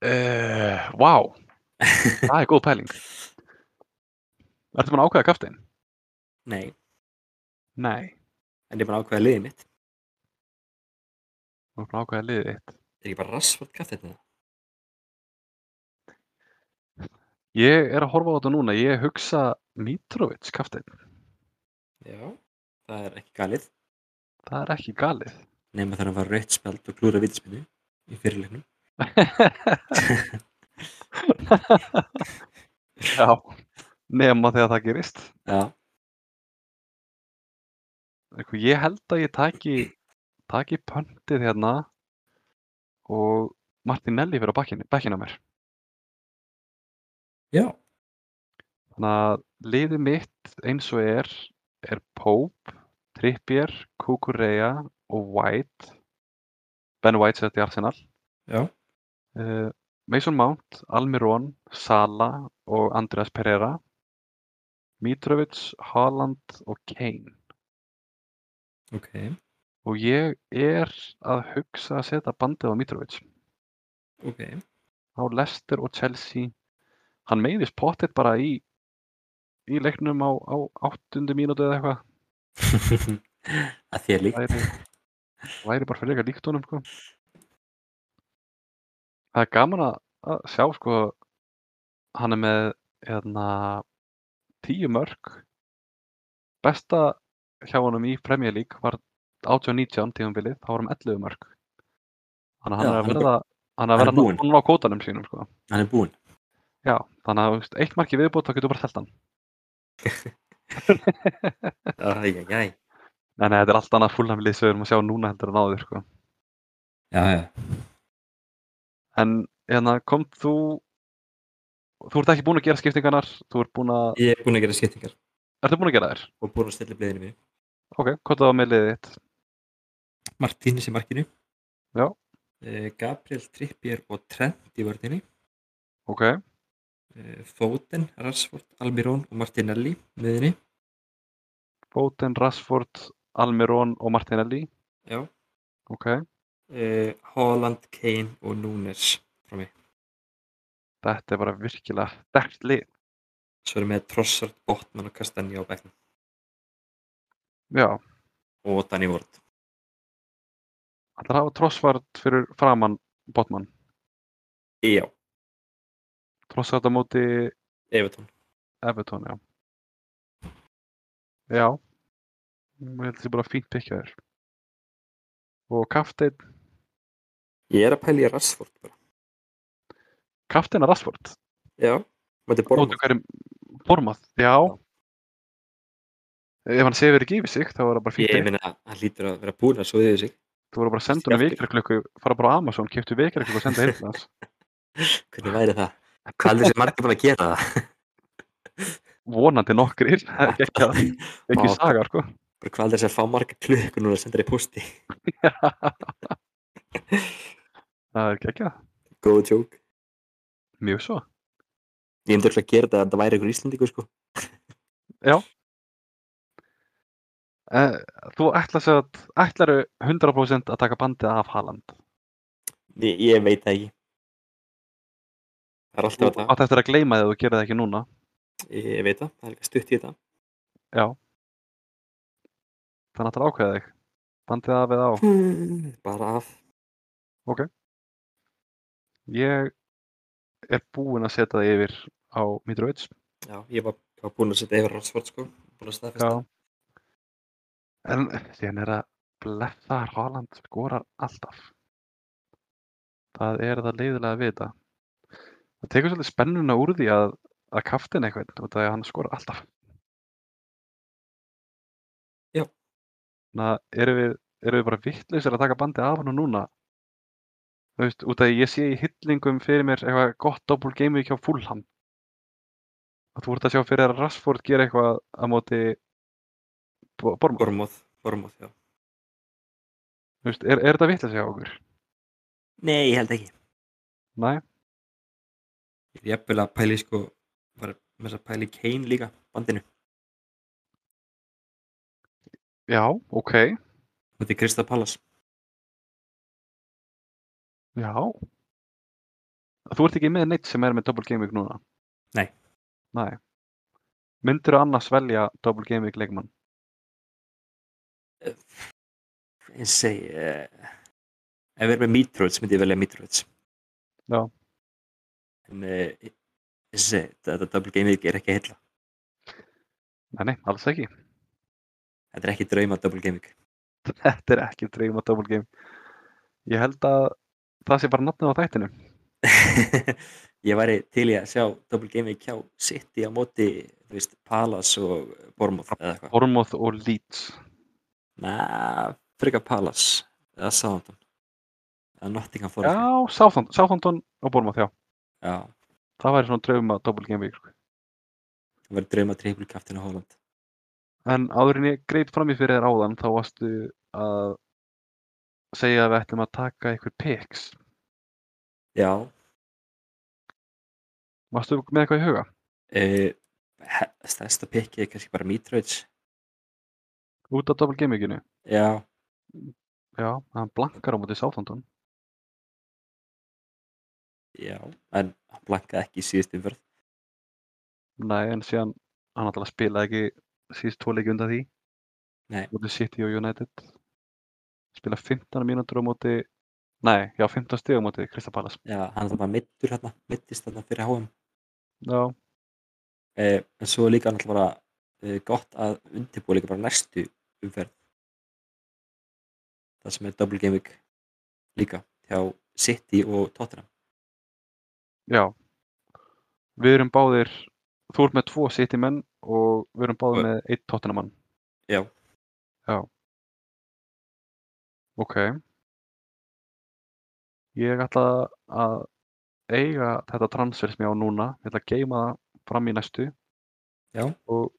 [SPEAKER 2] Uh, wow, það er góð pæling. Ertu maður að ákveða kaftin?
[SPEAKER 1] Nei,
[SPEAKER 2] Nei,
[SPEAKER 1] en ég er bara að ákveða liðið mitt.
[SPEAKER 2] maður er búin að ákveða liðið þitt.
[SPEAKER 1] Er ég bara hérna? rassvart kaftina?
[SPEAKER 2] Ég er að horfa á þetta núna, ég hugsa Mitrovic kaftin.
[SPEAKER 1] Já. Það er ekki galið.
[SPEAKER 2] Það er ekki galið.
[SPEAKER 1] Nefna þannig að fara rautt spjald og klúra vitspinnu í fyrirleiknum.
[SPEAKER 2] Já, nema þegar það gerist.
[SPEAKER 1] Já,
[SPEAKER 2] Sko, Ég held að ég taki, taki pöntið hérna og Martinelli fyrir á bakkinu, bakkinu á mér.
[SPEAKER 1] já.
[SPEAKER 2] Þannig að liðið mitt eins og er er Pope, Trippier, Kukureya og White. Ben White sett í Arsenal.
[SPEAKER 1] Já.
[SPEAKER 2] Eh, Mason Mount, Almiron, Sala og Andreas Pereira Mitrovic, Haaland og Kane
[SPEAKER 1] Ok.
[SPEAKER 2] og ég er að hugsa að setja bandið á Mitrovic
[SPEAKER 1] Ok.
[SPEAKER 2] á Leicester og Chelsea hann meiðist pottet bara í í leiknum á, á áttundu mínútu eða eitthvað
[SPEAKER 1] að þér líka.
[SPEAKER 2] væri, væri bara fyrir eitthvað líkt honum sko. það er gaman að, að sjá sko hann er með hérna, tíu mörg besta hjá honum í Premier League var 18-19 tíðumbilið, þá var hann 11 mörg þannig að hann
[SPEAKER 1] Já,
[SPEAKER 2] er að
[SPEAKER 1] hann er
[SPEAKER 2] verða hann er að
[SPEAKER 1] hann er
[SPEAKER 2] verða
[SPEAKER 1] búinn.
[SPEAKER 2] náttúrulega á kótanum sínum sko.
[SPEAKER 1] Hann er búinn.
[SPEAKER 2] Já, þannig að þú veist, eitt marki viðbútt þá getur þú bara telt hann.
[SPEAKER 1] Æjæjæj.
[SPEAKER 2] Nei, nei, þetta er allt annað fúlnaflið sem við erum að sjá núna heldur en áður, sko.
[SPEAKER 1] Já, já.
[SPEAKER 2] En, hérna, kom þú, þú ert ekki búinn að gera skiptingarnar, þú ert búinn að,
[SPEAKER 1] Ég er búinn að gera skiptingar
[SPEAKER 2] ertu búinn að gera þér?
[SPEAKER 1] og búinn að stilla bliðinu mínu.
[SPEAKER 2] Ok, hvað það var með liðið þitt?
[SPEAKER 1] Martínez í markinu.
[SPEAKER 2] Já.
[SPEAKER 1] Eh, Gabriel Trippier og Trent í vörðinni.
[SPEAKER 2] Ok,
[SPEAKER 1] Eh, Foden, Rashford, Almirón og Martinelli miðinni.
[SPEAKER 2] Foden, Rashford, Almirón og Martinelli,
[SPEAKER 1] Já.
[SPEAKER 2] ok.
[SPEAKER 1] Eh, Haaland, Kane og Núnes frá mig.
[SPEAKER 2] Þetta er bara virkilega sterkt lið.
[SPEAKER 1] Svo erum við með Trossard, Botman og Kastanji á bekknum
[SPEAKER 2] Já,
[SPEAKER 1] og Danny Ward.
[SPEAKER 2] það hafa trossvart fyrir framann Botman,
[SPEAKER 1] Já,
[SPEAKER 2] trossvart á móti
[SPEAKER 1] Evertón.
[SPEAKER 2] Evertón, já. Já, ég held að það sé bara fínt pikkja þér. Og kafteinn,
[SPEAKER 1] Ég er að pæla í Rashford bara.
[SPEAKER 2] kafteinn að Rashford.
[SPEAKER 1] Já, mætti
[SPEAKER 2] Bormað.
[SPEAKER 1] Bormað.
[SPEAKER 2] Hverjum, bormað, já. Ef hann sefur ekki yfir sig, þá er það bara fínt
[SPEAKER 1] Ég
[SPEAKER 2] pikkja.
[SPEAKER 1] meina að hann hlýtur að vera búinn að svo þið sig.
[SPEAKER 2] Þú voru bara að senda hann
[SPEAKER 1] Skjáttur.
[SPEAKER 2] veikjarklöku, fara bara á Amazon, kiptu veikjarklöku og senda heim til hans.
[SPEAKER 1] Hvernig væri það? Hvað er þessi margir búin að gera það?
[SPEAKER 2] Vonandi nokkrir, það er ekki ekki, að, ekki
[SPEAKER 1] Vá.
[SPEAKER 2] saga, sko.
[SPEAKER 1] Bara Hvað er þessi að fá margir klukkur núna að senda þér í posti?
[SPEAKER 2] Það er ekki ekki að,
[SPEAKER 1] Góð tjók.
[SPEAKER 2] mjög svo.
[SPEAKER 1] Ég myndi örugglega að gera þetta að það væri ykkur íslendingur sko.
[SPEAKER 2] Eh, Þú ætlar sér að, ætlaru 100% að taka bandið af Haaland.
[SPEAKER 1] Ég, ég veit það ekki. Það er
[SPEAKER 2] Þú
[SPEAKER 1] alltaf þetta.
[SPEAKER 2] átt eftir að gleyma þið að þú gerir það ekki núna.
[SPEAKER 1] Ég veit það. Það er líka stutt í þetta.
[SPEAKER 2] Já. Þannig að það ákveða þig. Bandið af eða á.
[SPEAKER 1] Hmm. Bara af.
[SPEAKER 2] Ég er búinn að setja það yfir á Mitrovic.
[SPEAKER 1] Já, ég var, ég var búinn að setja yfir Rashford sko. Búinn að staðfesta.
[SPEAKER 2] En síðan er að blessa Haaland skorar alltaf. Það er það leiðilega að vita. Það tekur svolítið spennuna úr því að, að kaftin eitthvað og það er að hann skorar alltaf.
[SPEAKER 1] Já.
[SPEAKER 2] Þannig að erum við, erum við bara vittlausir að taka bandið af hann og núna? Þú veist, út að ég sé í hillingum fyrir mér eitthvað gott doppul gaming hjá Fulham. Að þú ert að sjá fyrir þér að Rashford gera eitthvað á móti Bormóð.
[SPEAKER 1] Bormóð. Bormóð, já.
[SPEAKER 2] Þú veist, er, er þetta vitlega hjá okkur?
[SPEAKER 1] Nei, ég held ekki.
[SPEAKER 2] Næ,
[SPEAKER 1] Ég er jafnvel að pæli sko. Bara með þess að pæli Kane líka. Bandinu.
[SPEAKER 2] já, ok,
[SPEAKER 1] Þetta er Krista Pallas.
[SPEAKER 2] já. Þú ert ekki með neitt sem er með Double Game Week núna?
[SPEAKER 1] Nei.
[SPEAKER 2] Næ. Myndirðu annars velja Double Game Week leikmann?
[SPEAKER 1] Ég segi. Uh, ef við erum með Mitrovic myndi ég velja Mitrovic.
[SPEAKER 2] Já.
[SPEAKER 1] En uh, ég ég segi þetta double game week er ekki að heilla.
[SPEAKER 2] Nei, nei, alls ekki.
[SPEAKER 1] Þetta er ekki drauma double game week.
[SPEAKER 2] Þetta er ekki dreifum að Double Game. Ég held að það sé bara nafnið á þættinu.
[SPEAKER 1] ég væri til í að sjá double game week hjá City á móti, þú veist, Palace og Bournemouth eða eitthvað.
[SPEAKER 2] Ormoth og Leeds.
[SPEAKER 1] Næ, frekar Palace eða Southampton. Eða Nottingham
[SPEAKER 2] Já,
[SPEAKER 1] Forest.
[SPEAKER 2] Southampton, Southampton og Bormoth, já.
[SPEAKER 1] Já.
[SPEAKER 2] Það væri svona draufum að Double Game Week. sko.
[SPEAKER 1] Það væri drauma trippulkaftin á Holland.
[SPEAKER 2] En áður en ég greip fram í fyrir þér áðan þá varstu að segja að við ættum að taka einhver pics.
[SPEAKER 1] Já.
[SPEAKER 2] Varstu með eitthvað í huga?
[SPEAKER 1] Uh, stærsta pikki er kannski bara Mitrovic
[SPEAKER 2] Út af double gaminginu.
[SPEAKER 1] já,
[SPEAKER 2] Já, hann blankar á móti sáþóndun.
[SPEAKER 1] já, en hann blankaði ekki í síðust umferð
[SPEAKER 2] Nei, en síðan hann náttúrulega spilaði ekki síðust tvo leiki undan því.
[SPEAKER 1] Nei.
[SPEAKER 2] Móti City og United. Spilaði 15 mínútur á móti, nei, já, 15 stig á móti Krista Palace.
[SPEAKER 1] já, hann er það bara mittur hérna, mittist hérna fyrir HM
[SPEAKER 2] Já,
[SPEAKER 1] uh, en svo er líka náttúrulega bara uh, gott að undirbúa líka bara næstu umferð það sem er double game week líka hjá City og Tottenham
[SPEAKER 2] já. Við erum báðir, þú ert með tvo City menn og við erum báðir
[SPEAKER 1] Og-
[SPEAKER 2] með eitt Tottenham mann.
[SPEAKER 1] Já.
[SPEAKER 2] Já. Ok. Ég ætla að eiga þetta transfer sem ég á núna. Ég ætla að geima það fram í næstu.
[SPEAKER 1] Já.
[SPEAKER 2] Og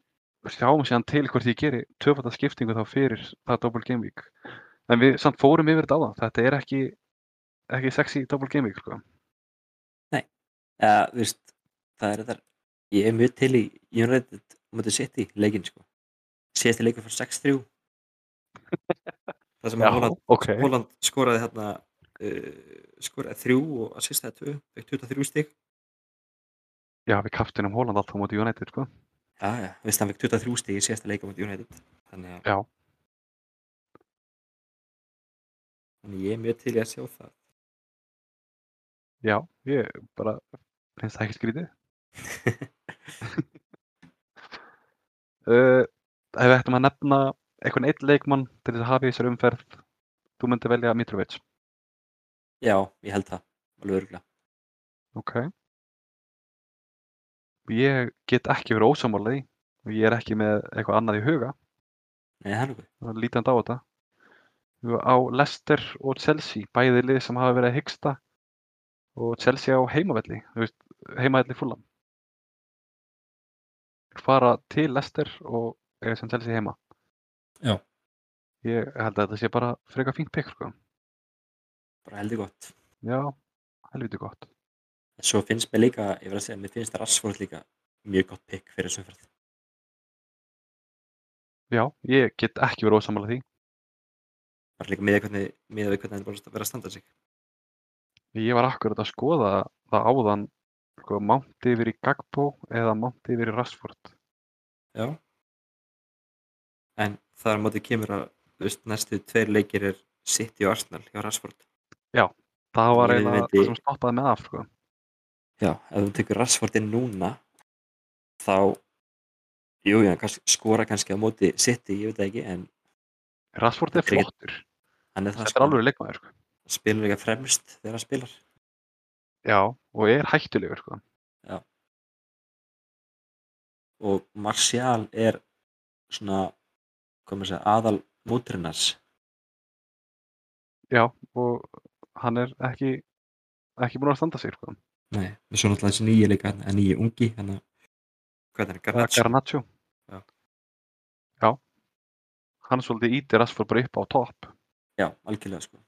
[SPEAKER 2] sjáum síðan til hvort ég geri tvöfata skiptingu þá fyrir það Double Game Week. En við samt fórum yfir þetta á það. Þetta er ekki, ekki sexy Double Game Week, sko.
[SPEAKER 1] eða, þú veist, það er þetta ég er mjög til í United og mútið City leikinn sko síðasti leikur fyrir 6-3 það sem að Holland,
[SPEAKER 2] ok.
[SPEAKER 1] Holland skoraði hérna uh, skoraði þrjú og að sýsta þetta tvö, 23 stík
[SPEAKER 2] Já, við kaptinum Holland alltaf á móti United, sko.
[SPEAKER 1] já, já, þú veist, hann fekk 23 stík í síðasta leikur mútið United þannig að
[SPEAKER 2] Já.
[SPEAKER 1] þannig ég er mjög til í að sjá það
[SPEAKER 2] Já, ég bara finnst það ekki skrítið. uh, ef við ættum að nefna einhvern eitt leikmann til þess að hafa í þessari umferð, þú myndir velja Mitrovic.
[SPEAKER 1] já, ég held það, alveg örgulega
[SPEAKER 2] Ok. Ég get ekki verið ósammála því og ég er ekki með eitthvað annað í huga.
[SPEAKER 1] nei, það er nokkuð,
[SPEAKER 2] Það er lítandi á þetta. Við erum á Leicester og Chelsea, bæði lið sem hafa verið að hyggsta og Chelsea á heimavelli, þú veist, heimavelli fullan. Fara til Leicester og eiga sem Chelsea heima.
[SPEAKER 1] Já.
[SPEAKER 2] Ég held að þetta sé bara frekar fínt pikk, sko.
[SPEAKER 1] bara heldur gott
[SPEAKER 2] Já, helviti gott.
[SPEAKER 1] en svo finnst mér líka, ég verð að segja, mér finnst Rassford líka mjög gott pick fyrir þessu umferð
[SPEAKER 2] Já, ég get ekki verið ósammála því.
[SPEAKER 1] bara líka miða hvernig, miða við hvernig hann er búin að vera að standa sig
[SPEAKER 2] Ég var akkurat að skoða það áðan, sko, mánt yfir í Gagbo eða mánt yfir í Rashford.
[SPEAKER 1] Já. En þar á móti kemur að þú veist, næstu tveir leikir er City og Arsenal hjá Rashford.
[SPEAKER 2] Það var
[SPEAKER 1] Ég
[SPEAKER 2] eiginlega
[SPEAKER 1] myndi-
[SPEAKER 2] það sem stoppaði með af, sko.
[SPEAKER 1] Já, ef þú tekur Rashford inn núna þá jú, já, kannski, skora kannski á móti City, ég veit það ekki, en
[SPEAKER 2] Rashford er
[SPEAKER 1] Þetta er ekki-
[SPEAKER 2] flottur.
[SPEAKER 1] hann er það
[SPEAKER 2] Þetta er alveg leikmaður, sko.
[SPEAKER 1] spilur líka fremst þegar hann spilar.
[SPEAKER 2] Já, og er hættulegur, sko.
[SPEAKER 1] Og Martial er svona, hvað maður segja, aðal mótrinars.
[SPEAKER 2] Já, og hann er ekki, ekki búin að standa sig, sko.
[SPEAKER 1] Nei, og svo náttúrulega þessi nýja leika, en nýja ungi, hann að, hvað er hann, Garnaccio?
[SPEAKER 2] Garnaccio.
[SPEAKER 1] Já.
[SPEAKER 2] Já. Hann svolítið íti Rashford bara upp á topp.
[SPEAKER 1] Já, algjörlega, sko.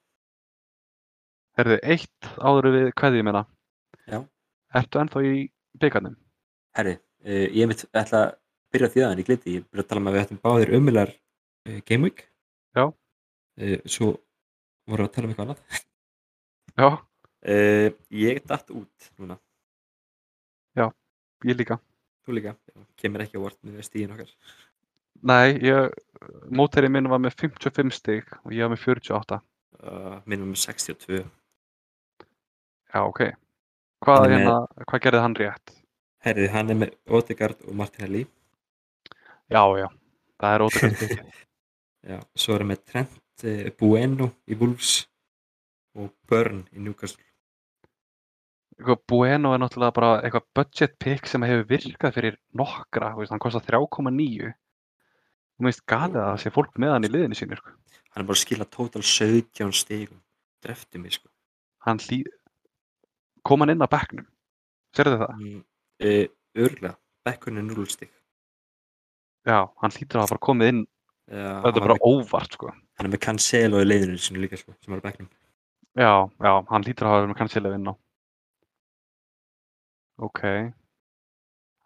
[SPEAKER 2] Herðu, eitt áður en við kveðjum hérna.
[SPEAKER 1] Já. Ertu
[SPEAKER 2] Ertu ennþá í byggarnum?
[SPEAKER 1] Herri, uh, ég mitt ætla að byrja því aðan, ég gliti, ég byrja að tala um að við ættum báðir umvilar uh, Game Week.
[SPEAKER 2] Já.
[SPEAKER 1] Uh, svo vorum við að tala um eitthvað annað.
[SPEAKER 2] Já,
[SPEAKER 1] Uh, ég datt út núna,
[SPEAKER 2] ég líka.
[SPEAKER 1] þú líka, kemur ekki á vort með stíðin okkar.
[SPEAKER 2] Nei, ég, mótæri minn var með 55 stig og ég var með 48.
[SPEAKER 1] Uh, minnum með 62.
[SPEAKER 2] Já, ok. Hvað,
[SPEAKER 1] Hann er með-
[SPEAKER 2] hérna, hvað gerði hann rétt?
[SPEAKER 1] Herri, hann er með Odegaard og Martinelli.
[SPEAKER 2] Já, já. Það er ótrúlega stig.
[SPEAKER 1] Já, svo erum við Trent uh, Bueno í Wolves og Burn í Newcastle.
[SPEAKER 2] Eitthvað Bueno er náttúrulega bara eitthvað budget pick sem hefur virkað fyrir nokkra, þú veist, hann kostar 3,9 og mér finnst galið að það sé fólk með hann í liðinu sko. sínur.
[SPEAKER 1] Hann er bara að skila tótal 17 stígum. Drefti mig, sko.
[SPEAKER 2] Hann hlý... kom hann inn á bekknum, serðu það?
[SPEAKER 1] Mm. Uh, Örglega, Beckhun er 0 stíg.
[SPEAKER 2] Já, hann hlýtur að hafa bara komið inn,
[SPEAKER 1] Já,
[SPEAKER 2] þetta er
[SPEAKER 1] Eh, hann,
[SPEAKER 2] bara
[SPEAKER 1] er með,
[SPEAKER 2] óvart sko.
[SPEAKER 1] hann er með Cancelo í leiðinu sinu líka sko, sem er á bekknum
[SPEAKER 2] Já, já, hann hlýtur að hafa verið með kannsilega inn á. Ok,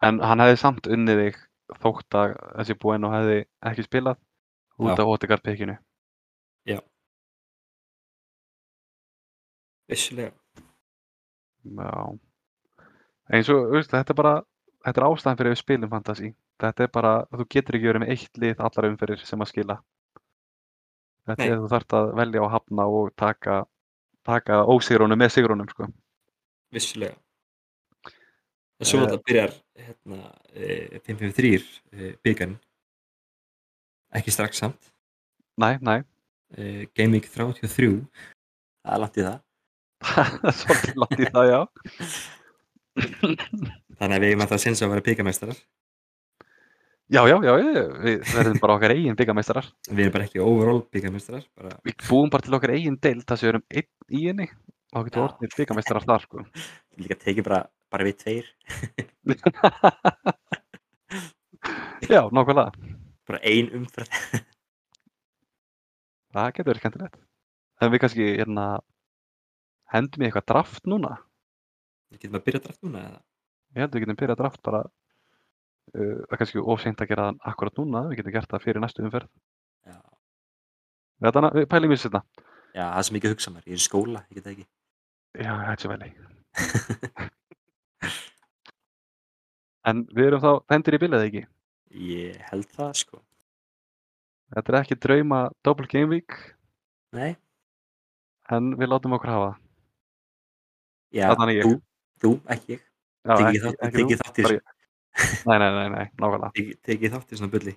[SPEAKER 2] En hann hefði samt unnið þig þótt að þessi búinn og hefði ekki spilað út
[SPEAKER 1] Já.
[SPEAKER 2] af Odegaard pikkinu.
[SPEAKER 1] vissulega
[SPEAKER 2] Já. Eins og, veist, þetta er bara, þetta er ástæðan fyrir að við spilum fantasy. Þetta er bara, þú getur ekki verið með eitt lið allar umferðir sem að skila. Þetta
[SPEAKER 1] Nei.
[SPEAKER 2] er, þú þarft að velja og hafna og taka, taka ósigrónum með sigrónum, sko.
[SPEAKER 1] vissulega en svo
[SPEAKER 2] Eh.
[SPEAKER 1] þetta byrjar hérna, eh, 553 eh, byggarinn ekki strax samt
[SPEAKER 2] Næ, næ,
[SPEAKER 1] eh, Gaming 33 það er langt í það
[SPEAKER 2] svolítið langt í það, já.
[SPEAKER 1] þannig að við eigum alltaf að sinns að vera byggarmestrar
[SPEAKER 2] Já, já, já, já, já, við verðum bara okkar eigin byggameistrar.
[SPEAKER 1] við erum bara ekki overall byggarmestrar bara
[SPEAKER 2] Við búum bara til okkar eigin deild þar sem við erum einn í henni og getum
[SPEAKER 1] Já.
[SPEAKER 2] orðið byggameistrar þar, sko.
[SPEAKER 1] líka tekið bara, bara við tveir
[SPEAKER 2] Já, nákvæmlega.
[SPEAKER 1] bara ein umferð
[SPEAKER 2] Það getur verið skemmtilegt. En við kannski, hérna, hendum í eitthvað draft núna.
[SPEAKER 1] við getum að byrja drætt núna eða?
[SPEAKER 2] Ég held við getum byrjað draft bara, uh, það er kannski ofseint að gera það akkurat núna, við getum gert það fyrir næstu umferð.
[SPEAKER 1] Já.
[SPEAKER 2] Við, þarna- við pælum í þetta.
[SPEAKER 1] já, það er sem ekki að hugsa mér, ég er í skóla ég get það ekki
[SPEAKER 2] Já, þetta er veli. en við erum þá hendur í billið, ekki?
[SPEAKER 1] Ég held það sko.
[SPEAKER 2] Þetta er ekki drauma double game week,
[SPEAKER 1] Nei.
[SPEAKER 2] en við látum okkur hafa. það.
[SPEAKER 1] Já,
[SPEAKER 2] Þarna er ég.
[SPEAKER 1] þú, þú, ekki ég.
[SPEAKER 2] Já,
[SPEAKER 1] Tekið
[SPEAKER 2] ekki-
[SPEAKER 1] þátt,
[SPEAKER 2] ekki
[SPEAKER 1] tekið
[SPEAKER 2] þú,
[SPEAKER 1] þátt í
[SPEAKER 2] bara
[SPEAKER 1] þessu.
[SPEAKER 2] ég. Nei, nei, nei, nei, nákvæmlega.
[SPEAKER 1] Tekið tekið þátt í svona bulli.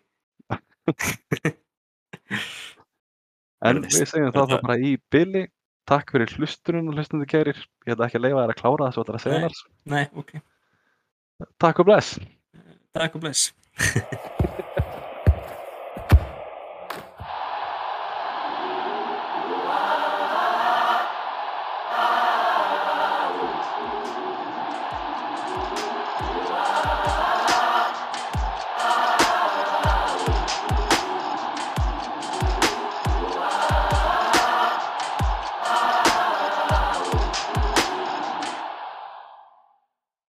[SPEAKER 2] En
[SPEAKER 1] Verðist.
[SPEAKER 2] við segjum það þá
[SPEAKER 1] Þetta-
[SPEAKER 2] bara í bili. Takk fyrir hlustunum og hlustundu kærir. Ég ætla ekki að leifa þér að klára það svo ætlar að segja
[SPEAKER 1] Nei.
[SPEAKER 2] þar.
[SPEAKER 1] Nei, ok.
[SPEAKER 2] Takk og bless.
[SPEAKER 1] Tá, Takk og bless.